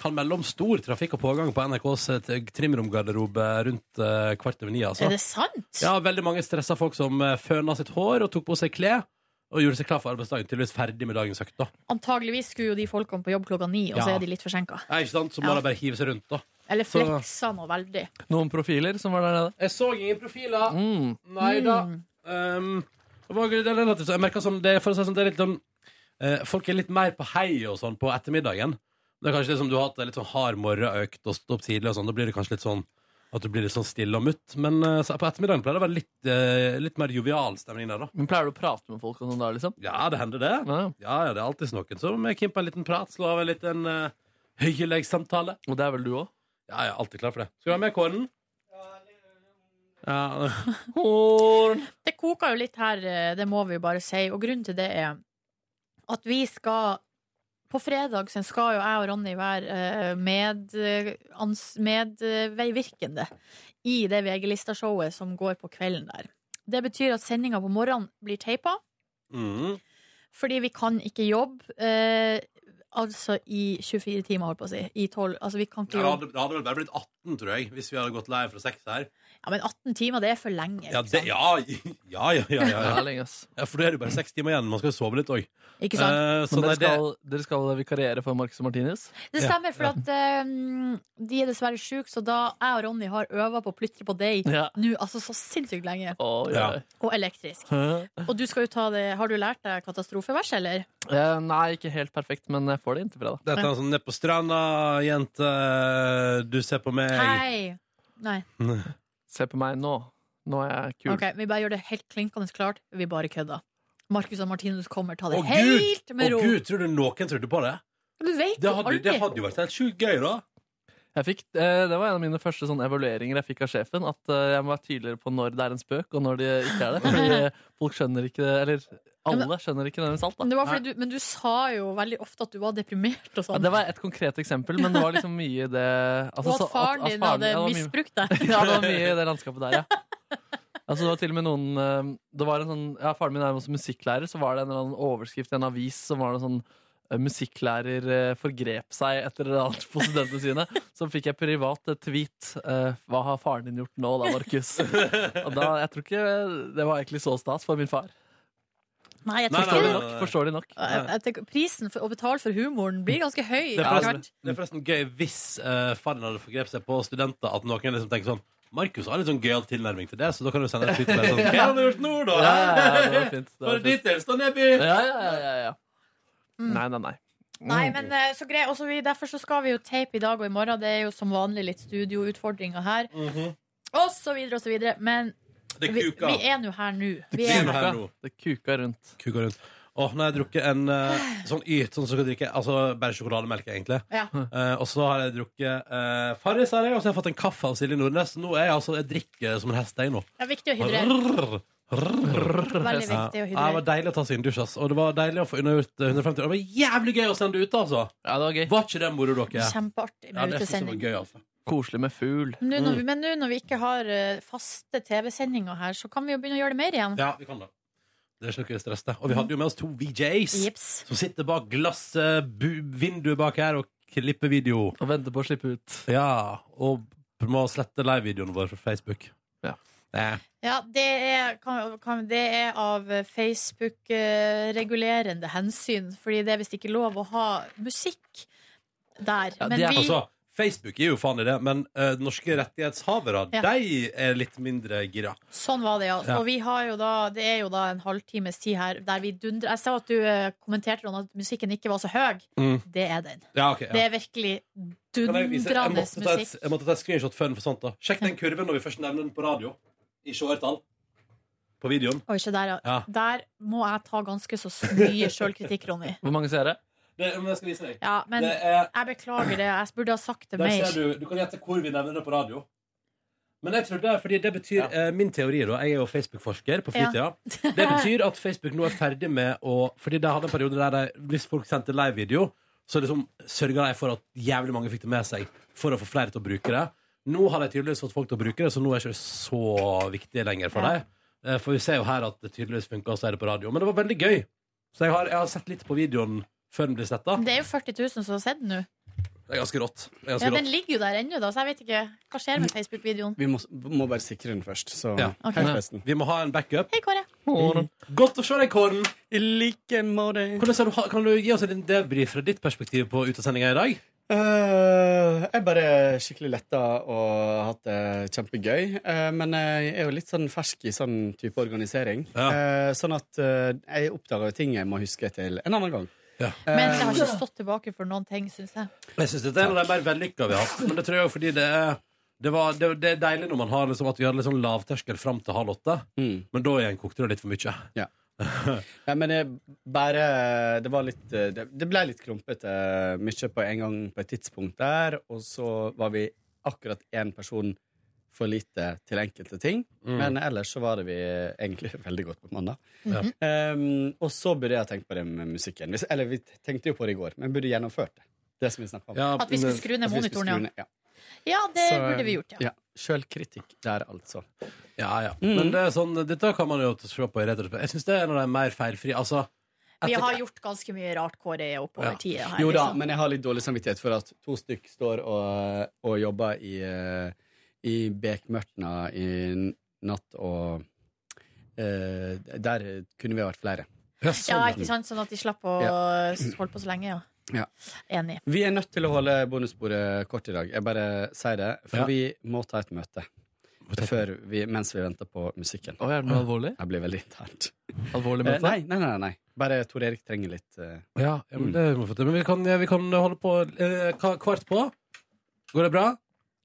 [SPEAKER 2] Kan melde om stor trafikk og pågang på NRKs eh, t- trimromgarderobe rundt eh, kvart over ni. Altså.
[SPEAKER 3] Er det sant?
[SPEAKER 2] Ja, veldig mange stressa folk som uh, føna sitt hår og tok på seg klær. Og gjorde seg klar for arbeidsdagen, tydeligvis ferdig med dagens økt. da
[SPEAKER 3] Antageligvis skulle jo de folkene på jobb klokka ni, og så
[SPEAKER 2] Ja.
[SPEAKER 3] er de litt forsinka.
[SPEAKER 2] Nei, ikke sant? Så må
[SPEAKER 3] Ja.
[SPEAKER 2] de bare hive seg rundt, da.
[SPEAKER 3] Eller
[SPEAKER 2] Så-
[SPEAKER 3] fleksa noe veldig.
[SPEAKER 5] Noen profiler som var der nede?
[SPEAKER 2] Jeg så ingen profiler.
[SPEAKER 5] Mm.
[SPEAKER 2] Nei da. Um, det var- det er relativt så Jeg merker sånn, det, er- for å si det sånn, det er litt sånn eh, Folk er litt mer på hei og sånn på ettermiddagen. Det er kanskje det som du har hatt det er litt sånn hard morgenøkt og stått opp tidlig og sånn. Da blir det kanskje litt sånn at du blir litt sånn stille og mutt. Men eh, så på ettermiddagen pleier det å være litt, eh, litt mer jovial stemning der, da.
[SPEAKER 5] Men Pleier du å prate med folk og sånn da, liksom?
[SPEAKER 2] Ja, det hender det. Ja, ja, det er alltid noen som er keen på en liten prat. Slå av en liten uh, høyelegssamtale.
[SPEAKER 5] Og det er vel du òg?
[SPEAKER 2] Ja, jeg er alltid klar for det. Skal du være med, Kåren? Ja, <laughs>
[SPEAKER 3] Det koker jo litt her, eh, det må vi jo bare si. Og grunnen til det er at vi skal På fredag så skal jo jeg og Ronny være eh, med, eh, ans- medveivirkende i det VG-lista-showet som går på kvelden der. Det betyr at sendinga på morgenen blir teipa,
[SPEAKER 2] Mm.
[SPEAKER 3] fordi vi kan ikke jobbe eh, altså i 24 timer, holdt på å si. I 12, altså vi kan
[SPEAKER 2] Ja,
[SPEAKER 3] ikke
[SPEAKER 2] det,
[SPEAKER 3] jobbe.
[SPEAKER 2] hadde, det hadde vel bare blitt 18, tror jeg, hvis vi hadde gått lei fra 6 her.
[SPEAKER 3] Ja, men 18 timer, det er for lenge.
[SPEAKER 2] Ja, det, ja, ja, ja, ja, ja, ja. ja For da er det jo bare 6 timer igjen. Man skal jo sove litt òg.
[SPEAKER 3] Ikke sant?
[SPEAKER 2] så
[SPEAKER 5] Men
[SPEAKER 2] nei, det-
[SPEAKER 5] dere skal, dere skal vikariere for Marcus og Martinez?
[SPEAKER 3] Det stemmer, for at eh, de er dessverre syke, så da jeg og Ronny har øva på å plytre på deg
[SPEAKER 5] Ja.
[SPEAKER 3] nå altså så sinnssykt lenge.
[SPEAKER 5] ja.
[SPEAKER 3] Og elektrisk.
[SPEAKER 5] <laughs>
[SPEAKER 3] Og du skal jo ta det Har du lært deg katastrofevers, eller?
[SPEAKER 5] Eh, nei, ikke helt perfekt, men jeg får det inntil fredag.
[SPEAKER 2] Dette er sånn ned på stranda, jente, du ser på meg.
[SPEAKER 3] Hei! Nei.
[SPEAKER 2] <laughs>
[SPEAKER 5] Se på meg nå. Nå er jeg kul.
[SPEAKER 3] OK, vi bare gjør det helt klinkende klart. Vi bare kødder. Markus og Martinus kommer. Ta
[SPEAKER 2] Å,
[SPEAKER 3] det
[SPEAKER 2] Gud!
[SPEAKER 3] helt med
[SPEAKER 2] Å,
[SPEAKER 3] ro.
[SPEAKER 2] Gud, tror du noen trodde på det?
[SPEAKER 3] Du vet
[SPEAKER 2] Det
[SPEAKER 3] jo
[SPEAKER 2] hadde,
[SPEAKER 3] aldri.
[SPEAKER 2] det hadde jo vært helt sjukt gøy, da.
[SPEAKER 5] Jeg fikk, eh, det var en av mine første sånne evalueringer jeg fikk av sjefen. At eh, jeg må være tydeligere på når det er en spøk, og når det ikke er det.
[SPEAKER 3] <laughs>
[SPEAKER 5] Fordi eh, folk skjønner ikke det, eller alle skjønner ikke nødvendigvis alt. Da.
[SPEAKER 3] Men, det var fordi du, men du sa jo veldig ofte at du var deprimert og
[SPEAKER 5] ja,
[SPEAKER 3] sånn.
[SPEAKER 5] det var et konkret eksempel, men det var liksom mye i det altså,
[SPEAKER 3] og
[SPEAKER 5] så-
[SPEAKER 3] at faren din
[SPEAKER 5] faren-
[SPEAKER 3] hadde
[SPEAKER 5] ja, det var mye-
[SPEAKER 3] misbrukt deg.
[SPEAKER 5] <laughs> Ja, det var mye i det landskapet der, ja. Altså, det var til og med noen eh, Det var en sånn, ja, Faren min er jo også musikklærer, så var det en eller annen overskrift i en avis som var noe sånn eh, Musikklærer eh, forgrep seg etter eller annet på studentene sine. Så fikk jeg privat eh, tweet. eh, Hva har faren din gjort nå da, Markus? Og da, jeg tror ikke det var egentlig så stas for min far.
[SPEAKER 3] Nei, jeg tror
[SPEAKER 5] Forståelig
[SPEAKER 3] ikke
[SPEAKER 5] nok. Forståelig nok.
[SPEAKER 3] Jeg- jeg tenker, Prisen for å betale for humoren blir ganske høy.
[SPEAKER 2] Det er
[SPEAKER 3] etter
[SPEAKER 2] forresten,
[SPEAKER 3] hvert.
[SPEAKER 2] det er forresten gøy hvis uh, faren hadde forgrepet seg på studenter, at noen liksom tenker sånn Markus har litt sånn gøyal tilnærming til det, så da kan du sende et tweet med sånn <laughs> Hva har du gjort nå, da?
[SPEAKER 5] Ja, ja, ja, det var fint, det var
[SPEAKER 2] Var det
[SPEAKER 5] fint.
[SPEAKER 2] ditt eller stå nedby?
[SPEAKER 5] Ja, ja, ja, ja, ja. Nei, nei, Mm. nei.
[SPEAKER 3] Nei, men eh, så greit. Også vi, derfor så skal vi jo tape i dag og i morgen. Det er jo som vanlig litt studioutfordringer her.
[SPEAKER 2] Mm.
[SPEAKER 3] Og så videre og så videre. Men
[SPEAKER 2] Det
[SPEAKER 3] vi,
[SPEAKER 2] kuka.
[SPEAKER 3] vi er nå her nå.
[SPEAKER 2] Det
[SPEAKER 3] Vi er
[SPEAKER 2] kuka her nå.
[SPEAKER 5] Det kuka rundt.
[SPEAKER 2] Kuka rundt. Åh, nå har jeg drukket en eh, sånn yt, sånn som du kan drikke Altså bare sjokolademelk, egentlig.
[SPEAKER 3] Ja.
[SPEAKER 2] Eh, og så har jeg drukket uh, Farris, har jeg, og så har jeg fått en kaffe av Silje Nordnes. Nå er jeg altså Jeg drikker som en hest, jeg nå.
[SPEAKER 3] Det er viktig å hydrere.
[SPEAKER 2] Veldig
[SPEAKER 3] viktig å hydrere.
[SPEAKER 2] Det var deilig å ta seg en dusj, ass. Og det var deilig å få unnagjort eh, 150 Det var jævlig gøy å sende ut, altså!
[SPEAKER 5] Ja, det Var gøy
[SPEAKER 2] Var ikke det moro, dere?
[SPEAKER 3] Kjempeartig
[SPEAKER 2] Ja,
[SPEAKER 3] med
[SPEAKER 2] det synes jeg var Mm.
[SPEAKER 3] utesending.
[SPEAKER 2] gøy, altså.
[SPEAKER 5] Koselig med fugl.
[SPEAKER 3] Nå når vi, men nå når vi ikke har eh, faste TV-sendinger her, så kan vi jo begynne å gjøre det mer igjen.
[SPEAKER 2] Ja, vi kan det. Det er ikke noe stress, det. Og vi hadde jo med oss to VJs som sitter bak glasset, bu- vinduet bak her, og klipper video.
[SPEAKER 5] Og venter på å slippe ut.
[SPEAKER 2] Ja, og må slette live-videoen vår fra Facebook.
[SPEAKER 5] Ja.
[SPEAKER 2] Nei.
[SPEAKER 3] Ja, det er, kan, kan, det er av eh, Facebook-regulerende hensyn, fordi det er visst ikke lov å ha musikk der. Men vi
[SPEAKER 2] Altså, Facebook er jo faen i det, men eh, norske rettighetshavere,
[SPEAKER 3] Ja.
[SPEAKER 2] de er litt mindre gira.
[SPEAKER 3] Sånn var det, ja.
[SPEAKER 2] Ja.
[SPEAKER 3] Og vi har jo da, det er jo da en halvtimes tid her der vi dundrer Jeg sa at du eh, kommenterte Ron, at musikken ikke var så høy.
[SPEAKER 2] Mm.
[SPEAKER 3] Det er den.
[SPEAKER 2] Ja, ok, ja.
[SPEAKER 3] Det er virkelig
[SPEAKER 2] Kan jeg vise- jeg
[SPEAKER 3] dundrende
[SPEAKER 2] måtte ta et-
[SPEAKER 3] musikk.
[SPEAKER 2] Jeg måtte ta et screenshot før den forsvant. da Sjekk den kurven når vi først nevner den på radio. I seertall. På videoen.
[SPEAKER 3] Oi, se der, ja.
[SPEAKER 2] Ja.
[SPEAKER 3] Der må jeg ta ganske så
[SPEAKER 2] <laughs>
[SPEAKER 3] mye sjølkritikk, Ronny.
[SPEAKER 5] Hvor mange seere?
[SPEAKER 2] Det, men jeg skal vise deg.
[SPEAKER 3] Ja, men
[SPEAKER 2] Det er-
[SPEAKER 3] jeg beklager det. Jeg burde ha sagt det
[SPEAKER 2] Der
[SPEAKER 3] mer.
[SPEAKER 2] ser du, du kan gjette hvor vi nevner det på radio. Men jeg trodde, fordi det betyr eh, Min teori, da. Jeg er jo Facebook-forsker på fritida.
[SPEAKER 3] <laughs>
[SPEAKER 2] Det betyr at Facebook nå er ferdig med å Fordi de hadde en periode der de, hvis folk sendte live-video, så liksom sørga de for at jævlig mange fikk det med seg for å få flere til å bruke det. Nå har de tydeligvis fått folk til å bruke det, så nå er ikke det så viktig lenger for
[SPEAKER 3] Ja.
[SPEAKER 2] dem. Eh, For vi ser jo her at det tydeligvis funka å si det på radio. Men det var veldig gøy. Så jeg har, jeg har sett litt på videoen før den blir sletta.
[SPEAKER 3] Det er jo 40 000 som har sett den nå.
[SPEAKER 2] Det er ganske rått. Det er
[SPEAKER 3] Ja,
[SPEAKER 2] ganske
[SPEAKER 3] den
[SPEAKER 2] rått.
[SPEAKER 3] ligger jo der ennå, da, så jeg vet ikke. Hva skjer
[SPEAKER 13] Mm.
[SPEAKER 3] med Facebook-videoen?
[SPEAKER 13] Vi må, må bare sikre den først. Så
[SPEAKER 2] Ja.
[SPEAKER 3] Ok.
[SPEAKER 13] helt festen.
[SPEAKER 2] Vi må ha en backup.
[SPEAKER 3] Hei, Kåre.
[SPEAKER 2] Godt å se deg, Kåren.
[SPEAKER 13] I like måte.
[SPEAKER 2] Hvordan ser du, kan du gi oss en debrief fra ditt perspektiv på utesendinga i dag?
[SPEAKER 13] Eh, jeg er bare skikkelig letta og har hatt det kjempegøy. Eh, men jeg er jo litt sånn fersk i sånn type organisering. Eh, sånn at eh, jeg oppdager jo ting jeg må huske til en annen gang. Eh,
[SPEAKER 3] Men jeg har ikke stått tilbake for noen ting, syns jeg.
[SPEAKER 2] Jeg synes dette er en av de mer vellykka vi har hatt. Men det tror jeg jo fordi det er det, var, det, det er deilig når man har liksom at vi har litt sånn lavterskel fram til halv åtte. Men da igjen kokte det litt for mye.
[SPEAKER 13] Mm. Ja. Ja, men jeg bare Det var litt eh, Det, det ble litt klumpete eh, mye på en gang på et tidspunkt der, og så var vi akkurat én person for lite til enkelte ting.
[SPEAKER 14] Mm.
[SPEAKER 13] Men ellers så var det vi egentlig <laughs> veldig godt på mandag.
[SPEAKER 14] Ja.
[SPEAKER 13] Um, og så burde jeg ha tenkt på det med musikken. Hvis- Eller vi tenkte jo på det i går, men burde gjennomført det. Det som vi snakket om.
[SPEAKER 3] At vi skulle skru ned
[SPEAKER 13] At vi skulle
[SPEAKER 3] monitoren,
[SPEAKER 13] skru
[SPEAKER 3] ja.
[SPEAKER 13] ned,
[SPEAKER 3] Ja, det
[SPEAKER 13] Så,
[SPEAKER 3] burde vi gjort, ja.
[SPEAKER 13] ja. Sjølkritikk der, altså. Mm.
[SPEAKER 2] Ja, ja. Men det er sånn, dette kan man jo se på i retrospekt. Jeg syns det er en av de mer feilfrie. Altså,
[SPEAKER 3] Vi
[SPEAKER 13] eh,
[SPEAKER 2] etter-
[SPEAKER 3] har gjort ganske mye rart, Kåre, oppover tida her.
[SPEAKER 13] Jo da,
[SPEAKER 3] liksom.
[SPEAKER 13] men jeg har litt dårlig samvittighet for at to stykk står og, og jobber i, eh, i bekmørtna i natt, og eh, der kunne vi vært flere.
[SPEAKER 3] Ja, ikke sant? Sånn at de slapp å
[SPEAKER 13] Ja.
[SPEAKER 3] holde på så lenge, ja.
[SPEAKER 13] Ja.
[SPEAKER 3] Enig.
[SPEAKER 13] Vi er nødt til å holde bonusbordet kort i dag. Jeg bare sier det, for
[SPEAKER 3] Ja.
[SPEAKER 13] vi må ta et møte. Før vi, mens vi venter på musikken.
[SPEAKER 5] Å, er det noe alvorlig?
[SPEAKER 13] Jeg blir veldig internt.
[SPEAKER 5] Alvorlig
[SPEAKER 13] Eh,
[SPEAKER 5] møte?
[SPEAKER 13] nei, nei, nei, nei. Bare Tor Erik trenger litt eh,
[SPEAKER 2] Ja, ja, men, det må vi få til. men vi kan, vi kan holde på eh, hva- kvart på. Går det bra?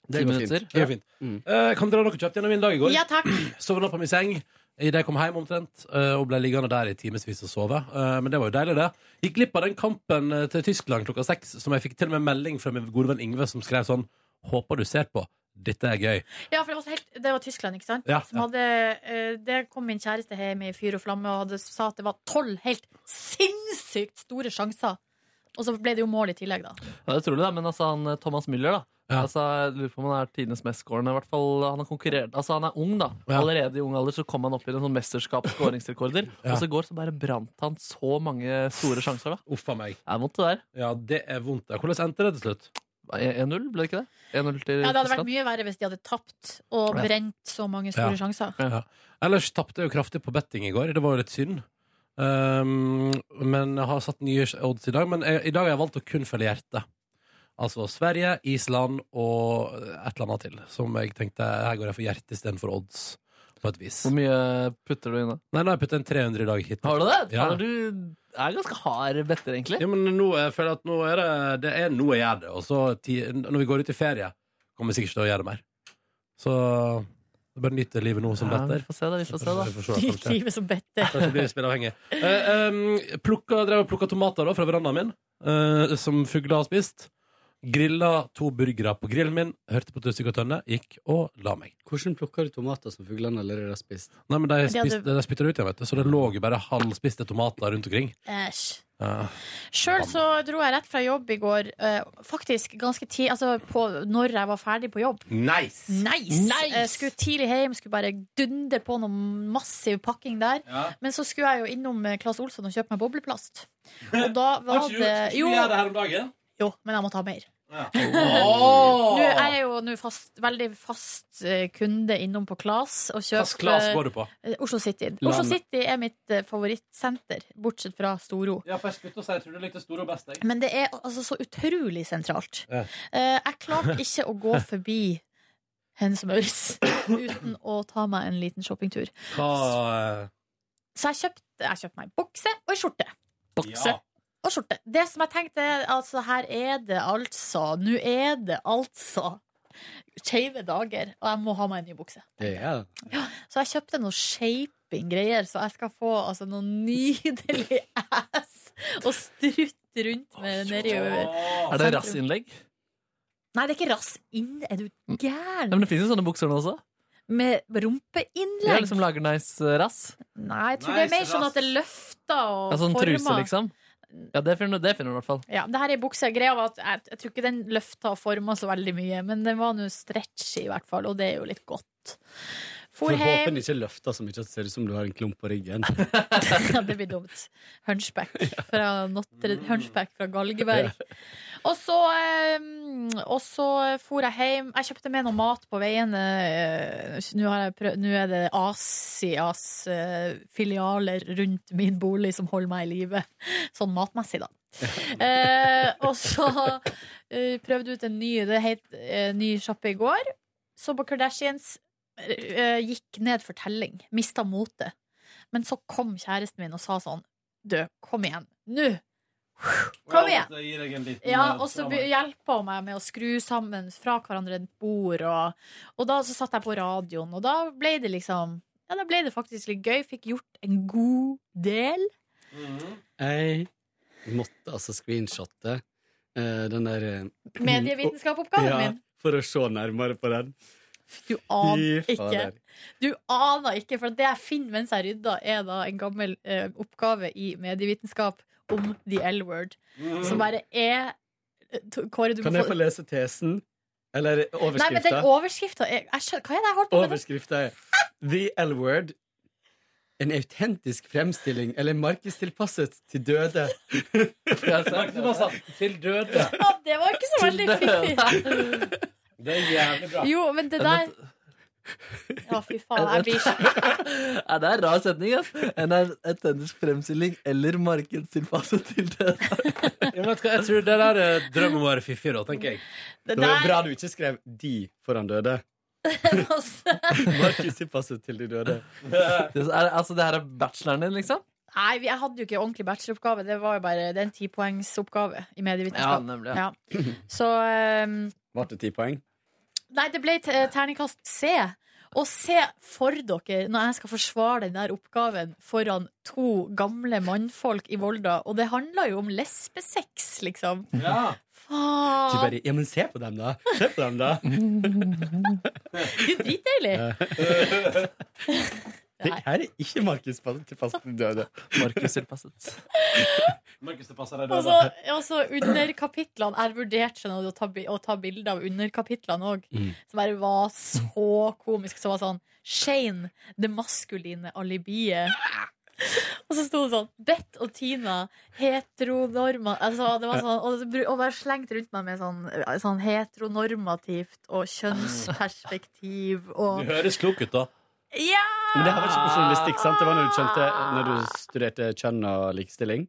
[SPEAKER 13] Det
[SPEAKER 2] Ti
[SPEAKER 13] går
[SPEAKER 2] minutter?
[SPEAKER 13] fint.
[SPEAKER 2] Det går fint.
[SPEAKER 5] Mm.
[SPEAKER 2] Eh, kan dere dere kjapt gjennom min dag i går?
[SPEAKER 3] Ja,
[SPEAKER 2] <clears throat>
[SPEAKER 3] takk.
[SPEAKER 2] Sovna på min seng idet jeg kom hjem omtrent, eh, og ble liggende der i timevis og sove. Eh, Men det var jo deilig, det. Gikk glipp av den kampen eh, til Tyskland klokka seks, som jeg fikk til og med melding fra min gode venn Ingve, som skrev sånn Håper du ser på. Dette er gøy.
[SPEAKER 3] Ja, for det var, så helt, det var Tyskland, ikke sant?
[SPEAKER 2] Ja,
[SPEAKER 3] Som
[SPEAKER 2] ja.
[SPEAKER 3] hadde, eh, det kom min kjæreste hjem i fyr og flamme og hadde, sa at det var tolv helt sinnssykt store sjanser. Og så ble det jo mål i tillegg, da.
[SPEAKER 5] Ja, det er utrolig, da. Men altså, han eh, Thomas Müller, da. Altså, jeg lurer på om han er tidenes mestskårende. i hvert fall, Han har konkurrert, altså han er ung, da.
[SPEAKER 2] Ja.
[SPEAKER 5] Allerede i ung alder så kom han opp i en sånn mesterskapsskåringsrekorder.
[SPEAKER 2] <laughs> Ja.
[SPEAKER 5] Og så i går så bare brant han så mange store sjanser, da.
[SPEAKER 2] Uff a meg.
[SPEAKER 5] Det er vondt, det der.
[SPEAKER 2] Ja, det er vondt. Ja, Hvordan endte det til slutt?
[SPEAKER 5] 1-0, ble det ikke det? 1-0 til
[SPEAKER 3] Ja, Det hadde vært
[SPEAKER 5] Tyskland.
[SPEAKER 3] mye verre hvis de hadde tapt og
[SPEAKER 2] Ja.
[SPEAKER 3] brent så mange store
[SPEAKER 2] Ja.
[SPEAKER 3] sjanser.
[SPEAKER 2] Ja. Ellers tapte jeg jo kraftig på betting i går. Det var jo litt synd. Um, men jeg har satt nye odds i dag. Men jeg, i dag har jeg valgt å kun følge hjertet. Altså Sverige, Island og et eller annet til. Som jeg tenkte her går jeg for hjerte istedenfor odds. På et vis. Hvor
[SPEAKER 5] mye putter du inn, da?
[SPEAKER 2] Nei, nå har jeg puttet inn 300 i dag hittil.
[SPEAKER 5] Har du det?
[SPEAKER 2] Ja.
[SPEAKER 5] Fader, du er ganske hard better, egentlig.
[SPEAKER 2] Ja, men nå, jeg føler at nå er det, det er nå jeg gjør det. Og så ti, når vi går ut i ferie, kommer jeg sikkert til å gjøre det mer. Så Du bare nyter livet nå som
[SPEAKER 5] Ja, vi
[SPEAKER 2] better.
[SPEAKER 5] får se da, vi får se da.
[SPEAKER 2] Vi får se, kanskje.
[SPEAKER 5] Nyt <laughs> livet som better.
[SPEAKER 2] Kanskje blir litt spilleavhengig. Eh, em, plukka, drev og plukka tomater da, fra verandaen min, eh, som fugler har spist. Grilla to burgere på grillen min, hørte på Tussig og Tønne, gikk og la meg.
[SPEAKER 13] Hvordan plukker du tomater som fuglene allerede har spist?
[SPEAKER 2] Nei, men De,
[SPEAKER 13] Ja, det-
[SPEAKER 2] spiste, de spytter det ut igjen, vet du, så det lå jo bare halvspiste tomater rundt omkring. Eh,
[SPEAKER 3] Æsj.
[SPEAKER 2] Ja.
[SPEAKER 3] Sjøl så dro jeg rett fra jobb i går, eh, faktisk ganske tid, altså på, når jeg var ferdig på jobb.
[SPEAKER 11] Nice!
[SPEAKER 3] Nice! Eh, skulle tidlig hjem, skulle bare dunde på noe massiv pakking der.
[SPEAKER 11] Ja.
[SPEAKER 3] Men så skulle jeg jo innom eh, Claes Olsson og kjøpe meg bobleplast.
[SPEAKER 2] <laughs>
[SPEAKER 3] Og da var
[SPEAKER 2] Har ikke du- skulle
[SPEAKER 3] det
[SPEAKER 2] du gjøre det her om dagen?
[SPEAKER 3] Jo, men jeg måtte ha mer.
[SPEAKER 2] Åh!
[SPEAKER 3] Nå er jeg jo nå fast, veldig fast eh, kunde innom på Claes. og kjøper-
[SPEAKER 2] Hvilken Claes går du på?
[SPEAKER 3] Eh, Oslo City.
[SPEAKER 2] La
[SPEAKER 3] Oslo
[SPEAKER 2] meg-
[SPEAKER 3] City er mitt eh, favorittsenter, bortsett fra Storo.
[SPEAKER 2] Ja, for jeg sluttet å si jeg tror du likte store og best, jeg.
[SPEAKER 3] Men det er altså så utrolig sentralt.
[SPEAKER 2] Ja.
[SPEAKER 3] Eh, jeg klarte ikke å gå forbi Hennes Mauritz uten å ta meg en liten shoppingtur.
[SPEAKER 2] Hva eh,
[SPEAKER 3] Så jeg kjøpte jeg kjøpte meg en bokse og en skjorte.
[SPEAKER 2] Bokse. Ja.
[SPEAKER 3] Og skjorte. Det som jeg tenkte, altså her er det altså, nå er det altså skeive dager, og jeg må ha meg en ny bukse.
[SPEAKER 13] Ja.
[SPEAKER 3] Så jeg kjøpte noe shaping-greier, så jeg skal få altså, noe nydelig <laughs> ass å strutte rundt med nedi
[SPEAKER 5] Er det rassinnlegg?
[SPEAKER 3] Nei, det er ikke rass inn. Er du
[SPEAKER 5] Nei,
[SPEAKER 3] gæren?
[SPEAKER 5] Men det finnes jo sånne bukser nå også.
[SPEAKER 3] Med
[SPEAKER 5] De er
[SPEAKER 3] rumpeinnlegg?
[SPEAKER 5] liksom lager nice rass.
[SPEAKER 3] Nei, jeg tror det er mer sånn at det løfter og
[SPEAKER 5] Ja, sånn
[SPEAKER 3] former.
[SPEAKER 5] truse, liksom. Ja, det finner, det finner du i hvert fall.
[SPEAKER 3] Ja, det her er buksa. Greia var at jeg, jeg tror ikke den løfta og forma så veldig mye, men den var nå stretchy i hvert fall, og det er jo litt godt. For hjem.
[SPEAKER 13] Forhåpentlig ikke løfter så mye at det ser ut som du har en klump på
[SPEAKER 3] <laughs>
[SPEAKER 13] ryggen.
[SPEAKER 3] Ja, det blir dumt. Hunchback fra, Notre, hunchback fra Galgeberg. Og så, eh, og så for jeg hjem. Jeg kjøpte med noe mat på veien. eh, Nå, har jeg prøv, nå er det Asias eh, filialer rundt min bolig som holder meg i live. Sånn matmessig, da. Eh, og så eh, prøvde ut en ny Det het eh, ny sjappe i går. Så på Kardashians eh, gikk ned for telling. Mista motet. Men så kom kjæresten min og sa sånn Du, kom igjen. Nå! Kom igjen!
[SPEAKER 2] Jeg gir deg en liten,
[SPEAKER 3] Ja,
[SPEAKER 2] eh,
[SPEAKER 3] og så
[SPEAKER 2] stram
[SPEAKER 3] be-
[SPEAKER 2] her.
[SPEAKER 3] hjelper hun meg med å skru sammen fra hverandre et bord, og, og da så satt jeg på radioen, og da ble det liksom Ja, da ble det faktisk litt gøy. Fikk gjort en god del.
[SPEAKER 13] Jeg måtte altså screenshotte eh, den der eh, <clears throat>
[SPEAKER 3] Medievitenskapoppgaven
[SPEAKER 13] ja,
[SPEAKER 3] min.
[SPEAKER 13] For å se nærmere på den.
[SPEAKER 3] Du aner
[SPEAKER 13] Fy
[SPEAKER 3] ikke.
[SPEAKER 13] fader.
[SPEAKER 3] Du aner ikke, for det jeg finner mens jeg rydder, er da en gammel eh, oppgave i medievitenskap om the L-word, som bare er eh, Kåre, du må
[SPEAKER 13] Kan jeg
[SPEAKER 3] få-
[SPEAKER 13] få lese tesen? Eller
[SPEAKER 3] Nei, men den
[SPEAKER 13] overskrifta?
[SPEAKER 3] overskrifta er jeg skjønner, Hva er det jeg holder på med? nå?
[SPEAKER 13] Overskrifta er The L-word. En autentisk fremstilling eller markedstilpasset til ddøde.
[SPEAKER 2] Til døde.
[SPEAKER 3] Å, det var ikke så veldig fiffig.
[SPEAKER 2] Det er jævlig bra.
[SPEAKER 3] <laughs> Jo, men det der Ja, fy faen. Jeg blir
[SPEAKER 5] <laughs> Ja, det er en rar setning. ass. En er autentisk fremstilling eller markedstilpasset
[SPEAKER 3] <laughs>
[SPEAKER 5] til det.
[SPEAKER 2] Ja, men vet du hva, jeg tror det der er drømmen vår fiffig, da, tenker jeg.
[SPEAKER 13] Det var bra du ikke skrev 'de' foran døde. <laughs> Markedstilpasset til de døde.
[SPEAKER 5] Det er, altså, det her er bacheloren din, liksom?
[SPEAKER 3] Nei, jeg hadde jo ikke ordentlig bacheloroppgave. Det var jo bare det er en tipoengsoppgave i
[SPEAKER 13] Ja,
[SPEAKER 3] medievitenskap.
[SPEAKER 13] nemlig,
[SPEAKER 3] Ja.
[SPEAKER 13] ja.
[SPEAKER 3] Så ehm,
[SPEAKER 13] Ble det ti poeng?
[SPEAKER 3] Nei, det ble t- terningkast C. Og se for dere når jeg skal forsvare den der oppgaven foran to gamle mannfolk i Volda, og det handla jo om lesbesex, liksom.
[SPEAKER 13] Ja. Du
[SPEAKER 3] Faen!
[SPEAKER 13] bare 'ja, men se på dem, da'. Se på dem, <laughs> da.
[SPEAKER 3] Det er dritdeilig.
[SPEAKER 13] Det her er ikke markedstilpasset til døde.
[SPEAKER 5] Markedstilpasset.
[SPEAKER 2] Markus, det passer deg
[SPEAKER 3] Og
[SPEAKER 2] døde.
[SPEAKER 3] så, og så under kapitlene altså, Jeg vurderte skjønner du, å ta, bi- å ta bilder av underkapitlene òg,
[SPEAKER 2] Mm.
[SPEAKER 3] som bare var så komisk. Som var sånn Shane, det maskuline alibiet. Og så sto det sånn Bett og Tina, heteronorma altså, det var sånn, og, så bru- og bare slengt rundt meg med sånn, sånn heteronormativt og kjønnsperspektiv og
[SPEAKER 2] Du høres klok ut, da.
[SPEAKER 3] Ja!
[SPEAKER 13] Men det her var ikke på journalistikk, sant? Det var når du skjønte Når du studerte kjønn og likestilling.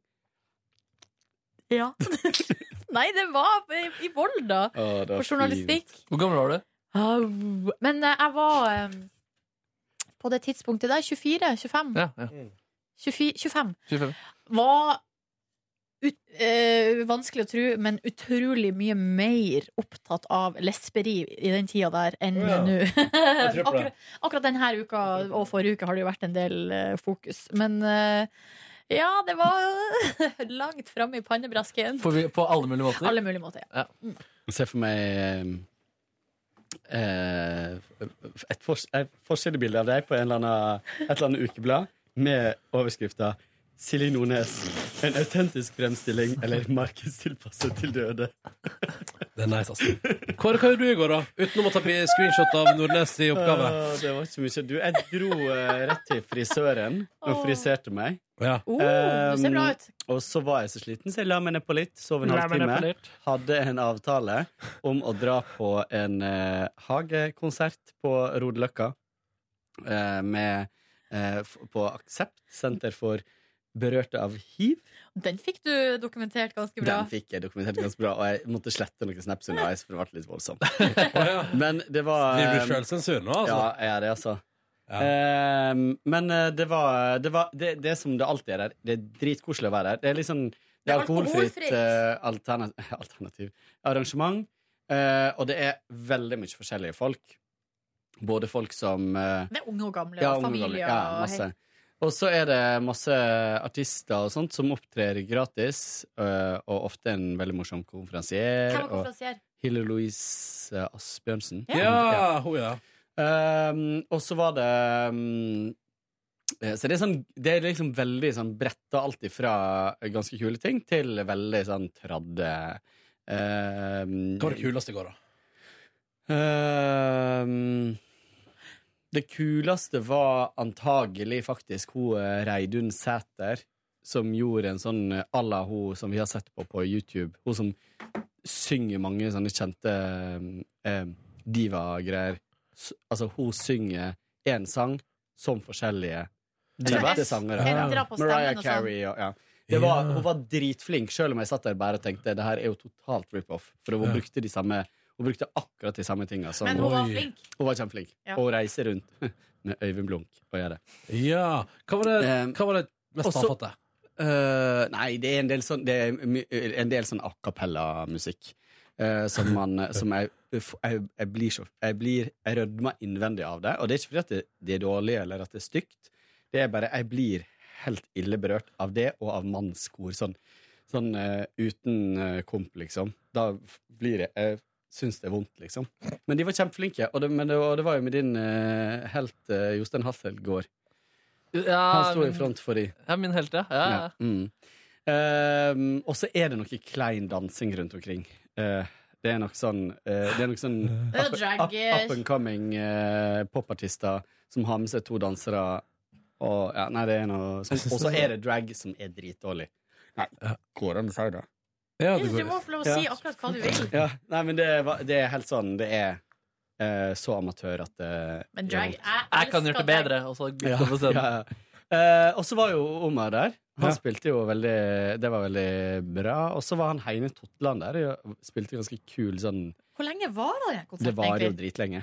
[SPEAKER 3] ja. <laughs> Nei, det var i- i Volda.
[SPEAKER 13] Å, det var
[SPEAKER 3] På journalistikk.
[SPEAKER 5] Hvor gammel var du?
[SPEAKER 3] Au. Men eh, jeg var eh, på det tidspunktet der, 24, 25,
[SPEAKER 5] Ja, ja.
[SPEAKER 3] 24, 25,
[SPEAKER 5] 25.
[SPEAKER 3] var ut, eh, vanskelig å tro, men utrolig mye mer opptatt av lesberi i den tida der enn
[SPEAKER 14] Å, ja.
[SPEAKER 3] nå.
[SPEAKER 14] tror på det.
[SPEAKER 3] akkurat, akkurat denne uka og forrige uke har det jo vært en del eh, fokus. Men eh, ja, det var <laughs> langt framme i pannebrasken.
[SPEAKER 5] På, vi- på alle mulige måter?
[SPEAKER 3] Alle mulige måter, ja.
[SPEAKER 5] Ja.
[SPEAKER 13] Se for meg eh, et, fors et forsidebilde av deg på en eller annen, et eller annet ukeblad med overskrifta 'Silje Nordnes. En autentisk fremstilling eller markedstilpasset til døde'.
[SPEAKER 2] Det er nice, altså. Hva hva gjorde du i går, da? Utenom å ta pi- screenshot av Nordnes i oppgave?
[SPEAKER 13] Åh, det var ikke så mye. Du, jeg dro eh, rett til frisøren og
[SPEAKER 3] Åh.
[SPEAKER 13] friserte meg.
[SPEAKER 3] Oh, du ser bra
[SPEAKER 13] Um,
[SPEAKER 3] ut.
[SPEAKER 13] og så var jeg så sliten, så jeg la meg ned på litt. Sov en
[SPEAKER 3] La meg ned på
[SPEAKER 13] halvtime.
[SPEAKER 3] litt.
[SPEAKER 13] Hadde en avtale om å dra på en eh, hagekonsert på Rodeløkka. eh, med, eh, f- på Aksept, senter for berørte av hiv.
[SPEAKER 3] Den fikk du dokumentert ganske bra.
[SPEAKER 13] Den fikk jeg dokumentert ganske bra, og jeg måtte slette noen snaps underveis, for det ble litt
[SPEAKER 2] <laughs>
[SPEAKER 13] voldsomt. Men det var
[SPEAKER 2] Driver du selvsensur nå, altså?
[SPEAKER 13] Ja, jeg er det, altså. Eh, men eh, det var, det, var det, det er som det alltid er der, det er dritkoselig å være der. Det er liksom det er
[SPEAKER 15] Det er
[SPEAKER 13] alkoholfritt
[SPEAKER 15] alkoholfritt.
[SPEAKER 13] eh, alterna- <laughs> alternativ arrangement, eh, og det er veldig mye forskjellige folk. Både folk som eh,
[SPEAKER 3] Det er unge og gamle
[SPEAKER 13] ja,
[SPEAKER 3] og
[SPEAKER 13] ungdom,
[SPEAKER 3] familier.
[SPEAKER 13] Ja,
[SPEAKER 3] og-
[SPEAKER 13] masse. Og så er det masse artister og sånt som opptrer gratis, øh, og ofte en veldig morsom konferansier.
[SPEAKER 3] Hvem er
[SPEAKER 13] og
[SPEAKER 3] konferansier?
[SPEAKER 13] Hilde Louise eh, Asbjørnsen.
[SPEAKER 2] Ja. Ja, hun, ja.
[SPEAKER 13] Ehm, og så var det mm, eh, så det er, sånn, det er liksom veldig sånn bretta alt ifra ganske kule ting til veldig sånn tradde Hva
[SPEAKER 2] var det kuleste i går, da?
[SPEAKER 13] Ehm, det kuleste var antagelig faktisk hun eh, Reidun Sæter, som gjorde en sånn eh, à la hun som vi har sett på på YouTube. Hun som synger mange sånne kjente eh, diva-greier. S- Altså, hun synger én sang som forskjellige
[SPEAKER 15] Divas?
[SPEAKER 13] kjente sangere.
[SPEAKER 15] Endrer på stemmen
[SPEAKER 13] Mariah
[SPEAKER 15] og sånn.
[SPEAKER 13] Carey og ja. Det var, hun var dritflink, selv om jeg satt der bare og tenkte det her er jo totalt rip-off. For hun
[SPEAKER 15] Ja.
[SPEAKER 13] brukte de samme Hun brukte akkurat de samme tinga. som-
[SPEAKER 15] Men hun var Oi. flink.
[SPEAKER 13] Hun var kjempeflink.
[SPEAKER 15] Ja.
[SPEAKER 13] Og hun reiser rundt <laughs> med Øyvind Blunk Eh, og gjør det.
[SPEAKER 2] Ja. Hva var det, hva var det mest
[SPEAKER 13] også-
[SPEAKER 2] avfatte?
[SPEAKER 13] Eh, nei, det er en del sånn Det er my- en del sånn a cappella-musikk. eh, som man Som jeg, uff, jeg, jeg blir så Jeg blir Jeg rødmer innvendig av det. Og det er ikke fordi at det, det er dårlig eller at det er stygt. Det er bare Jeg blir helt ille berørt av det og av mannskor. Sånn, sånn eh, uten eh, komp, liksom. Da f- blir jeg Jeg syns det er vondt, liksom. Men de var kjempeflinke. Og det, men det, var- det var jo med din eh, helt eh, Jostein Hasselgaard. Han sto i
[SPEAKER 5] min-
[SPEAKER 13] front for de.
[SPEAKER 5] Ja, min helt, ja. ja, ja.
[SPEAKER 13] Ja, mm. Ehm, og så er det noe klein dansing rundt omkring. Eh, det er nok sånn eh, Det er nok sånn
[SPEAKER 3] <laughs> Det er
[SPEAKER 13] up,
[SPEAKER 3] drag-
[SPEAKER 13] up, up and coming eh, popartister som har med seg to dansere og ja, Nei, det er noe sånn. Og så er det drag som er dritdårlig. Nei, går an å si det?
[SPEAKER 3] Jeg synes Du må få lov å si
[SPEAKER 13] Ja.
[SPEAKER 3] akkurat hva du vil.
[SPEAKER 13] Ja, nei, men det, var- det er helt sånn Det er eh, så amatør at eh, det
[SPEAKER 3] Men drag Jeg,
[SPEAKER 5] Jeg kan gjøre
[SPEAKER 3] elsker
[SPEAKER 5] det bedre.
[SPEAKER 3] drag.
[SPEAKER 5] Og så
[SPEAKER 13] Ja,
[SPEAKER 5] gå på scenen.
[SPEAKER 13] ja, ja. Eh, og så var jo Omar der. Han spilte jo veldig Det var veldig bra. Og så var han Heine Totland der og spilte ganske kul sånn
[SPEAKER 3] Hvor lenge var det den konserten,
[SPEAKER 13] Det varer jo
[SPEAKER 3] egentlig?
[SPEAKER 13] dritlenge.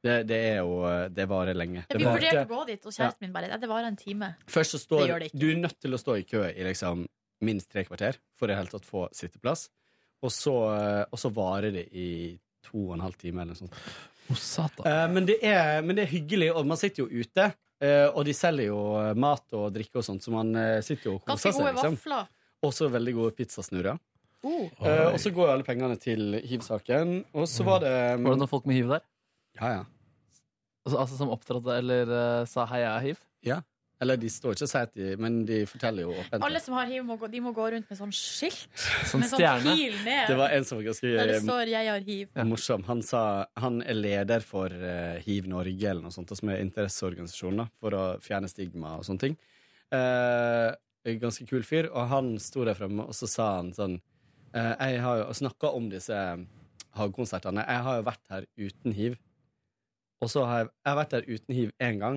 [SPEAKER 13] Det, det er jo Det varer lenge.
[SPEAKER 3] Vi
[SPEAKER 13] Det
[SPEAKER 3] vurderte å
[SPEAKER 13] varte-
[SPEAKER 3] gå dit, og kjæresten min bare "Nei, Det varer en time.
[SPEAKER 13] Først så
[SPEAKER 3] Det gjør
[SPEAKER 13] står
[SPEAKER 3] det ikke.
[SPEAKER 13] Du er nødt til å stå i kø i liksom minst tre kvarter for i det hele tatt få sitteplass. Og så, og så varer det i to og en halv time eller noe sånt. Eh, men, det er, men det er hyggelig, og man sitter jo ute. eh, og de selger jo mat og drikke og sånt, så man eh, sitter jo og
[SPEAKER 3] Ganske
[SPEAKER 13] koser seg.
[SPEAKER 3] gode
[SPEAKER 13] Liksom.
[SPEAKER 3] vafler.
[SPEAKER 13] Også veldig gode pizzasnurrer.
[SPEAKER 3] Oh.
[SPEAKER 13] Eh, og så går jo alle pengene til hiv-saken. Og så var det
[SPEAKER 5] Mm. Var det noen folk med hiv der?
[SPEAKER 13] Ja, ja.
[SPEAKER 5] Altså, altså som opptrådte eller eh, sa 'hei, jeg har hiv'?
[SPEAKER 13] Ja. Eller de står ikke og sier at de Men de forteller jo åpent.
[SPEAKER 3] Alle som har hiv, må gå, de må gå rundt med sånn skilt.
[SPEAKER 13] Sånn
[SPEAKER 3] med
[SPEAKER 13] stjerne.
[SPEAKER 3] sånn pil ned.
[SPEAKER 13] Det var en som var ganske
[SPEAKER 3] der det står 'Jeg har hiv'.
[SPEAKER 13] Ja. Morsom. Han sa han er leder for eh, Hiv Norge, eller noe sånt, som er interesseorganisasjonen da, for å fjerne stigma og sånne ting. Eh, en ganske kul fyr. Og han sto der fremme, og så sa han sånn eh, Jeg har jo snakka om disse hagekonsertene. Jeg har jo vært her uten hiv. Og så har jeg, jeg har vært her uten hiv én gang.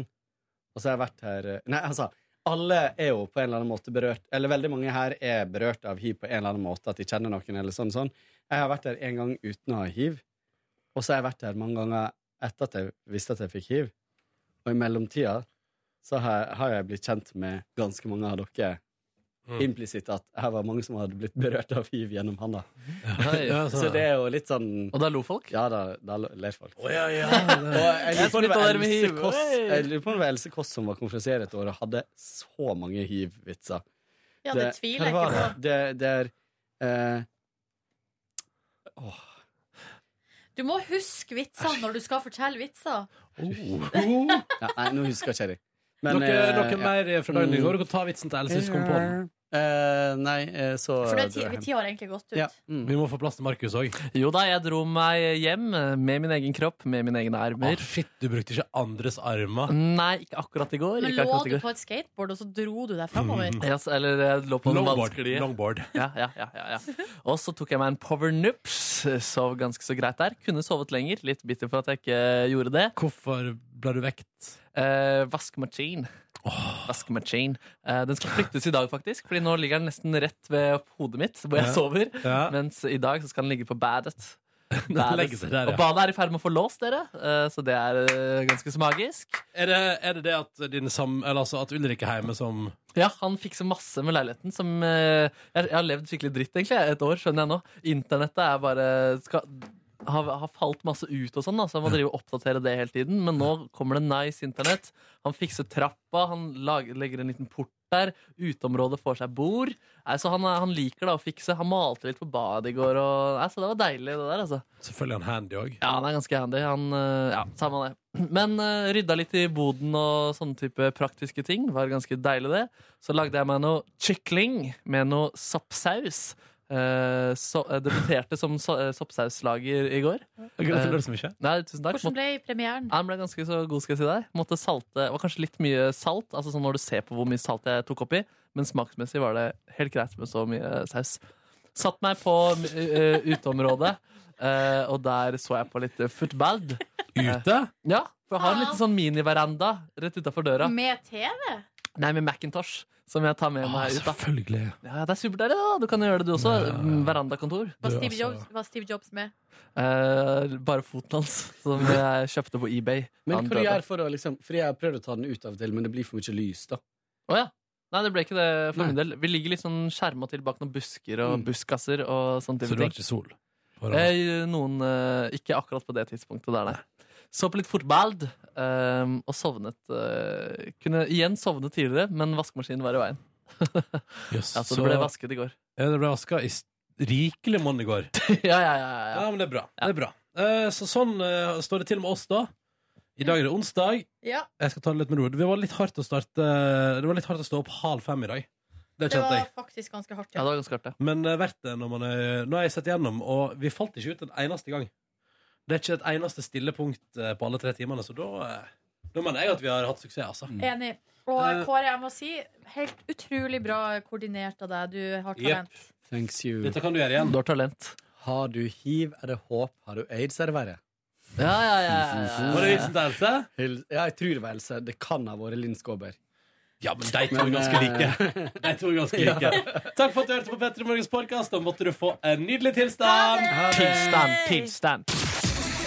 [SPEAKER 13] Og så har jeg vært her Nei, altså, alle er jo på en eller annen måte berørt Eller veldig mange her er berørt av hiv på en eller annen måte, at de kjenner noen eller sånn. sånn. Jeg har vært her én gang uten å ha hiv, og så har jeg vært her mange ganger etter at jeg visste at jeg fikk hiv. Og i mellomtida så har jeg, har jeg blitt kjent med ganske mange av dere
[SPEAKER 2] Mm.
[SPEAKER 13] Implisitt at her var mange som hadde blitt berørt av hiv gjennom handa. <laughs>
[SPEAKER 5] Ja,
[SPEAKER 13] så
[SPEAKER 5] sånn.
[SPEAKER 13] det er jo litt sånn
[SPEAKER 5] Og da lo folk?
[SPEAKER 13] Ja, da, da lo- ler folk.
[SPEAKER 5] ja, ja.
[SPEAKER 13] <laughs> Og jeg lurer på om det
[SPEAKER 5] Jeg
[SPEAKER 13] var
[SPEAKER 5] smittet dere med
[SPEAKER 13] Else
[SPEAKER 5] hiv.
[SPEAKER 13] Kåss
[SPEAKER 5] Hey.
[SPEAKER 13] Jeg lurer på om det var Else Kåss som var konferansier et år og hadde så mange hiv-vitser.
[SPEAKER 3] Ja, det tviler jeg
[SPEAKER 13] hva
[SPEAKER 3] ikke
[SPEAKER 13] var Det, det er eh,
[SPEAKER 3] Du må huske vitsene når du skal fortelle vitser.
[SPEAKER 5] Oh.
[SPEAKER 13] ja, Nei, nå husker jeg eh, ikke jeg.
[SPEAKER 2] Noe- noe mer fra gangen i går? Du kan ta vitsen til Else hvis du kommer på den.
[SPEAKER 13] Mm. Eh, nei, eh, så
[SPEAKER 3] For det ti tida har egentlig gått ut.
[SPEAKER 13] Mm.
[SPEAKER 2] Vi må få plass til Markus òg.
[SPEAKER 5] Jo da, jeg dro meg hjem eh, med min egen kropp, med mine egne armer.
[SPEAKER 2] shit, du brukte ikke andres armer?
[SPEAKER 5] Nei, ikke akkurat i går.
[SPEAKER 3] Men lå
[SPEAKER 5] ikke akkurat i
[SPEAKER 3] du
[SPEAKER 5] går.
[SPEAKER 3] på et skateboard, og så dro du deg framover?
[SPEAKER 13] Mm.
[SPEAKER 5] Ja, så- eller jeg lå på en
[SPEAKER 2] Mm. Longboard,
[SPEAKER 5] vannsklie.
[SPEAKER 2] longboard.
[SPEAKER 5] Ja, ja, ja, ja, ja. Og så tok jeg meg en power nups. eh, Sov ganske så greit der. Kunne sovet lenger. Litt bitter for at jeg ikke eh, gjorde det.
[SPEAKER 2] Hvorfor ble du vekt?
[SPEAKER 5] Eh, vaskemaskin. Vaskemaskin. Eh, den skal flyttes i dag, faktisk. Fordi nå ligger den nesten rett ved hodet mitt, hvor jeg
[SPEAKER 2] Ja.
[SPEAKER 5] sover.
[SPEAKER 2] Ja.
[SPEAKER 5] Mens i dag så skal den ligge på
[SPEAKER 2] <laughs>
[SPEAKER 5] badet.
[SPEAKER 2] legger seg der, ja.
[SPEAKER 5] Og badet er i ferd med å få lås, dere. Eh, så det er eh, ganske så magisk.
[SPEAKER 2] Er det er det, det at, din sam, eller altså at Ulrik er hjemme som
[SPEAKER 5] Ja, han fikser masse med leiligheten som eh, jeg, jeg har levd skikkelig dritt, egentlig. Et år, skjønner jeg nå. Internettet er bare skal, har, har falt masse ut og sånn, da, så jeg må drive og oppdatere det hele tiden. Men nå kommer det nice internett. Han fikser trappa, han lager, legger en liten port der. Uteområdet får seg bord. Nei, så han, er- han liker da å fikse. Han malte litt på badet i går, og nei, så det var deilig, det der, altså.
[SPEAKER 2] Selvfølgelig er han handy òg.
[SPEAKER 5] Ja, han er ganske handy. Han, eh, ja, samme det. <clears throat> Men eh, rydda litt i boden og sånne type praktiske ting. Var ganske deilig, det. Så lagde jeg meg noe kykling med noe soppsaus. Eh, så, eh, debuterte som so eh, soppsauslager i går.
[SPEAKER 2] Gratulerer
[SPEAKER 5] Eh,
[SPEAKER 2] så mye.
[SPEAKER 5] Nei, tusen takk.
[SPEAKER 3] Hvordan ble premieren?
[SPEAKER 5] Ja, Den ble ganske så god, skal jeg si deg. Måtte salte, det var kanskje litt mye salt, altså sånn når du ser på hvor mye salt jeg tok oppi, men smaksmessig var det helt greit med så mye saus. Satt meg på eh, uteområdet, <laughs> eh, og der så jeg på litt football. Eh,
[SPEAKER 2] Ute?
[SPEAKER 5] ja, for jeg har en liten sånn miniveranda rett utafor døra.
[SPEAKER 3] Med TV?
[SPEAKER 5] Nei, med Macintosh, som jeg tar med meg ut. da.
[SPEAKER 2] Selvfølgelig.
[SPEAKER 5] Ja, det er superdeilig, da. Du kan gjøre det, du også. Mm, Verandakontor.
[SPEAKER 3] Var Steve,
[SPEAKER 13] altså-
[SPEAKER 3] Jobs, var Steve Jobs med?
[SPEAKER 5] Eh, bare foten hans, som jeg kjøpte på eBay.
[SPEAKER 13] Men hva
[SPEAKER 5] Han
[SPEAKER 13] du
[SPEAKER 5] døde.
[SPEAKER 13] gjør for å liksom Fordi jeg har prøvd å ta den ut av og til, men det blir for mye lys, da.
[SPEAKER 5] Å ja. Nei, det ble ikke det for min del. Vi ligger litt sånn skjerma til bak noen busker og
[SPEAKER 13] Mm.
[SPEAKER 5] buskaser og
[SPEAKER 2] Så
[SPEAKER 5] sånne type
[SPEAKER 2] du har
[SPEAKER 5] ting.
[SPEAKER 2] ikke sol?
[SPEAKER 5] Eh, noen eh, Ikke akkurat på det tidspunktet der, nei. Så på litt fotball eh, og sovnet. eh, kunne igjen sovne tidligere, men vaskemaskinen var i veien. <laughs>
[SPEAKER 2] Yes,
[SPEAKER 5] Ja, så det ble vasket i går. <laughs>
[SPEAKER 2] Ja, det ble vaska i s- rikelig monn i går.
[SPEAKER 5] ja, ja, ja,
[SPEAKER 2] ja. men det er bra. Det er bra. Eh, så sånn eh, står det til med oss, da. I dag er det onsdag.
[SPEAKER 3] Ja.
[SPEAKER 2] Jeg skal ta det litt med ro. Det var litt hardt å starte Det var litt hardt å stå opp halv fem i dag. Det
[SPEAKER 3] Det
[SPEAKER 2] kjente jeg.
[SPEAKER 3] var faktisk ganske hardt. Ja.
[SPEAKER 5] ganske hardt,
[SPEAKER 2] Men eh, verdt det når man er Nå har jeg sett gjennom, og vi falt ikke ut en eneste gang. Det er ikke et eneste stille punkt eh, på alle tre timene, så da eh, Da mener jeg at vi har hatt suksess, altså.
[SPEAKER 3] Mm. Enig. Og
[SPEAKER 2] Eh.
[SPEAKER 3] Kåre, jeg må si, helt utrolig bra koordinert av deg. Du har talent.
[SPEAKER 13] Thanks you.
[SPEAKER 2] Dette kan du gjøre igjen.
[SPEAKER 5] Du har talent.
[SPEAKER 13] Har du hiv, er det håp. Har du aids, er det verre.
[SPEAKER 5] Ja, ja, ja.
[SPEAKER 2] Var det hilsen til Else?
[SPEAKER 13] Ja, jeg tror det var Else. Det kan ha vært Linn Skåber.
[SPEAKER 2] Ja, men de to er
[SPEAKER 13] eh,
[SPEAKER 2] ganske like.
[SPEAKER 13] <laughs>
[SPEAKER 2] De to er ganske like. Takk for at du hørte på Petter i Morgens podkast, og måtte du få en nydelig tilstand.
[SPEAKER 5] Tilstand, tilstand.